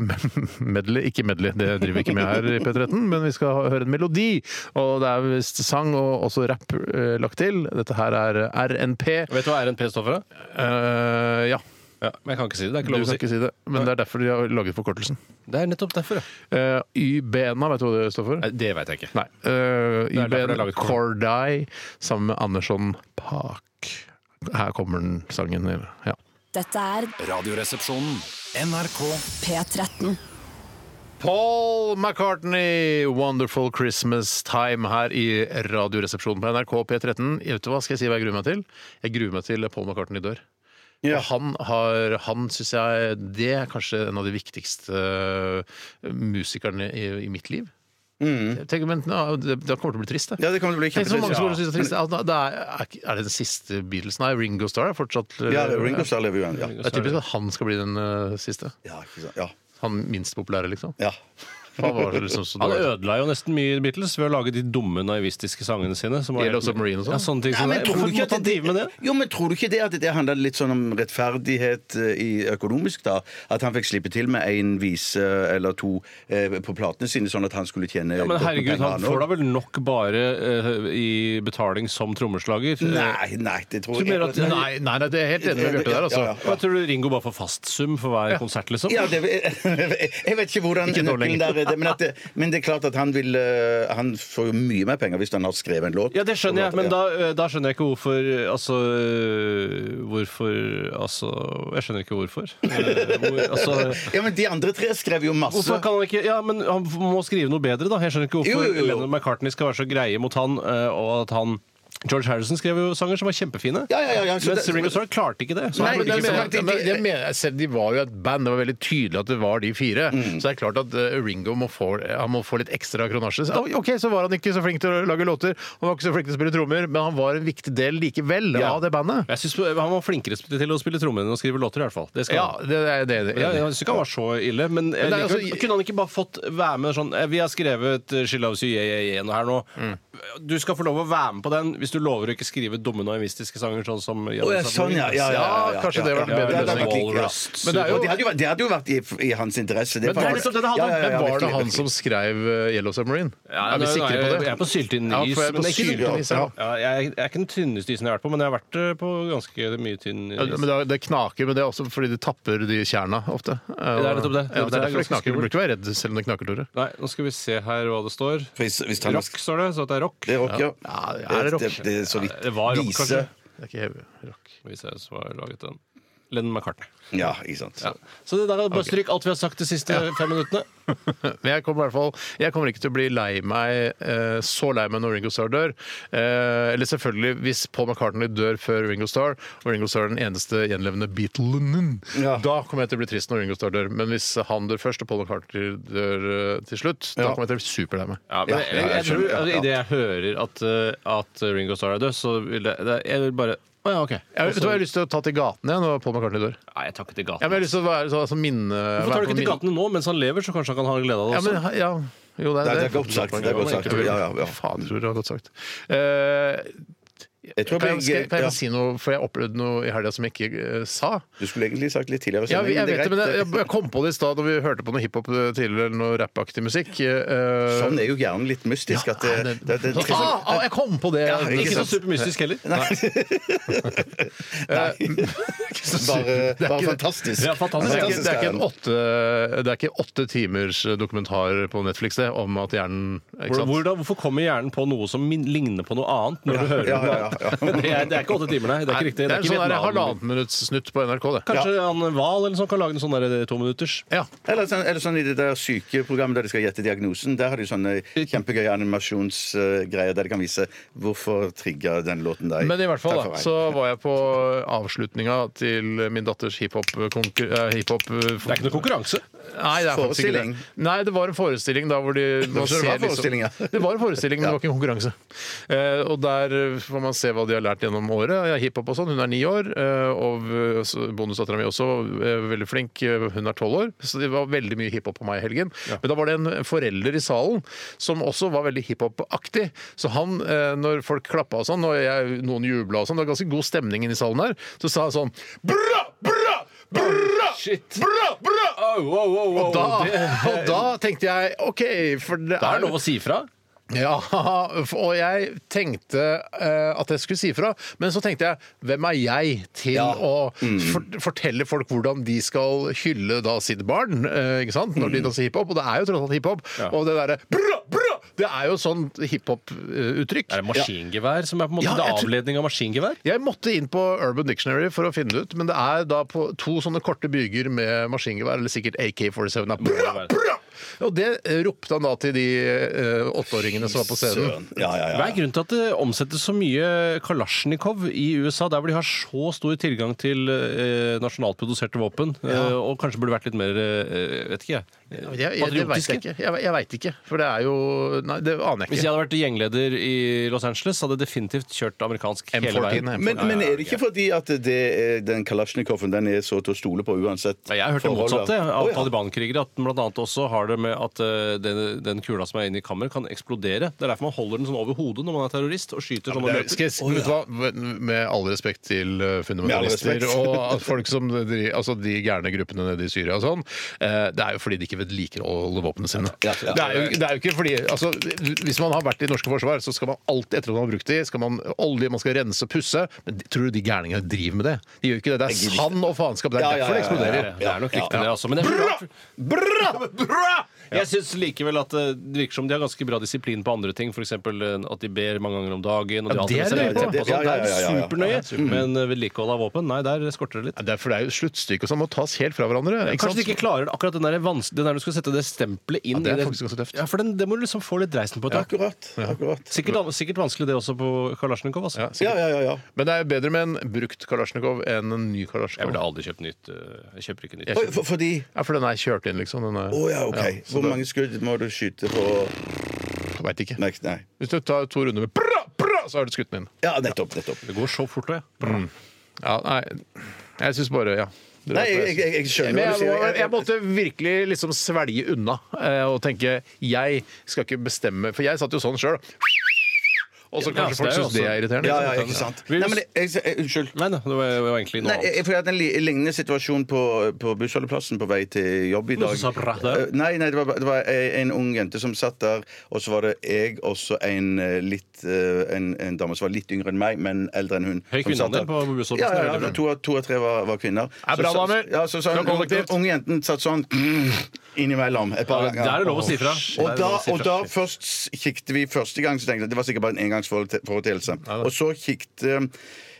[SPEAKER 1] (laughs) medley Ikke medley, det driver vi ikke med her i P13, men vi skal ha- høre en melodi. Og det er visst sang og også rapp eh, lagt til. Dette her er RNP.
[SPEAKER 2] Vet du hva RNP står for? da?
[SPEAKER 1] Eh, ja.
[SPEAKER 2] Ja, men jeg kan ikke si det. Det er
[SPEAKER 1] Du
[SPEAKER 2] ikke lov å
[SPEAKER 1] kan
[SPEAKER 2] si.
[SPEAKER 1] ikke si det, men det er derfor de har laget forkortelsen.
[SPEAKER 2] Det er nettopp derfor, ja.
[SPEAKER 1] Eh, YBNA, vet du hva det står for?
[SPEAKER 2] Nei, det veit jeg ikke.
[SPEAKER 1] Nei. Uh,
[SPEAKER 2] er derfor det er
[SPEAKER 1] YBN
[SPEAKER 2] laget for-
[SPEAKER 1] Corday sammen med Andersson Park. Her kommer den sangen. Ja.
[SPEAKER 4] Dette er
[SPEAKER 5] Radioresepsjonen. NRK
[SPEAKER 4] P13.
[SPEAKER 1] Paul McCartney, 'Wonderful Christmas Time' her i Radioresepsjonen på NRK P13. Vet du hva skal jeg si hva jeg gruer meg til? Jeg gruer meg til Paul McCartney dør.
[SPEAKER 3] Ja.
[SPEAKER 1] Og han, har- han syns jeg Det er kanskje en av de viktigste eh, musikerne i, i mitt liv. Jeg Tenker, men, nå, det, det kommer til å bli trist, det.
[SPEAKER 3] Mm. Ja, det kommer til å bli
[SPEAKER 1] Tenk så mange
[SPEAKER 3] kjempetrist.
[SPEAKER 1] som kommer til å synes det er trist. Altså, det er, er, ikke- er det den siste Beatles? Nei, Ringo Starr er fortsatt eh,
[SPEAKER 3] Ja, Ringo Starr lever jo ennå. Ja.
[SPEAKER 1] Det er typisk at han skal bli den eh, siste.
[SPEAKER 3] Ja, ikke sant. ja.
[SPEAKER 1] Han minst populære, liksom.
[SPEAKER 3] ja.
[SPEAKER 1] Han var liksom så
[SPEAKER 2] Han
[SPEAKER 1] dårlig.
[SPEAKER 2] ødela jo nesten mye Beatles ved å lage de dumme naivistiske sangene sine. Som var
[SPEAKER 1] Yellow
[SPEAKER 2] helt-
[SPEAKER 1] Submarine og sånn.
[SPEAKER 2] Ja, sånne ting som
[SPEAKER 3] men
[SPEAKER 2] det.
[SPEAKER 3] tror du
[SPEAKER 2] Hvorfor
[SPEAKER 3] ikke at
[SPEAKER 2] måtte han drive med det?
[SPEAKER 3] Jo, men tror du ikke det at det handler litt sånn om rettferdighet eh, i økonomisk, da? At han fikk slippe til med en vise eller to eh, på platene sine, sånn at han skulle tjene
[SPEAKER 2] Ja, men
[SPEAKER 3] godt med
[SPEAKER 2] herregud,
[SPEAKER 3] penger,
[SPEAKER 2] han får da
[SPEAKER 3] også.
[SPEAKER 2] vel nok bare eh, i betaling som trommeslager? Eh,
[SPEAKER 3] Nei, nei, det tror
[SPEAKER 2] Du
[SPEAKER 3] jeg
[SPEAKER 2] mener at-
[SPEAKER 1] Nei, nei, nei, det er jeg helt enig med Bjarte der, altså.
[SPEAKER 3] Ja, ja.
[SPEAKER 2] Hva tror du Ringo bare får fastsum for hver konsert, liksom?
[SPEAKER 3] Ja, det, (laughs) jeg vet ikke hvordan
[SPEAKER 1] Ikke nå
[SPEAKER 3] nøkkelen
[SPEAKER 1] lenger.
[SPEAKER 3] der er, det, men, at det, men det er klart at han vil eh, Han får jo mye mer penger hvis han har skrevet en låt. Sånn
[SPEAKER 2] Ja, det skjønner jeg, men
[SPEAKER 3] Ja.
[SPEAKER 2] da, eh, da skjønner jeg ikke hvorfor eh, Altså eh, Hvorfor Altså Jeg skjønner ikke hvorfor. Eh, Hvor, altså,
[SPEAKER 3] (laughs) Ja, men de andre tre skrev jo masse.
[SPEAKER 2] hvorfor kan han ikke Ja, men han må skrive noe bedre, da. Jeg skjønner ikke hvorfor
[SPEAKER 3] Jo, jo, jo, jo.
[SPEAKER 2] Lennon og McCartney skal være så greie mot han, eh, og at han George Harrison skrev jo sanger som var kjempefine.
[SPEAKER 3] Ja, ja, ja, ja, så
[SPEAKER 2] Mens
[SPEAKER 3] det-
[SPEAKER 2] Ringo Starr klarte ikke det. Så
[SPEAKER 3] Nei,
[SPEAKER 2] han
[SPEAKER 1] Men
[SPEAKER 2] burde
[SPEAKER 1] jeg
[SPEAKER 2] ikke
[SPEAKER 1] mener,
[SPEAKER 2] få-
[SPEAKER 3] sant, de-
[SPEAKER 1] men jeg mener, jeg ser- de var jo et band. Det var veldig tydelig at det var de fire. Så det er klart at eh, Ringo må få, han må få litt ekstra kronasje. Så, OK, så var han ikke så flink til å lage låter, han var ikke så flink til å spille trommer, men han var en viktig del likevel
[SPEAKER 2] Ja.
[SPEAKER 1] av det bandet.
[SPEAKER 2] Jeg synes Han var flinkere til å spille trommer enn å skrive låter, i hvert fall. Det skal
[SPEAKER 1] Ja,
[SPEAKER 2] han.
[SPEAKER 1] det er det. det,
[SPEAKER 2] Ja, jeg syns ikke han var så ille, men
[SPEAKER 1] Men det er
[SPEAKER 2] jeg liker-
[SPEAKER 1] altså- Mm.
[SPEAKER 2] kunne han ikke bare fått være med sånn eh, Vi har skrevet eh, 'She Loves You Yeah Yeah Yeah' nå her nå. Du skal få lov å være med på den hvis du lover å ikke skrive dumme naivistiske sanger. sånn som
[SPEAKER 3] Å, ja, sånn, ja. Ja, ja, ja,
[SPEAKER 1] Ja, kanskje det var en
[SPEAKER 3] Ja,
[SPEAKER 1] bedre
[SPEAKER 3] det hadde
[SPEAKER 1] løsning.
[SPEAKER 3] vært like, ja.
[SPEAKER 2] Walrus.
[SPEAKER 3] Men det, er jo- Og det hadde jo, vært- det hadde jo vært i, i hans interesse. Det
[SPEAKER 2] Men det er
[SPEAKER 3] faktisk-
[SPEAKER 2] nettopp det det handler om.
[SPEAKER 3] Ja, ja, ja,
[SPEAKER 1] Men var sånn det
[SPEAKER 3] virkelig,
[SPEAKER 1] han
[SPEAKER 3] virkelig.
[SPEAKER 1] som skrev eh, Yellow Submarine?
[SPEAKER 2] Ja,
[SPEAKER 1] er vi
[SPEAKER 2] nå-
[SPEAKER 1] sikre på
[SPEAKER 2] nå jeg-
[SPEAKER 1] det?
[SPEAKER 2] Jeg er på syltynn
[SPEAKER 1] Ja,
[SPEAKER 2] is.
[SPEAKER 1] for jeg er
[SPEAKER 2] men
[SPEAKER 1] på
[SPEAKER 2] det er ikke-
[SPEAKER 1] syltynn is, ja.
[SPEAKER 2] Ja, jeg, jeg er ikke den tynneste isen jeg har vært på, men jeg har vært eh, på ganske mye tynn is.
[SPEAKER 1] Ja, men det, det knaker, men det er også fordi det tapper de tjerna ofte.
[SPEAKER 2] Det er nettopp det.
[SPEAKER 1] Ja, det
[SPEAKER 2] Det
[SPEAKER 1] er derfor
[SPEAKER 2] er
[SPEAKER 1] det
[SPEAKER 2] ganske
[SPEAKER 1] knaker. Du
[SPEAKER 2] skummelt.
[SPEAKER 1] burde ikke være redd selv om det knaker, Tore.
[SPEAKER 2] Nei, nå skal vi se her hva det står.
[SPEAKER 3] Hvis, hvis han-
[SPEAKER 2] Rock står det, så at det er rock.
[SPEAKER 3] Det er rock, ja.
[SPEAKER 1] Ja, er det rock?
[SPEAKER 3] Det, det, det er så vidt.
[SPEAKER 2] Det var rock,
[SPEAKER 3] Vise.
[SPEAKER 2] kanskje.
[SPEAKER 1] Det er ikke heavy rock. (laughs)
[SPEAKER 2] Hvis jeg så har laget den. Lennon McCartney.
[SPEAKER 3] Ja, ikke sant.
[SPEAKER 2] Ja. Så det der er bare stryk alt vi har sagt de siste fem
[SPEAKER 1] (laughs)
[SPEAKER 2] minuttene.
[SPEAKER 1] Men jeg kommer, i hvert fall, jeg kommer ikke til å bli lei meg eh, så lei meg når Ringo Starr dør. Eh, eller selvfølgelig hvis Paul McCartney dør før Ringo Starr, og Ringo Starr er den eneste gjenlevende Beatlen,
[SPEAKER 3] Ja.
[SPEAKER 1] da kommer jeg til å bli trist når Ringo Starr dør. Men hvis han dør først, og Paul McCartney dør eh, til slutt, da
[SPEAKER 3] Ja.
[SPEAKER 1] kommer jeg til å bli superlei meg.
[SPEAKER 2] Ja, men jeg, jeg, jeg tror altså, Idet jeg hører at, eh, at Ringo Starr er død, så vil jeg det- Jeg vil bare Å ja, OK.
[SPEAKER 1] Jeg, vet du hva, jeg har lyst til å ta til gatene jeg, når Paul McCartney dør.
[SPEAKER 2] Nei, jeg tar ikke til
[SPEAKER 1] Ja, men jeg
[SPEAKER 2] gaten.
[SPEAKER 1] har lyst til å være sånn altså, minne...
[SPEAKER 2] Hvorfor tar du ikke til gatene nå? Mens han lever, så kanskje han kan ha glede av det
[SPEAKER 1] Ja,
[SPEAKER 2] også.
[SPEAKER 1] men, ja, jo, det er,
[SPEAKER 3] Nei, det er godt sagt, det er godt sagt. Ja, ja, ja.
[SPEAKER 1] Faen, tror jeg det er godt sagt. Eh,
[SPEAKER 3] Jeg tror
[SPEAKER 1] Kan jeg, skal,
[SPEAKER 3] jeg,
[SPEAKER 1] jeg- kan jeg
[SPEAKER 3] ja,
[SPEAKER 1] si noe, for jeg opplevde noe i helga som jeg ikke eh, sa.
[SPEAKER 3] du skulle egentlig sagt litt tidligere.
[SPEAKER 1] Ja,
[SPEAKER 3] sending,
[SPEAKER 1] jeg vet det, men jeg,
[SPEAKER 3] greit.
[SPEAKER 1] jeg kom på det i stad da vi hørte på noe hiphop eh, tidligere, eller noe rappaktig musikk. eh,
[SPEAKER 3] Sånn er jo hjernen litt mystisk. At det, det, det, det,
[SPEAKER 1] ah, ah, jeg kom på det!
[SPEAKER 3] Ja, ikke
[SPEAKER 2] Ikke så
[SPEAKER 3] sant.
[SPEAKER 2] supermystisk heller.
[SPEAKER 1] Eh, (laughs)
[SPEAKER 3] bare,
[SPEAKER 1] Det er
[SPEAKER 3] bare
[SPEAKER 1] ikke-
[SPEAKER 3] fantastisk.
[SPEAKER 2] Ja, fantastisk.
[SPEAKER 1] Det er, ikke, det, er ikke
[SPEAKER 3] hjernen.
[SPEAKER 1] en åtte, det er ikke åtte timers dokumentar på Netflix det, om at hjernen ikke sant?
[SPEAKER 2] Hvordan, hvorfor kommer hjernen på noe som min, ligner på noe annet? når du hører
[SPEAKER 3] ja, ja, ja,
[SPEAKER 2] Det, (laughs) det, er, det er ikke åtte timer, nei. Det er ikke riktig.
[SPEAKER 1] Det er en sånn der
[SPEAKER 2] Vietnam.
[SPEAKER 1] halvannet minutts snutt på NRK, det.
[SPEAKER 2] Kanskje han Val eller sånn kan lage en sånn der tominutters?
[SPEAKER 1] Ja.
[SPEAKER 3] Eller sånn, eller sånn i det der sykeprogrammet der de skal gjette diagnosen. Der har de sånne kjempegøye animasjonsgreier der de kan vise hvorfor trigga den låten deg.
[SPEAKER 1] Men i hvert fall
[SPEAKER 3] Takk for
[SPEAKER 1] da,
[SPEAKER 3] meg.
[SPEAKER 1] så var jeg på avslutninga til min datters hiphop-konkurranse hiphop,
[SPEAKER 2] Det er ikke noe konkurranse.
[SPEAKER 1] Nei, det er faktisk ikke det.
[SPEAKER 3] Forestilling.
[SPEAKER 1] Nei, det var en forestilling da
[SPEAKER 3] (laughs)
[SPEAKER 1] hvor de man
[SPEAKER 3] skjønner, det
[SPEAKER 1] ser liksom-
[SPEAKER 3] var forestilling, ja.
[SPEAKER 1] (laughs) Det var en forestilling, men det var ikke en konkurranse. Eh, og der eh, får man se hva de har lært gjennom året. Jeg er hiphop og sånn, hun er ni år. Eh, og eh, så bonusdattera mi også, eh, veldig flink, eh, hun er tolv år. Så det var veldig mye hiphop på meg i helgen. Men da var det en forelder i salen som også var veldig hiphop-aktig. Så han, eh, når folk klappa og sånn, og jeg, noen jubla og sånn, det var ganske god stemning inne i salen der, så sa han sånn Bra! Bra! Bra!
[SPEAKER 2] Shit.
[SPEAKER 1] Bra! Bra! Og da,
[SPEAKER 2] (laughs) det,
[SPEAKER 1] og da tenkte jeg OK, for det
[SPEAKER 2] det
[SPEAKER 1] er
[SPEAKER 2] er lov å si fra.
[SPEAKER 1] Ja, og jeg tenkte eh, at jeg skulle si fra, men så tenkte jeg hvem er jeg til å
[SPEAKER 2] Mm.
[SPEAKER 1] for fortelle folk hvordan de skal hylle da sitt barn, eh, ikke sant,
[SPEAKER 2] Mm.
[SPEAKER 1] når de danser hiphop? Og det er jo tross alt hiphop. Og det derre bra, bra, det er jo sånn eh, sånt hiphop-uttrykk.
[SPEAKER 2] Er det maskingevær som er på en måte
[SPEAKER 1] Ja,
[SPEAKER 2] det
[SPEAKER 1] jeg
[SPEAKER 2] er
[SPEAKER 1] tror-
[SPEAKER 2] avledning av maskingevær?
[SPEAKER 1] Jeg måtte inn på Urban Dictionary for å finne det ut, men det er da på to sånne korte byger med maskingevær, eller sikkert AK-47. da. Bra, bra! Og det eh, ropte han da til de eh, åtteåringene som var på scenen.
[SPEAKER 3] Søren. Ja, ja,
[SPEAKER 2] Hva
[SPEAKER 3] ja.
[SPEAKER 2] er grunnen til at det omsettes så mye Kalasjnikov i USA, der hvor de har så stor tilgang til eh, nasjonalt produserte våpen, eh, og kanskje burde vært litt mer eh, vet ikke jeg,
[SPEAKER 1] Jeg, jeg, det veit jeg ikke. Jeg, jeg vet ikke, for det er jo Nei, det aner jeg
[SPEAKER 2] Hvis jeg
[SPEAKER 1] ikke.
[SPEAKER 2] hadde vært gjengleder i Los Angeles, hadde jeg definitivt kjørt amerikansk hele
[SPEAKER 1] M14,
[SPEAKER 2] veien.
[SPEAKER 1] M14.
[SPEAKER 3] Men, men er det ikke fordi at det er, den kalasjnikoven den er så til å stole på uansett?
[SPEAKER 2] Nei, Jeg har hørt det
[SPEAKER 3] forhold, da?
[SPEAKER 2] motsatte av
[SPEAKER 3] Å, ja.
[SPEAKER 2] Taliban-krigere. At den blant annet også har det med at eh, den, den kula som er inne i kammeret, kan eksplodere. Det er derfor man holder den sånn over hodet når man er terrorist, og skyter sånn og
[SPEAKER 1] Det er-
[SPEAKER 2] løper.
[SPEAKER 1] Skal jeg, si- vet du hva, med all respekt til eh, fundamentalister
[SPEAKER 3] Med all respekt.
[SPEAKER 1] og at folk som dri- altså de gærne gruppene nede i Syria og sånn, eh, det er jo fordi de ikke vedlikeholder våpnene sine. Det
[SPEAKER 3] Ja, ja, ja.
[SPEAKER 1] er, jo, det er jo ikke fordi altså, Hvis man har vært i det norske forsvar, så skal man alltid etter at man har brukt de, skal man olje, man skal rense og pusse, men de- tror du de gærningene driver med det? De gjør jo ikke det. Det
[SPEAKER 3] Jeg
[SPEAKER 1] er
[SPEAKER 3] gidder
[SPEAKER 1] sand og faenskap. Det er
[SPEAKER 3] Ja, ja,
[SPEAKER 1] derfor det
[SPEAKER 3] ja, ja, ja.
[SPEAKER 1] eksploderer.
[SPEAKER 2] Det er nok riktig, det. altså Men det er
[SPEAKER 3] Bra!
[SPEAKER 2] Jeg syns likevel at eh, det virker som de har ganske bra disiplin på andre ting. F.eks. at de ber mange ganger om dagen. Og
[SPEAKER 1] Ja,
[SPEAKER 2] de
[SPEAKER 1] det er
[SPEAKER 2] har
[SPEAKER 1] nøye på.
[SPEAKER 2] og sånt.
[SPEAKER 3] Ja, ja, ja, ja, ja.
[SPEAKER 2] Det er supernøye, men eh, vedlikehold av våpen, nei, der skorter det litt.
[SPEAKER 1] Ja, Derfor det er jo sluttstykket som må tas helt fra hverandre. Ikke
[SPEAKER 2] Kanskje
[SPEAKER 1] sant?
[SPEAKER 2] de ikke klarer det, akkurat den der, vans- den der du skal sette det stempelet inn
[SPEAKER 1] Ja, det er
[SPEAKER 2] i
[SPEAKER 1] faktisk ganske tøft.
[SPEAKER 2] Ja, for den, det må du liksom få litt dreisen på. Ja.
[SPEAKER 3] Akkurat. akkurat.
[SPEAKER 2] Sikkert, sikkert vanskelig det også på Kalasjnikov. Altså.
[SPEAKER 1] Ja, sikkert.
[SPEAKER 3] Ja, ja, ja. ja.
[SPEAKER 1] Men det er jo bedre med en brukt Kalasjnikov enn en ny
[SPEAKER 2] Jeg
[SPEAKER 1] Kalasjnikov.
[SPEAKER 2] ville aldri kjøpt nytt. eh, Jeg kjøper ikke nytt.
[SPEAKER 3] Oi, for, fordi
[SPEAKER 1] Ja, for den er kjørt inn, liksom. Den er,
[SPEAKER 3] Å ja, OK.
[SPEAKER 1] så
[SPEAKER 3] Hvor
[SPEAKER 1] det-
[SPEAKER 3] mange skudd må du skyte på
[SPEAKER 1] jeg vet ikke.
[SPEAKER 3] Nei. nei.
[SPEAKER 1] Hvis du tar to runder med bra, bra, så har du skutt den inn.
[SPEAKER 3] Ja, nettopp. nettopp.
[SPEAKER 2] Det går så fort, da. Ja.
[SPEAKER 1] Ja, nei, jeg syns bare Ja. Det er
[SPEAKER 3] Nei,
[SPEAKER 1] derfor
[SPEAKER 3] jeg, jeg, jeg skjønner
[SPEAKER 1] men jeg,
[SPEAKER 3] hva du sier.
[SPEAKER 1] må, jeg måtte virkelig liksom svelge unna eh, og tenke jeg skal ikke bestemme For jeg satt jo sånn sjøl. Og så
[SPEAKER 2] Ja,
[SPEAKER 1] kanskje
[SPEAKER 2] det
[SPEAKER 1] folk syns
[SPEAKER 2] er jo
[SPEAKER 1] det
[SPEAKER 2] også-
[SPEAKER 1] er sånn irriterende.
[SPEAKER 3] Ja, ja, ikke sant. Nei, men jeg, jeg, unnskyld.
[SPEAKER 2] Nei da, det var, det var egentlig noe
[SPEAKER 3] Nei,
[SPEAKER 2] annet.
[SPEAKER 3] jeg, for jeg hadde en li lignende situasjon på, på bussholdeplassen på vei til jobb i
[SPEAKER 2] Noen
[SPEAKER 3] dag.
[SPEAKER 2] som sa bra der?
[SPEAKER 3] Eh, Nei, nei det, var, det var eh, en ung jente som satt der, og så var det jeg og så en, eh, litt, eh, en, en dame som var litt yngre enn meg, men eldre enn hun.
[SPEAKER 2] Høy
[SPEAKER 3] som satt
[SPEAKER 2] kvinneandel
[SPEAKER 3] der.
[SPEAKER 2] på bussholdeplassen,
[SPEAKER 3] Ja, ja,
[SPEAKER 2] er
[SPEAKER 3] ja,
[SPEAKER 2] veldig bra.
[SPEAKER 3] to, av- to av tre var, var kvinner.
[SPEAKER 1] Er bra,
[SPEAKER 3] Så- så-
[SPEAKER 1] damer.
[SPEAKER 3] Ja, så sa
[SPEAKER 1] Fra
[SPEAKER 3] den
[SPEAKER 1] kollektivt.
[SPEAKER 3] unge jenten satt sånn (clears throat) innimellom et par
[SPEAKER 2] Ja,
[SPEAKER 3] ganger.
[SPEAKER 2] der er det lov å si fra.
[SPEAKER 3] Og
[SPEAKER 2] Der er det
[SPEAKER 3] da,
[SPEAKER 2] lov å si
[SPEAKER 3] og
[SPEAKER 2] fra.
[SPEAKER 3] da først kikket vi første gang, så tenkte jeg at det var sikkert bare en engangsforeteelse. Og så kikket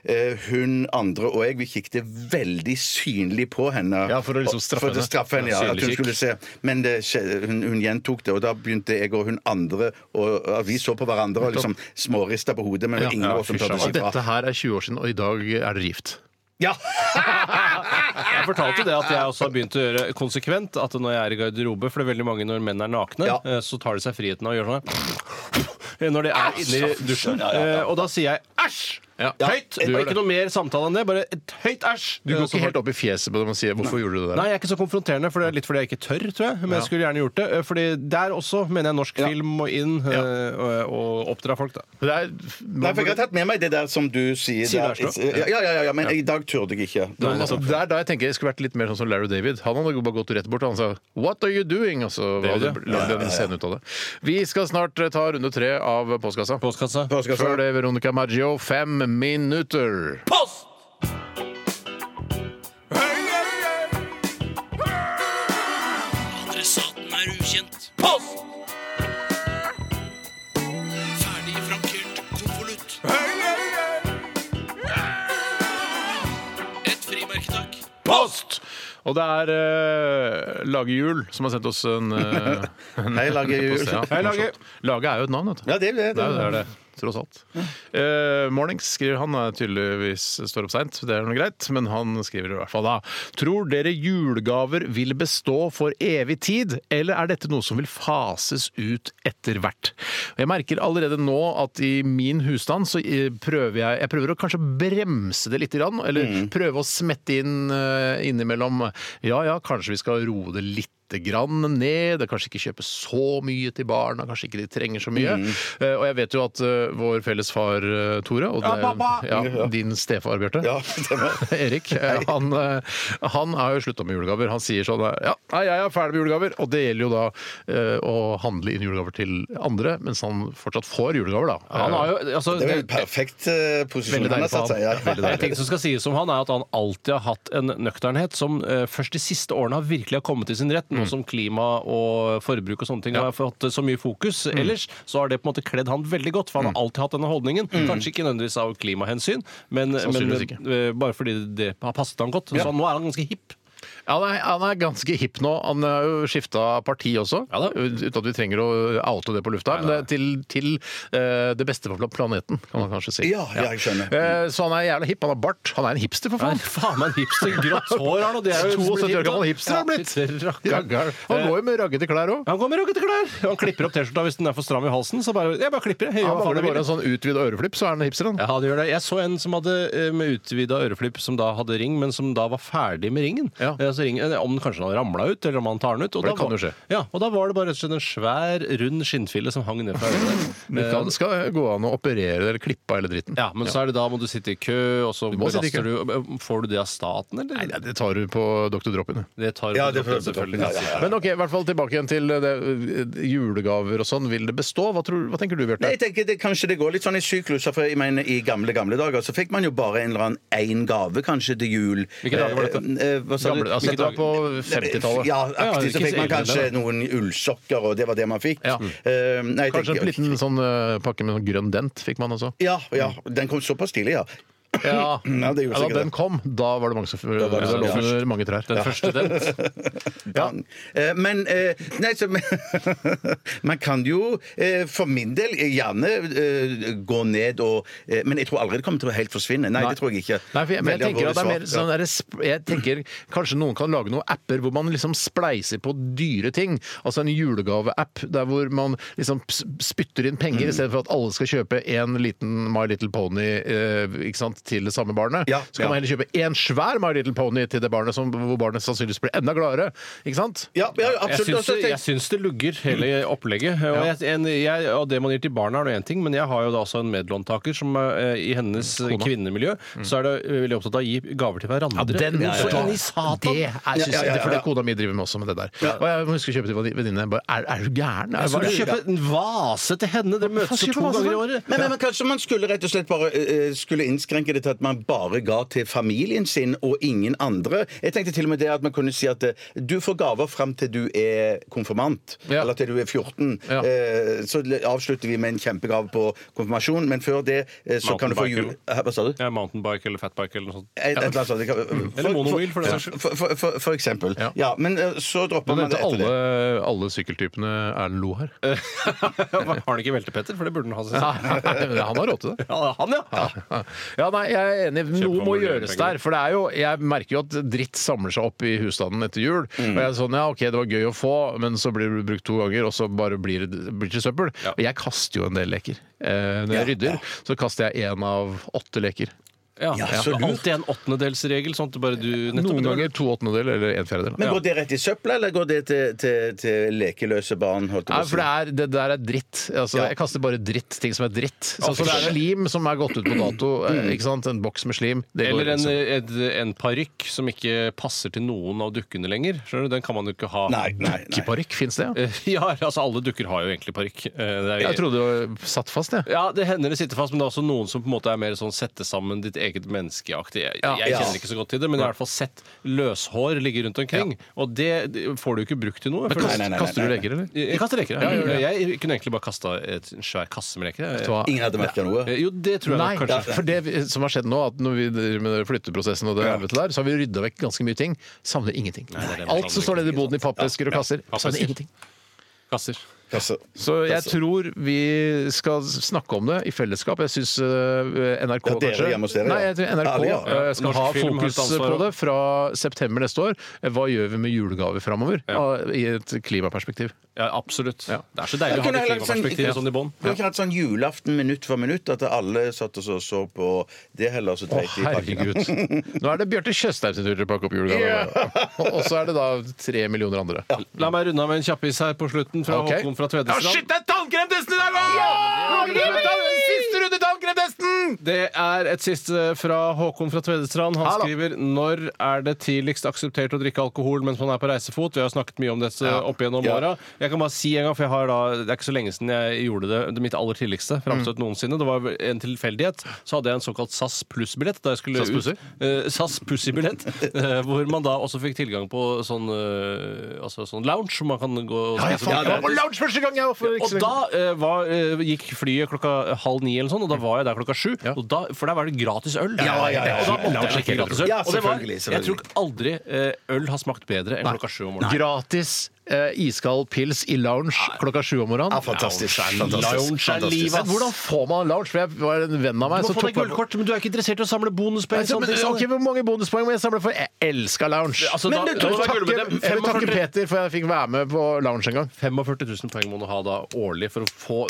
[SPEAKER 3] eh, hun andre og jeg, vi kikket veldig synlig på henne.
[SPEAKER 1] Ja, for å liksom straffe
[SPEAKER 3] For å
[SPEAKER 1] henne.
[SPEAKER 3] straffe henne, ja,
[SPEAKER 2] Ja, synlig
[SPEAKER 3] at hun
[SPEAKER 2] kikk.
[SPEAKER 3] skulle se. Men det, skjedde- hun, hun gjentok det, og da begynte jeg og hun andre og, ja, Vi så på hverandre og liksom smårista på hodet, men det var ingen av oss som tørde
[SPEAKER 1] Og
[SPEAKER 3] å si fra.
[SPEAKER 1] dette her er 20 år siden, og i dag er dere gift.
[SPEAKER 3] Ja!
[SPEAKER 2] Jeg fortalte det at jeg også har begynt å gjøre konsekvent at når jeg er i garderobe, for det er veldig mange når menn er nakne,
[SPEAKER 3] Ja.
[SPEAKER 2] eh, så tar de seg friheten av å gjøre sånn her. Når de er inne i dusjen. Eh, Og da sier jeg æsj! Høyt!
[SPEAKER 1] du
[SPEAKER 2] Og
[SPEAKER 1] gjør
[SPEAKER 2] ikke
[SPEAKER 1] det.
[SPEAKER 2] noe mer samtale enn det. Bare et høyt æsj!
[SPEAKER 1] Du går
[SPEAKER 2] Eh, så
[SPEAKER 1] ikke helt opp i fjeset på dem og sier 'hvorfor gjorde du det der'?
[SPEAKER 2] Nei, jeg er ikke så konfronterende, for det er litt fordi jeg ikke tør, tror jeg. Men jeg skulle gjerne gjort det. eh, Fordi der også mener jeg norsk film må inn eh, og- og oppdra folk, da.
[SPEAKER 1] Det er,
[SPEAKER 3] Nei, for Jeg har tatt med meg det der som du sier.
[SPEAKER 2] Sier det er
[SPEAKER 3] der. eh, Ja, ja, ja, ja, men i dag turde jeg ikke.
[SPEAKER 1] Men altså, det er da jeg tenker jeg skulle vært litt mer sånn som Larry David. Han hadde bare gått rett bort og han sa 'What are you doing?' Og så hadde
[SPEAKER 2] David,
[SPEAKER 1] lagd en scene ut av det. Vi skal snart eh, ta runde tre av postkassa.
[SPEAKER 2] Postkassa.
[SPEAKER 1] Før det, Veronica Maggio, fem minutter.
[SPEAKER 10] Post!
[SPEAKER 5] Adressaten er ukjent.
[SPEAKER 10] Post!
[SPEAKER 5] Ferdig frankert konvolutt. Et frimerke, takk.
[SPEAKER 1] Post! Og det er eh, Lage Jul som har sendt oss en eh, en-
[SPEAKER 3] Hei, Lage Jul.
[SPEAKER 1] post, ja.
[SPEAKER 2] Hei, Lage.
[SPEAKER 1] Lage er jo et navn, vet du.
[SPEAKER 3] Ja, det er det.
[SPEAKER 1] Det er jo det. Tross alt. Eh, Mornings skriver han er tydeligvis står opp seint, det er noe greit, men han skriver i hvert fall da. Tror dere julegaver vil bestå for evig tid, eller er dette noe som vil fases ut etter hvert? Og Jeg merker allerede nå at i min husstand så eh, prøver jeg Jeg prøver å kanskje bremse det litt, grann, eller prøve å smette inn eh, innimellom Ja ja, kanskje vi skal roe det litt lite grann ned. Det er kanskje ikke kjøpe så mye til barna, kanskje ikke de trenger så mye. Eh, og jeg vet jo at eh, vår felles far eh, Tore, og det, ja, din stefar Bjarte
[SPEAKER 3] Ja, stemmer.
[SPEAKER 1] (laughs) Erik, eh, han, eh, han har jo slutta med julegaver. Han sier sånn eh, Ja, nei, jeg er ferdig med julegaver. Og det gjelder jo da eh, å handle inn julegaver til andre, mens han fortsatt får julegaver, da.
[SPEAKER 2] Han har jo, altså,
[SPEAKER 3] Det er vel en perfekt eh, posisjon
[SPEAKER 1] Veldig deilig
[SPEAKER 3] han har
[SPEAKER 1] for
[SPEAKER 3] satt seg i.
[SPEAKER 1] han. Veldig
[SPEAKER 3] Ja.
[SPEAKER 1] deilig.
[SPEAKER 2] En ting som skal sies om han er at han alltid har hatt en nøkternhet som eh, først de siste årene har virkelig har kommet til sin rett, nå som klima og forbruk og sånne ting har fått eh, så mye fokus. Ellers så har det på en måte kledd han veldig godt, for han har alltid hatt denne holdningen. Kanskje ikke nødvendigvis av klimahensyn, men, men
[SPEAKER 1] Sannsynligvis
[SPEAKER 2] eh, bare fordi det har passet han godt. Så nå er han ganske hipp.
[SPEAKER 1] Ja, nei, han er ganske hipp nå. Han har jo skifta parti også.
[SPEAKER 2] Ja da.
[SPEAKER 1] Uten at vi trenger å oute det på lufta. Men det er til, til eh, det beste for pla- planeten, kan man kanskje si.
[SPEAKER 3] Ja, ja, jeg skjønner.
[SPEAKER 1] Eh, så han er jævla hipp. Han har bart. Han er en hipster, for
[SPEAKER 2] Han
[SPEAKER 1] faen.
[SPEAKER 2] er faen meg en hipster. Grått hår har han, og det (laughs) er jo
[SPEAKER 1] 72 år gammel hipster har han blitt.
[SPEAKER 2] blitt.
[SPEAKER 1] Raggeren. Han går jo med raggete klær òg.
[SPEAKER 2] Han går med ruggete klær. Han klipper opp T-skjorta hvis den er for stram i halsen. Så bare, jeg bare klipper det. Jeg gjør
[SPEAKER 1] Han
[SPEAKER 2] hva faen
[SPEAKER 1] mangler
[SPEAKER 2] jeg vil.
[SPEAKER 1] bare en sånn utvida øreflipp, så er han hipster, han.
[SPEAKER 2] Ja, det gjør det. Jeg så en som hadde eh, med utvida øreflipp, som da hadde ring, men som da var ferdig med ringen.
[SPEAKER 1] Ja.
[SPEAKER 2] Eh, Så ringen eh, om den kanskje han hadde ramla ut, eller om han tar den ut. Og,
[SPEAKER 1] For det
[SPEAKER 2] da
[SPEAKER 1] kan
[SPEAKER 2] var,
[SPEAKER 1] jo skje.
[SPEAKER 2] Ja, og da var det bare rett og slett en svær, rund skinnfille som hang ned fra øret.
[SPEAKER 1] Det kan, Eh, skal gå an å operere det, eller klippe av hele dritten.
[SPEAKER 2] Ja, men så er det da må du sitte i kø, og så
[SPEAKER 1] må sitte i
[SPEAKER 2] belaster du eh, Får du det av staten, eller?
[SPEAKER 1] Nei, nei, det tar du på Dr. Drop-in. du.
[SPEAKER 2] det tar
[SPEAKER 3] Ja, det får-
[SPEAKER 2] selvfølgelig.
[SPEAKER 3] ja, ja, ja.
[SPEAKER 1] Men ok, i hvert fall tilbake igjen til eh, det, julegaver og sånn. Vil det bestå? Hva, tror, hva tenker du, Bjarte?
[SPEAKER 3] Nei, jeg tenker det, Kanskje det går litt sånn i sykluser. For jeg mener, I gamle gamle dager så fikk man jo bare en eller annen én gave kanskje til jul.
[SPEAKER 2] Hvilke dager var dette?
[SPEAKER 3] Eh, eh, hva sa
[SPEAKER 1] Gamle,
[SPEAKER 3] du?
[SPEAKER 1] altså, dette var på 50-tallet.
[SPEAKER 3] Ja,
[SPEAKER 2] Ja,
[SPEAKER 3] aktig,
[SPEAKER 2] ikke
[SPEAKER 3] så fikk
[SPEAKER 2] så
[SPEAKER 3] man
[SPEAKER 2] ille,
[SPEAKER 3] kanskje
[SPEAKER 2] det
[SPEAKER 3] noen ullsokker, og det var det man fikk.
[SPEAKER 1] Ja.
[SPEAKER 3] Eh, nei, jeg
[SPEAKER 1] Kanskje
[SPEAKER 3] tenker-
[SPEAKER 1] en liten sånn eh, pakke med sånn grønn dent fikk man også.
[SPEAKER 3] Ja, ja, den kom såpass tidlig, ja.
[SPEAKER 1] Ja,
[SPEAKER 3] Ja, det gjorde
[SPEAKER 1] da
[SPEAKER 3] sikkert
[SPEAKER 1] den kom, da var det mange som da
[SPEAKER 3] var det
[SPEAKER 1] lå
[SPEAKER 3] sånn, ja.
[SPEAKER 1] under mange trær.
[SPEAKER 2] Den første dent.
[SPEAKER 3] Eh, Men eh, Nei, så (laughs) Man kan jo eh, for min del eh, gjerne eh, gå ned og eh, Men jeg tror aldri det kommer til å helt forsvinne. Nei, det tror jeg ikke.
[SPEAKER 1] Nei, for jeg, men jeg
[SPEAKER 3] Veldig
[SPEAKER 1] tenker at det er
[SPEAKER 3] alvorlig
[SPEAKER 1] mer
[SPEAKER 3] svar.
[SPEAKER 1] sånn der, sp- jeg tenker Kanskje noen kan lage noen apper hvor man liksom spleiser på dyre ting. Altså en julegave-app der hvor man liksom
[SPEAKER 3] Mm.
[SPEAKER 1] s- spytter inn penger i stedet for at alle skal kjøpe en liten My Little Pony eh, ikke sant, til det samme barnet.
[SPEAKER 3] Ja,
[SPEAKER 1] så kan man
[SPEAKER 3] ja.
[SPEAKER 1] heller kjøpe en svær My Little Pony til det barnet, som, hvor barnet sannsynligvis blir enda gladere. Ikke sant?
[SPEAKER 3] Ja, ja, absolutt.
[SPEAKER 2] altså, Jeg syns,
[SPEAKER 3] Altså, Også tenk-
[SPEAKER 2] jeg syns det lugger, hele opplegget. Og, jeg, en, jeg, og det man gir til barna, er nå én ting, men jeg har jo da også en medlåntaker som eh, i hennes kvinnemiljø så er det eh, veldig opptatt av å gi gaver til hverandre. Hvorfor inn i satan?
[SPEAKER 1] Det er synes jeg, det er fordi kona mi driver med også med det der. Og jeg husker å kjøpe til venninne. jeg bare, Er, er du gæren? Altså, Er, hva
[SPEAKER 2] Så du
[SPEAKER 1] er det?
[SPEAKER 2] kjøper en vase til henne? Dere møtes
[SPEAKER 1] kjøper
[SPEAKER 2] jo to
[SPEAKER 1] vase
[SPEAKER 2] ganger i
[SPEAKER 1] for?
[SPEAKER 2] året.
[SPEAKER 3] Men, men, men kanskje man skulle rett og slett bare eh, skulle innskrenke det til at man bare ga til familien sin og ingen andre. Jeg tenkte til og med det at man kunne si at eh, du får gaver fram til du er konfirmant,
[SPEAKER 1] Ja.
[SPEAKER 3] eller til du er 14.
[SPEAKER 1] Ja.
[SPEAKER 3] Eh, så le- avslutter vi med en kjempegave på konfirmasjon, men før det eh, så kan du få jul...
[SPEAKER 2] Mountainbiken.
[SPEAKER 3] Hæ, Hva sa du?
[SPEAKER 2] Ja, mountainbike eller fatbike eller noe sånt.
[SPEAKER 3] Et, et eller annet sånt. Det kan-
[SPEAKER 2] Eller monobil, for den saks skyld.
[SPEAKER 3] For, for, for, for eksempel.
[SPEAKER 1] Ja.
[SPEAKER 3] Ja. men eh, så dropper
[SPEAKER 1] Nå
[SPEAKER 3] man det
[SPEAKER 1] nevnte alle,
[SPEAKER 3] etter det.
[SPEAKER 1] alle sykkeltypene Erlend Lo her.
[SPEAKER 2] Har han ikke veltepetter? For det burde han ha. Synes. jeg.
[SPEAKER 1] Han har råd til det.
[SPEAKER 2] Ja, han, ja!
[SPEAKER 1] Ja, nei, jeg er enig. Noe
[SPEAKER 2] på
[SPEAKER 1] må
[SPEAKER 2] hvor mye
[SPEAKER 1] gjøres
[SPEAKER 2] penger.
[SPEAKER 1] der. For det er jo, jeg merker jo at dritt samler seg opp i husstanden etter jul. Og jeg er sånn, ja, ok, det var gøy å få, men så blir det brukt to ganger, og så bare blir det blir det ikke søppel. Og jeg kaster jo en del leker. Eh, når jeg rydder, så kaster jeg én av åtte leker.
[SPEAKER 2] ja.
[SPEAKER 3] Ja, så lurt.
[SPEAKER 2] Alltid en åttendedelsregel, sånn at bare du nettopp
[SPEAKER 1] Noen ganger to åttendedel eller en fjerdedel.
[SPEAKER 3] Men går det rett i søpla, eller går det til, til, til lekeløse barn? Holdt jeg
[SPEAKER 1] Nei,
[SPEAKER 3] på å si?
[SPEAKER 1] for det, er, det der er dritt. Altså,
[SPEAKER 3] Ja.
[SPEAKER 1] Jeg kaster bare dritt. Ting som er dritt. Sånn som
[SPEAKER 2] for det er-
[SPEAKER 1] slim som er gått ut på dato. eh, Ikke sant? En boks med slim. Det går
[SPEAKER 2] Eller en, eh,
[SPEAKER 1] liksom.
[SPEAKER 2] en, en parykk som ikke passer til noen av dukkene lenger. Skjønner du? Den kan man jo ikke ha.
[SPEAKER 3] Nei, nei, nei.
[SPEAKER 1] Dukkeparykk, fins det? Ja?
[SPEAKER 2] Eh, (laughs) Ja, altså alle dukker har jo egentlig parykk. Eh, det er jo-
[SPEAKER 1] Jeg trodde det var satt fast, jeg.
[SPEAKER 2] Ja, det hender det sitter fast, men det er også noen som på en måte er mer sånn sette sammen ditt eget menneskeaktig. Jeg, jeg
[SPEAKER 3] Ja.
[SPEAKER 2] kjenner ikke så godt til det, men jeg har i hvert fall sett løshår ligge rundt omkring. Og det det får du ikke brukt til noe. for-
[SPEAKER 3] Nei, nei, nei,
[SPEAKER 1] Kaster du
[SPEAKER 3] nei, nei.
[SPEAKER 1] leker, eller?
[SPEAKER 2] Jeg, jeg kaster leker. jeg. Jeg kunne egentlig bare kasta en svær kasse med leker.
[SPEAKER 1] Vet du
[SPEAKER 2] jeg.
[SPEAKER 1] hva?
[SPEAKER 3] Ingen hadde merka noe?
[SPEAKER 2] Eh, Jo, det tror jeg
[SPEAKER 1] Nei,
[SPEAKER 2] nok kanskje.
[SPEAKER 1] for det vi- som har skjedd nå, at når vi driver med den flytteprosessen og det helvete der, så har vi rydda vekk ganske mye ting. Savner ingenting.
[SPEAKER 2] det altså. er det.
[SPEAKER 1] Alt som står nede i boden i pappesker og kasser, savner
[SPEAKER 2] Pappesker.
[SPEAKER 1] ingenting.
[SPEAKER 2] Kasser.
[SPEAKER 3] Altså,
[SPEAKER 1] Så jeg tror vi skal snakke om det i fellesskap. Jeg syns NRK
[SPEAKER 3] Ja, dere hjemme hos dere, ja.
[SPEAKER 1] Nei, jeg tror NRK
[SPEAKER 3] Ærlig, ja.
[SPEAKER 1] eh, skal
[SPEAKER 2] Norsk
[SPEAKER 1] ha
[SPEAKER 2] film har et
[SPEAKER 1] fokus
[SPEAKER 2] ansvar,
[SPEAKER 1] på
[SPEAKER 2] ja.
[SPEAKER 1] det fra september neste år. Hva gjør vi med julegaver framover Ah, i et klimaperspektiv?
[SPEAKER 2] Ja, absolutt.
[SPEAKER 1] Ja.
[SPEAKER 2] Det er så deilig å ha
[SPEAKER 3] kunne
[SPEAKER 2] det
[SPEAKER 3] heller hatt sånn-
[SPEAKER 2] klimaperspektivet sånn i bånn.
[SPEAKER 3] Kunne ikke hatt sånn julaften minutt for minutt, at alle satt og så, så på det heller, så
[SPEAKER 1] Å,
[SPEAKER 3] dreit de i pakken.
[SPEAKER 1] herregud. Nå er det Bjarte Tjøstheim sin tur til å pakke opp julegaver. Og så er det da tre millioner andre.
[SPEAKER 2] La meg runde av med en kjappis her på slutten fra
[SPEAKER 1] Ok.
[SPEAKER 2] Håkon fra Tvedestrand.
[SPEAKER 1] det er tannkremtesten i dag! Siste runde tannkremtesten!
[SPEAKER 2] Det er et siste fra Håkon fra Tvedestrand. Han
[SPEAKER 1] Hallo.
[SPEAKER 2] skriver når er det tidligst akseptert å drikke alkohol mens man er på reisefot. Vi har snakket mye om dette opp gjennom åra. Jeg kan bare si en gang, for jeg har da, det er ikke så lenge siden jeg gjorde det, det mitt aller tidligste framstøt
[SPEAKER 1] Mm.
[SPEAKER 2] noensinne. Det var en tilfeldighet. Så hadde jeg en såkalt SAS pluss-billett. da jeg skulle
[SPEAKER 1] SAS
[SPEAKER 2] ut-
[SPEAKER 1] Pussy?
[SPEAKER 2] Eh, SAS
[SPEAKER 1] (laughs)
[SPEAKER 2] Pussy-billett. eh, hvor man da også fikk tilgang på sånn, eh, altså sånn lounge hvor man kan gå og
[SPEAKER 1] Ja, jeg
[SPEAKER 2] spise
[SPEAKER 1] faen, jeg var
[SPEAKER 2] gratis.
[SPEAKER 1] på lounge første gang! Jeg, for ikke
[SPEAKER 2] Og
[SPEAKER 1] så lenge.
[SPEAKER 2] da eh, var, eh, gikk flyet klokka halv ni, eller sånn, og da var jeg der klokka sju. Og da, for der var det gratis øl.
[SPEAKER 3] ja, ja, ja.
[SPEAKER 2] Og da måtte jeg sjekke gratis øl.
[SPEAKER 3] Ja,
[SPEAKER 2] og det var,
[SPEAKER 3] selvfølgelig,
[SPEAKER 2] jeg
[SPEAKER 3] selvfølgelig.
[SPEAKER 2] tror ikke aldri eh, øl har smakt bedre enn klokka sju om morgenen.
[SPEAKER 1] Gratis eh, iskald pils i lounge klokka sju om morgenen.
[SPEAKER 3] fantastisk.
[SPEAKER 2] Lounge er livet,
[SPEAKER 1] Men
[SPEAKER 2] ass.
[SPEAKER 1] hvordan får man lounge? For jeg var en venn av meg
[SPEAKER 2] Du må
[SPEAKER 1] som
[SPEAKER 2] få deg
[SPEAKER 1] tok meg på-
[SPEAKER 2] gullkort, men du er ikke interessert i å samle bonuspoeng.
[SPEAKER 1] Nei, så-
[SPEAKER 2] sånn,
[SPEAKER 1] men,
[SPEAKER 2] ikke sant?
[SPEAKER 1] ok, Hvor mange bonuspoeng må jeg samle for? Jeg elsker lounge!
[SPEAKER 2] Altså,
[SPEAKER 1] Men
[SPEAKER 2] da-
[SPEAKER 1] du,
[SPEAKER 2] da må
[SPEAKER 1] takke-
[SPEAKER 2] du være gullmedlem.
[SPEAKER 1] jeg vil takke Peter
[SPEAKER 2] 45.
[SPEAKER 1] for jeg fikk være med på lounge en gang.
[SPEAKER 2] 45 000 poeng må du ha da årlig for å få,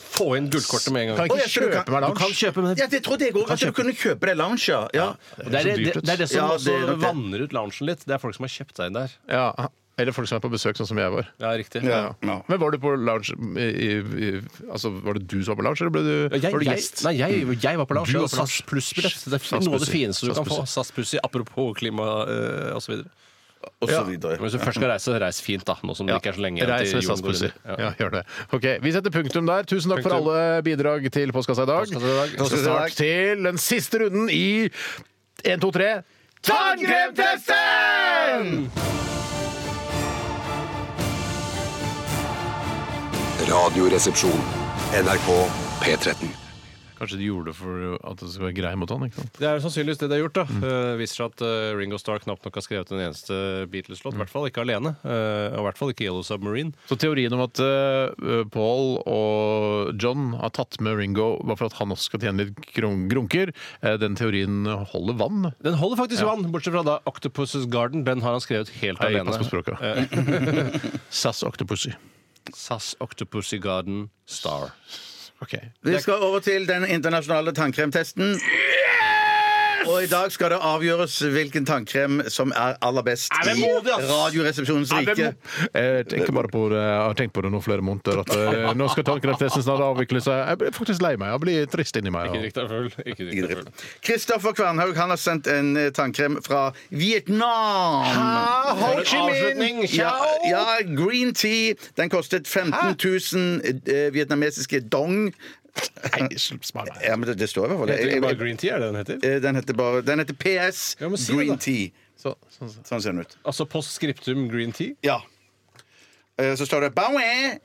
[SPEAKER 2] få inn gullkortet med en
[SPEAKER 1] Kan
[SPEAKER 2] gang.
[SPEAKER 1] jeg
[SPEAKER 3] Å, jeg
[SPEAKER 1] ikke
[SPEAKER 3] tror du
[SPEAKER 1] kjøpe meg
[SPEAKER 3] kan-
[SPEAKER 2] Du kan
[SPEAKER 1] lounge?
[SPEAKER 2] kjøpe, men
[SPEAKER 3] Ja, det trodde jeg òg, at du kunne kjøpe det lounge, ja. ja.
[SPEAKER 2] det, det,
[SPEAKER 1] så
[SPEAKER 2] er,
[SPEAKER 1] dyrt,
[SPEAKER 2] det,
[SPEAKER 1] vet du.
[SPEAKER 2] det er det som
[SPEAKER 3] Ja, det
[SPEAKER 2] også
[SPEAKER 3] er nok det.
[SPEAKER 2] vanner ut loungen litt. Det er folk som har kjøpt seg inn der.
[SPEAKER 1] Ja, eller folk som er på besøk, sånn som jeg var.
[SPEAKER 2] Ja, riktig.
[SPEAKER 3] Ja. Ja.
[SPEAKER 1] Men var du på lounge i, i, i, Altså, var det du som var på lounge, eller ble du,
[SPEAKER 2] Ja, Jeg,
[SPEAKER 1] var du
[SPEAKER 2] jeg,
[SPEAKER 1] gjest? Mm.
[SPEAKER 2] nei, jeg, jeg var på Lars.
[SPEAKER 1] Du
[SPEAKER 2] jeg var
[SPEAKER 1] og
[SPEAKER 2] på Lars
[SPEAKER 1] SAS
[SPEAKER 2] Pluss-billett. Det
[SPEAKER 1] SAS
[SPEAKER 2] er noe av det
[SPEAKER 1] Pussy.
[SPEAKER 2] fineste du
[SPEAKER 1] SAS
[SPEAKER 2] kan få.
[SPEAKER 1] Pussy.
[SPEAKER 2] SAS Pussy, apropos klima eh, og så videre
[SPEAKER 3] Og så videre.
[SPEAKER 2] Men hvis du først skal reise, reis fint, da. Nå som det ikke er så lenge igjen
[SPEAKER 1] Reis
[SPEAKER 2] til
[SPEAKER 1] med
[SPEAKER 2] jorden
[SPEAKER 1] SAS
[SPEAKER 2] går
[SPEAKER 1] Pussy.
[SPEAKER 2] under.
[SPEAKER 1] Ja, gjør det. Ok, Vi setter punktum der. Tusen takk for
[SPEAKER 2] Punktum.
[SPEAKER 1] alle bidrag til Postkassa i dag.
[SPEAKER 2] Postkassa i dag.
[SPEAKER 1] Vi skal snart til den siste runden i 1, 2, 3 Tannkremtesten!
[SPEAKER 6] Radioresepsjon. NRK P13.
[SPEAKER 1] Kanskje de gjorde det for at det skulle være grei mot han? ikke sant?
[SPEAKER 2] Det er sannsynligvis det de har gjort. da Eh, Viser seg at eh, Ringo Starr knapt nok har skrevet en eneste eh, Beatles-låt. I hvert fall ikke alene. eh, og i hvert fall ikke Yellow Submarine.
[SPEAKER 1] Så teorien om at eh, Paul og John har tatt med Ringo bare for at han også skal tjene litt grun- grunker, eh, den teorien holder vann?
[SPEAKER 2] Den holder faktisk vann, bortsett fra da Octopus's Garden. Den har han skrevet helt
[SPEAKER 1] Hei,
[SPEAKER 2] alene. Eh,
[SPEAKER 1] pass på språket. SAS Octopussy.
[SPEAKER 2] SAS Octopussy Garden Star.
[SPEAKER 1] Okay.
[SPEAKER 3] Vi skal over til den internasjonale tannkremtesten. Og i dag skal det avgjøres hvilken tannkrem som er aller best
[SPEAKER 11] Nei, men
[SPEAKER 3] i
[SPEAKER 11] må vi, ass!
[SPEAKER 3] Radioresepsjonens rike.
[SPEAKER 1] Jeg tenker bare på det. Jeg har tenkt på det nå flere måneder. At eh,
[SPEAKER 3] (laughs)
[SPEAKER 1] nå skal tannkreftesten snart avvikle seg. Jeg blir faktisk lei meg. Jeg blir trist inni meg.
[SPEAKER 2] Ikke drikk deg full. Ikke drikk deg full.
[SPEAKER 3] Kristoffer Kvernhaug han har sendt en eh, tannkrem fra Vietnam.
[SPEAKER 1] Ho Chi Minh!
[SPEAKER 3] Ja, ja, green tea. Den kostet 15 000 eh, vietnamesiske dong.
[SPEAKER 1] Nei, slutt, spar meg.
[SPEAKER 3] Ja, men det, det står i hvert fall det.
[SPEAKER 2] Heter
[SPEAKER 3] Jeg-
[SPEAKER 2] det bare
[SPEAKER 3] jeg-
[SPEAKER 2] green tea, er det den heter?
[SPEAKER 3] eh, Den heter bare Den heter PS
[SPEAKER 2] Ja, men si det da.
[SPEAKER 3] Green Tea.
[SPEAKER 1] Så, sånn, så.
[SPEAKER 3] Sånn ser den ut.
[SPEAKER 2] Altså post scriptum green tea?
[SPEAKER 3] Ja. Eh, Så står det Baoe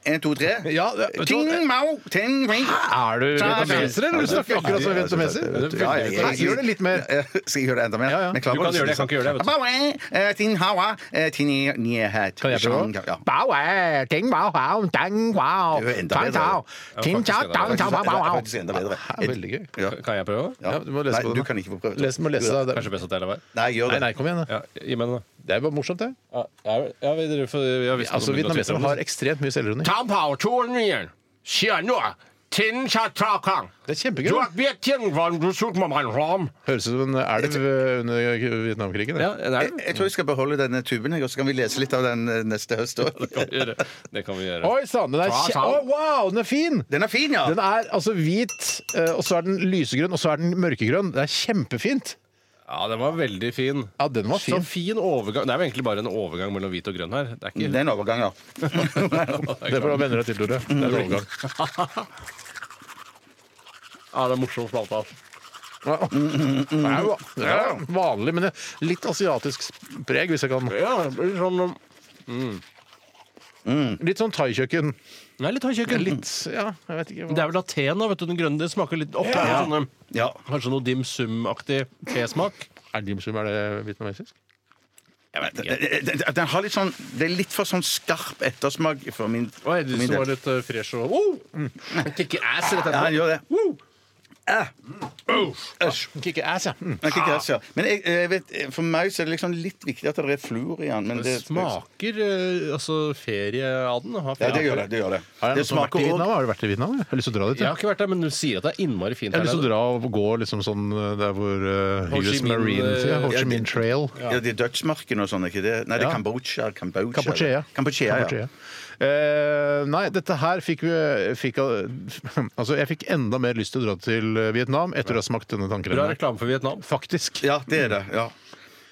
[SPEAKER 3] 1, 2, 3.
[SPEAKER 1] Ja, det- vet du hva?
[SPEAKER 3] Ting mao ten wing.
[SPEAKER 1] Er du vietnameser, eller du snakker akkurat som vietnameser?
[SPEAKER 3] Ja, ja, ja.
[SPEAKER 1] Nei, Gjør det litt mer.
[SPEAKER 3] Ja, Skal jeg gjøre det enda mer?
[SPEAKER 1] Ja, ja.
[SPEAKER 3] Jeg klarer
[SPEAKER 2] Du
[SPEAKER 3] bare
[SPEAKER 2] kan gjøre det, jeg kan ikke gjøre det, vet du.
[SPEAKER 3] Baoe, eh, tin hawa, eh, tin ni- ni het.
[SPEAKER 1] Kan jeg prøve?
[SPEAKER 3] Ja.
[SPEAKER 1] Bao, eh, ting, bao, bao, tang, bao,
[SPEAKER 3] Det er jo enda
[SPEAKER 1] tang,
[SPEAKER 3] bedre.
[SPEAKER 1] bao, ting,
[SPEAKER 2] faktisk
[SPEAKER 1] tang,
[SPEAKER 2] enda
[SPEAKER 1] tang,
[SPEAKER 2] bedre.
[SPEAKER 1] tang, bao, bao,
[SPEAKER 3] Det er
[SPEAKER 1] bao.
[SPEAKER 3] faktisk enda bedre.
[SPEAKER 1] Ja, det er Veldig gøy.
[SPEAKER 3] Ja.
[SPEAKER 2] Kan jeg prøve?
[SPEAKER 3] Ja.
[SPEAKER 1] Ja, du må lese
[SPEAKER 3] Nei,
[SPEAKER 1] på det.
[SPEAKER 3] du kan ikke få prøve det.
[SPEAKER 1] Les, må lese det.
[SPEAKER 2] Kanskje best at jeg lar være?
[SPEAKER 3] Nei, gjør
[SPEAKER 1] Nei,
[SPEAKER 3] det.
[SPEAKER 1] nei, kom igjen. da.
[SPEAKER 2] Ja, gi meg den, da.
[SPEAKER 1] Det var morsomt, det.
[SPEAKER 2] Ja, jeg, jeg, vet dere, for jeg visste
[SPEAKER 1] Altså,
[SPEAKER 2] noe om det.
[SPEAKER 1] Vietnamesere har ekstremt mye selvironi. Det er kjempegøy. da. Høres ut som en elv eh, under Vietnamkrigen. det.
[SPEAKER 2] Ja, det
[SPEAKER 3] Jeg,
[SPEAKER 2] er det.
[SPEAKER 3] jeg tror jeg skal beholde denne tuben, jeg, og så kan vi lese litt av den eh, neste høst
[SPEAKER 2] Kan vi
[SPEAKER 3] òg.
[SPEAKER 2] gjøre. Det kan vi gjøre.
[SPEAKER 1] Oi sann, den er kje... Å, wow, den er fin!
[SPEAKER 3] Den er fin, ja!
[SPEAKER 1] Den er altså hvit, eh, og så er den lysegrønn, og så er den mørkegrønn. Det er kjempefint.
[SPEAKER 2] Ja, den var veldig fin.
[SPEAKER 1] Ja, den var
[SPEAKER 2] Så
[SPEAKER 1] fin.
[SPEAKER 2] fin overgang. Det er jo egentlig bare en overgang mellom hvit og grønn her. Det er
[SPEAKER 3] Det
[SPEAKER 2] ikke (laughs)
[SPEAKER 3] er en overgang, ja.
[SPEAKER 1] Det er for da venner deg til, Tore. Det er en overgang.
[SPEAKER 2] Ja, det er morsomt plate. ass.
[SPEAKER 3] Mm.
[SPEAKER 1] Det er jo det er vanlig, men det er litt asiatisk preg, hvis jeg kan.
[SPEAKER 2] Ja, det blir sånn um,
[SPEAKER 1] Litt sånn thaikjøkken.
[SPEAKER 2] Nei, litt
[SPEAKER 1] Det er
[SPEAKER 2] hardkjøkken.
[SPEAKER 1] Litt Ja, jeg vet ikke.
[SPEAKER 2] Det
[SPEAKER 1] Hva.
[SPEAKER 2] er vel lateen, da. vet du, Den grønne det smaker litt ofte.
[SPEAKER 1] Ja.
[SPEAKER 2] Sånne,
[SPEAKER 3] ja.
[SPEAKER 2] kanskje noe dim sum-aktig tesmak.
[SPEAKER 1] Er dim sum er det vietnamesisk?
[SPEAKER 3] Den, den, den har litt sånn Det er litt for sånn skarp ettersmak for min,
[SPEAKER 2] Oi,
[SPEAKER 3] for
[SPEAKER 2] du
[SPEAKER 3] min
[SPEAKER 2] så
[SPEAKER 3] del.
[SPEAKER 2] litt eh, fresh og oh! Kicker ass rett
[SPEAKER 3] Ja,
[SPEAKER 2] etterpå.
[SPEAKER 3] han gjør det.
[SPEAKER 1] Kikke ass, ja. Mm.
[SPEAKER 3] Men, ikke gress, ja. men jeg, jeg vet, for meg så er det liksom litt viktig at det er fluor i den. Men
[SPEAKER 2] Det
[SPEAKER 3] det,
[SPEAKER 2] smaker eh, altså ferie av den. Har
[SPEAKER 3] Ja,
[SPEAKER 2] ferie.
[SPEAKER 3] det gjør det. det, gjør det.
[SPEAKER 1] Er det
[SPEAKER 3] det
[SPEAKER 1] noen som har vært i
[SPEAKER 3] smaker
[SPEAKER 1] Vietnam?
[SPEAKER 3] også-
[SPEAKER 1] Har du vært i Vietnam? Jeg har lyst til å dra dit.
[SPEAKER 2] Jeg
[SPEAKER 1] Ja.
[SPEAKER 2] har ikke vært der, men du sier at det er innmari fint
[SPEAKER 1] Jeg har lyst til å
[SPEAKER 2] her.
[SPEAKER 1] dra og gå liksom sånn eh, der hvor eh,
[SPEAKER 2] Ho Chi
[SPEAKER 1] US
[SPEAKER 2] Minh,
[SPEAKER 1] Marine
[SPEAKER 2] eh,
[SPEAKER 1] ja, Ho Chi
[SPEAKER 3] ja, det-
[SPEAKER 1] Minh Trail.
[SPEAKER 3] Ja, de dødsmarkene og sånn, er ikke det? Nei, det er Kambodsja. Kambodsja.
[SPEAKER 1] Kampuchea.
[SPEAKER 3] Kambodsja, ja.
[SPEAKER 1] Kampuchea. Eh, nei, dette her fikk vi fikk, eh, (laughs) Altså, jeg fikk enda mer lyst til å dra til eh, Vietnam etter å ha smakt denne
[SPEAKER 2] Bra
[SPEAKER 1] tannkremen. her.
[SPEAKER 2] reklame for Vietnam.
[SPEAKER 1] Faktisk.
[SPEAKER 3] Ja, det er det.
[SPEAKER 2] Mm.
[SPEAKER 3] ja.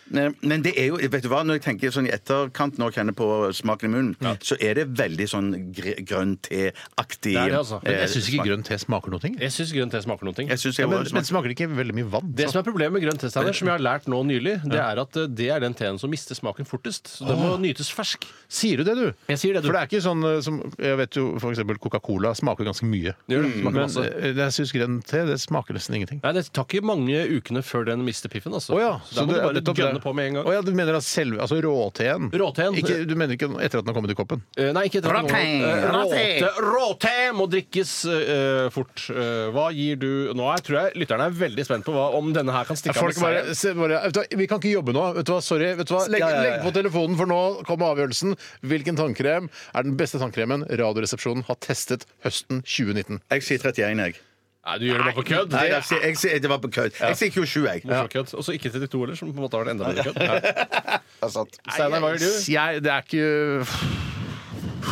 [SPEAKER 3] Men men det er jo, vet du hva, når jeg tenker sånn i etterkant, når jeg kjenner på smaken i munnen, så er det veldig sånn gr grønn te-aktig
[SPEAKER 2] Det er det, altså. Men
[SPEAKER 1] Men jeg syns ikke
[SPEAKER 3] eh, smak.
[SPEAKER 1] grønn te smaker noe.
[SPEAKER 2] Jeg syns grønn te smaker noe.
[SPEAKER 3] Jeg synes
[SPEAKER 1] Ja,
[SPEAKER 3] jeg
[SPEAKER 1] men,
[SPEAKER 3] var,
[SPEAKER 1] men smaker det ikke veldig mye vann?
[SPEAKER 2] Det som er problemet med grønn te, Steiner, som jeg har lært nå nylig, det er at eh, det er den teen som mister smaken fortest. Så den må nytes fersk.
[SPEAKER 1] Sier du det, du?
[SPEAKER 2] Jeg sier det, du.
[SPEAKER 1] For det er ikke sånn eh, som Jeg vet jo for eksempel Coca-Cola smaker ganske mye.
[SPEAKER 2] Det gjør det. Smaker
[SPEAKER 1] Men
[SPEAKER 2] masse.
[SPEAKER 1] eh, jeg syns grønn te det smaker nesten ingenting.
[SPEAKER 2] Nei, Det tar ikke mange ukene før den mister piffen. altså.
[SPEAKER 1] Å ja,
[SPEAKER 2] så da må
[SPEAKER 1] det
[SPEAKER 2] du
[SPEAKER 1] er
[SPEAKER 2] bare
[SPEAKER 1] nettopp
[SPEAKER 2] gønne
[SPEAKER 1] det.
[SPEAKER 2] på med en gang.
[SPEAKER 1] Å ja, du mener at selve altså råteen?
[SPEAKER 2] Råteen.
[SPEAKER 1] Ikke, du mener ikke etter at den har kommet i koppen?
[SPEAKER 2] Eh, Nei, ikke etter at
[SPEAKER 3] Råte!
[SPEAKER 2] noen- Eh, Råte! Råte må drikkes eh, fort. Eh, hva gir du Nå er, tror jeg lytterne er veldig spent på hva, om denne her kan stikke av med
[SPEAKER 1] Altså, Folk bare,
[SPEAKER 2] seier.
[SPEAKER 1] se, bare vet du, hva, Vi kan ikke jobbe nå. Vet du hva, sorry. Vet du hva? Legg,
[SPEAKER 3] Ja, ja, ja.
[SPEAKER 1] legg på telefonen, for nå kommer avgjørelsen. Hvilken tannkrem er den beste tannkremen Radioresepsjonen har testet høsten 2019?
[SPEAKER 3] jeg sier 31, jeg.
[SPEAKER 2] Nei, du gjør det bare på kødd.
[SPEAKER 3] Nei,
[SPEAKER 2] Det
[SPEAKER 3] jeg sier, jeg sier, det var på kødd. Jeg sier 27, jeg.
[SPEAKER 2] er morsomt kødd. Og så ikke 32 heller, som på en måte har det enda bedre kødd.
[SPEAKER 1] (laughs)
[SPEAKER 2] Ja.
[SPEAKER 3] Det er sant.
[SPEAKER 2] Steinar, hva gjør du?
[SPEAKER 1] Jeg, det er ikke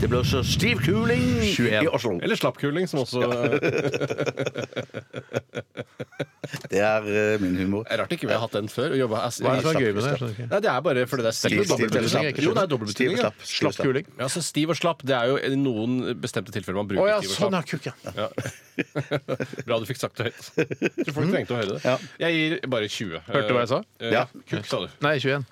[SPEAKER 3] Det blir så stiv kuling
[SPEAKER 1] 21.
[SPEAKER 3] i Oslo.
[SPEAKER 2] Eller slappkuling, som også (laughs) eh,
[SPEAKER 3] Det er eh, min humor.
[SPEAKER 2] er Rart ikke vi har hatt den før. Og jobba,
[SPEAKER 1] Hva er det som er gøy med det? Jeg skjønner ikke.
[SPEAKER 2] Nei, det er bare fordi det er stiv
[SPEAKER 3] Stiv-
[SPEAKER 2] og dobbeltbetydning.
[SPEAKER 3] stiv- slapp.
[SPEAKER 2] Jo, det er dobbeltbetydning.
[SPEAKER 3] Stiv og
[SPEAKER 2] ja.
[SPEAKER 3] slapp.
[SPEAKER 1] Slapp kuling.
[SPEAKER 2] Ja, så Stiv og slapp det er jo i noen bestemte tilfeller man
[SPEAKER 1] Å
[SPEAKER 2] bruker
[SPEAKER 1] ja,
[SPEAKER 2] stiv og slapp.
[SPEAKER 1] sånn er kukk, ja.
[SPEAKER 2] Ja. (laughs) Bra du fikk sagt det høyt. Tror folk trengte å høre det. Jeg gir bare 20.
[SPEAKER 1] Mm. Hørte du hva jeg sa?
[SPEAKER 2] Eh,
[SPEAKER 3] Ja.
[SPEAKER 2] Kutt, sa du.
[SPEAKER 1] Nei, 21.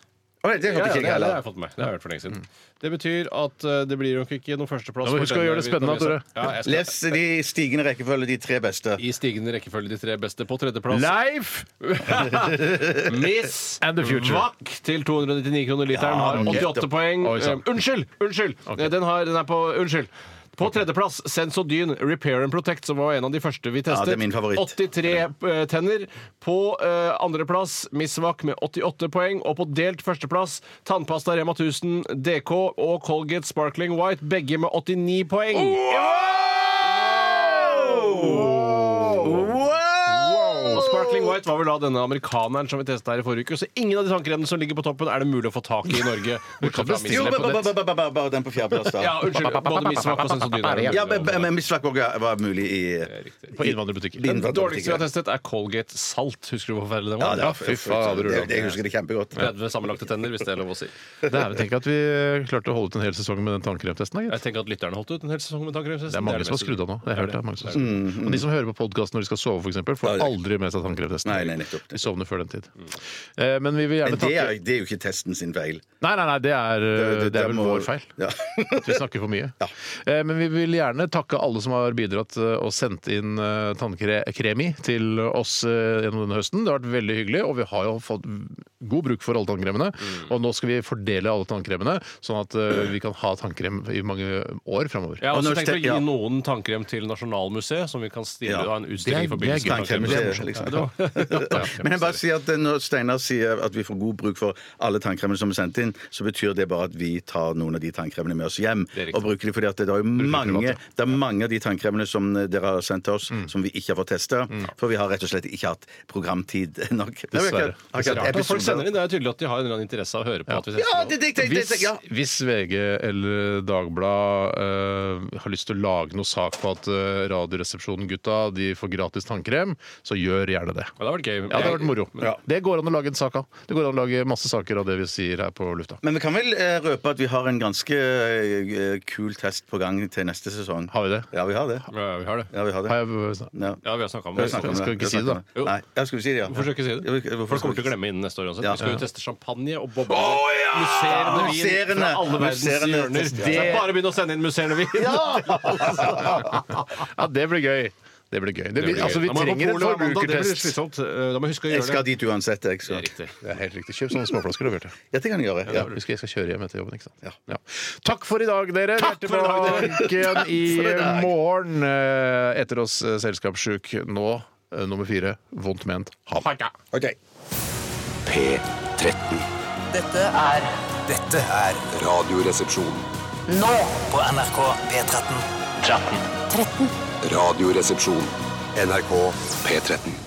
[SPEAKER 3] Å, det
[SPEAKER 2] Ja, ja,
[SPEAKER 3] hørte
[SPEAKER 2] det, er- det
[SPEAKER 3] ikke jeg
[SPEAKER 2] har
[SPEAKER 3] heller.
[SPEAKER 2] jeg fått med. Det har jeg hørt for lenge siden. Det betyr at eh, det blir nok ikke noen førsteplass.
[SPEAKER 1] Mm. Ja, men
[SPEAKER 2] for
[SPEAKER 1] husk å
[SPEAKER 2] denne
[SPEAKER 1] gjøre det spennende,
[SPEAKER 2] vietnameseren.
[SPEAKER 1] Tore.
[SPEAKER 2] Ja, jeg skal-
[SPEAKER 3] Les de stigende rekkefølge, de tre beste.
[SPEAKER 2] I stigende rekkefølge de tre beste. På tredjeplass
[SPEAKER 1] Leif!
[SPEAKER 2] (laughs) Miss
[SPEAKER 1] And the future.
[SPEAKER 2] Vack til 299 kroner literen har 88 poeng.
[SPEAKER 1] Oi, sant.
[SPEAKER 2] Eh, unnskyld! Unnskyld! Eh, Den, har, den er på Unnskyld. På tredjeplass Sensodyne Repair and Protect, som var en av de første vi testet.
[SPEAKER 3] det er min favoritt.
[SPEAKER 2] 83 eh, tenner. På eh, andreplass Miss Vack med 88 poeng. Og på delt førsteplass tannpasta Rema 1000 DK og Colgate Sparkling White, begge med 89 poeng.
[SPEAKER 3] Wow!
[SPEAKER 2] Sparkling White var vel da denne amerikaneren som vi testa her i forrige uke. Så ingen av de tannkremene som ligger på toppen, er det mulig å få tak i i Norge. Bortsett fra
[SPEAKER 3] Jo,
[SPEAKER 2] Miss Lepp
[SPEAKER 3] ba- ba-
[SPEAKER 2] og
[SPEAKER 3] ba-
[SPEAKER 2] Nett.
[SPEAKER 3] ba- ba- ba- ba- bare den på fjerdeplass, da.
[SPEAKER 2] (laughs) Ja, unnskyld. Både Misvak og Sensodyne. er det
[SPEAKER 3] Ja,
[SPEAKER 2] mulig å-
[SPEAKER 3] men- men Mislak òg var mulig i
[SPEAKER 1] På innvandrerbutikker.
[SPEAKER 3] Den
[SPEAKER 2] Det dårligste vi har testet, er Colgate Salt. Husker du hvor forferdelig den
[SPEAKER 3] Ja,
[SPEAKER 2] var?
[SPEAKER 3] det var
[SPEAKER 1] fy fader,
[SPEAKER 3] det,
[SPEAKER 1] Ulla.
[SPEAKER 3] det, jeg husker det kjempegodt.
[SPEAKER 2] 30 sammenlagte tenner, hvis det er lov å si.
[SPEAKER 1] Dæven, tenk at vi klarte å holde ut en hel sesong med den tannkremtesten. da, gitt.
[SPEAKER 2] Jeg tenker at lytterne holdt ut en hel sesong med tannkremtest.
[SPEAKER 1] Det er mange som har skrudd av nå. Det har jeg hørt, det er mange som har skrudd av. Og de som hører på podkast når de skal sove, for eksempel, får
[SPEAKER 3] Mm, Ja, det er-
[SPEAKER 1] aldri med seg tannkremtesten.
[SPEAKER 3] Nei, nei, nettopp.
[SPEAKER 1] De sovner før den tid. Eh, Men vi vil
[SPEAKER 3] Men
[SPEAKER 1] gjerne
[SPEAKER 3] det er,
[SPEAKER 1] takke
[SPEAKER 3] det er jo ikke testen sin feil.
[SPEAKER 1] Nei, nei, nei, det er, eh, det er vel
[SPEAKER 3] må-
[SPEAKER 1] vår feil.
[SPEAKER 3] Ja.
[SPEAKER 1] At vi snakker for mye.
[SPEAKER 3] (laughs) Ja.
[SPEAKER 1] Eh, Men vi vil gjerne takke alle som har bidratt eh, og sendt inn eh, tannkremi til oss eh, gjennom denne høsten. Det har vært veldig hyggelig, og vi har jo fått god bruk for alle tannkremene.
[SPEAKER 3] Mm.
[SPEAKER 1] Og nå skal vi fordele alle tannkremene, sånn at eh, vi kan ha tannkrem i mange år framover.
[SPEAKER 2] Jeg har også
[SPEAKER 3] Og når
[SPEAKER 2] tenkt å gi
[SPEAKER 3] ste- ja.
[SPEAKER 2] noen tannkrem til Nasjonalmuseet, som vi kan stille
[SPEAKER 3] Ja.
[SPEAKER 2] ha en utstilling
[SPEAKER 1] Det er-
[SPEAKER 2] i
[SPEAKER 1] det
[SPEAKER 2] forbindelse
[SPEAKER 1] er gøy.
[SPEAKER 2] med. tannkrem.
[SPEAKER 3] Tannkrem, liksom.
[SPEAKER 2] Ja,
[SPEAKER 1] (laughs)
[SPEAKER 2] det var-
[SPEAKER 3] Men eh, jeg bare sier at når Steinar sier at vi får god bruk for alle tannkremene som er sendt inn, så betyr det bare at vi tar noen av de tannkremene med oss hjem
[SPEAKER 2] Det er riktig.
[SPEAKER 3] og bruker de fordi at det er jo mange, det er mange av de tannkremene som eh, dere har sendt til oss, som vi ikke har fått testa. For vi har rett og slett ikke hatt programtid (laughs) nok. Nei, vi har ikke-
[SPEAKER 1] Dessverre.
[SPEAKER 3] har ikke hatt
[SPEAKER 2] Rart at folk
[SPEAKER 3] episoder.
[SPEAKER 2] sender inn. Det er tydelig at de har en eller annen interesse av å høre på. At vi
[SPEAKER 3] Ja, det, det, det, det,
[SPEAKER 1] Hvis,
[SPEAKER 3] det, ja.
[SPEAKER 1] hvis VG eller Dagbladet eh, har lyst til å lage noe sak på at eh, Radioresepsjonen-gutta de får gratis tannkrem, så gjør gjerne det.
[SPEAKER 2] Ja, det har vært gøy.
[SPEAKER 1] Ja, Det har vært moro.
[SPEAKER 3] Ja.
[SPEAKER 1] Det går an å lage en sak av. Det går an å lage masse saker av det vi sier her på lufta.
[SPEAKER 3] Men vi kan vel eh, røpe at vi har en ganske eh, kul test på gang til neste sesong.
[SPEAKER 1] Har vi det?
[SPEAKER 3] Ja, vi har det.
[SPEAKER 2] Ja, vi har det.
[SPEAKER 3] Ja, vi har det.
[SPEAKER 1] Har jeg,
[SPEAKER 3] Ja.
[SPEAKER 2] Ja, vi har snakket om
[SPEAKER 3] Vi har
[SPEAKER 2] det.
[SPEAKER 3] snakket om det.
[SPEAKER 1] Skal vi ikke
[SPEAKER 3] har
[SPEAKER 1] si det,
[SPEAKER 3] snakket
[SPEAKER 2] da?
[SPEAKER 3] om Nei, ja, skal vi si det, ja.
[SPEAKER 2] Hvorfor skal vi ikke si
[SPEAKER 3] Ja,
[SPEAKER 2] det?
[SPEAKER 3] hvorfor
[SPEAKER 2] For det
[SPEAKER 3] skal
[SPEAKER 2] kommer
[SPEAKER 3] vi
[SPEAKER 2] til å glemme inn neste år uansett.
[SPEAKER 3] Ja.
[SPEAKER 2] Vi skal jo teste champagne og bobler.
[SPEAKER 3] ja!
[SPEAKER 2] Musserende vin fra
[SPEAKER 3] Musserende.
[SPEAKER 2] alle verdens
[SPEAKER 3] Musserende
[SPEAKER 2] hjørner.
[SPEAKER 3] test, ja.
[SPEAKER 2] Så det er bare å begynne å sende inn musserende vin!
[SPEAKER 1] ja, det blir gøy. Det blir gøy. Det blir, altså, vi
[SPEAKER 2] Da må jeg på
[SPEAKER 1] trenger en
[SPEAKER 2] polet, Amanda. Det blir
[SPEAKER 1] forbrukertest.
[SPEAKER 2] slitsomt. Eh, Da må jeg huske å
[SPEAKER 3] Jeg
[SPEAKER 2] gjøre
[SPEAKER 3] skal
[SPEAKER 2] det.
[SPEAKER 3] dit uansett, jeg. Så.
[SPEAKER 2] Det er riktig.
[SPEAKER 1] Det er helt riktig. Kjøp sånne småflasker, Bjarte.
[SPEAKER 3] Ja, det kan jeg gjøre. Ja.
[SPEAKER 1] Vi skal, jeg skal kjøre hjem etter jobben, ikke sant? Ja. Takk for i dag, dere. Vi er
[SPEAKER 2] for i
[SPEAKER 1] tilbake
[SPEAKER 2] dag,
[SPEAKER 1] igjen i morgen eh, etter oss eh, Selskapssjuk. Nå eh, nummer fire, vondt ment. Ha det.
[SPEAKER 6] P13.
[SPEAKER 12] Dette er
[SPEAKER 6] Dette er Radioresepsjon.
[SPEAKER 12] nå på NRK P13. 13.
[SPEAKER 6] Radioresepsjon. NRK P13.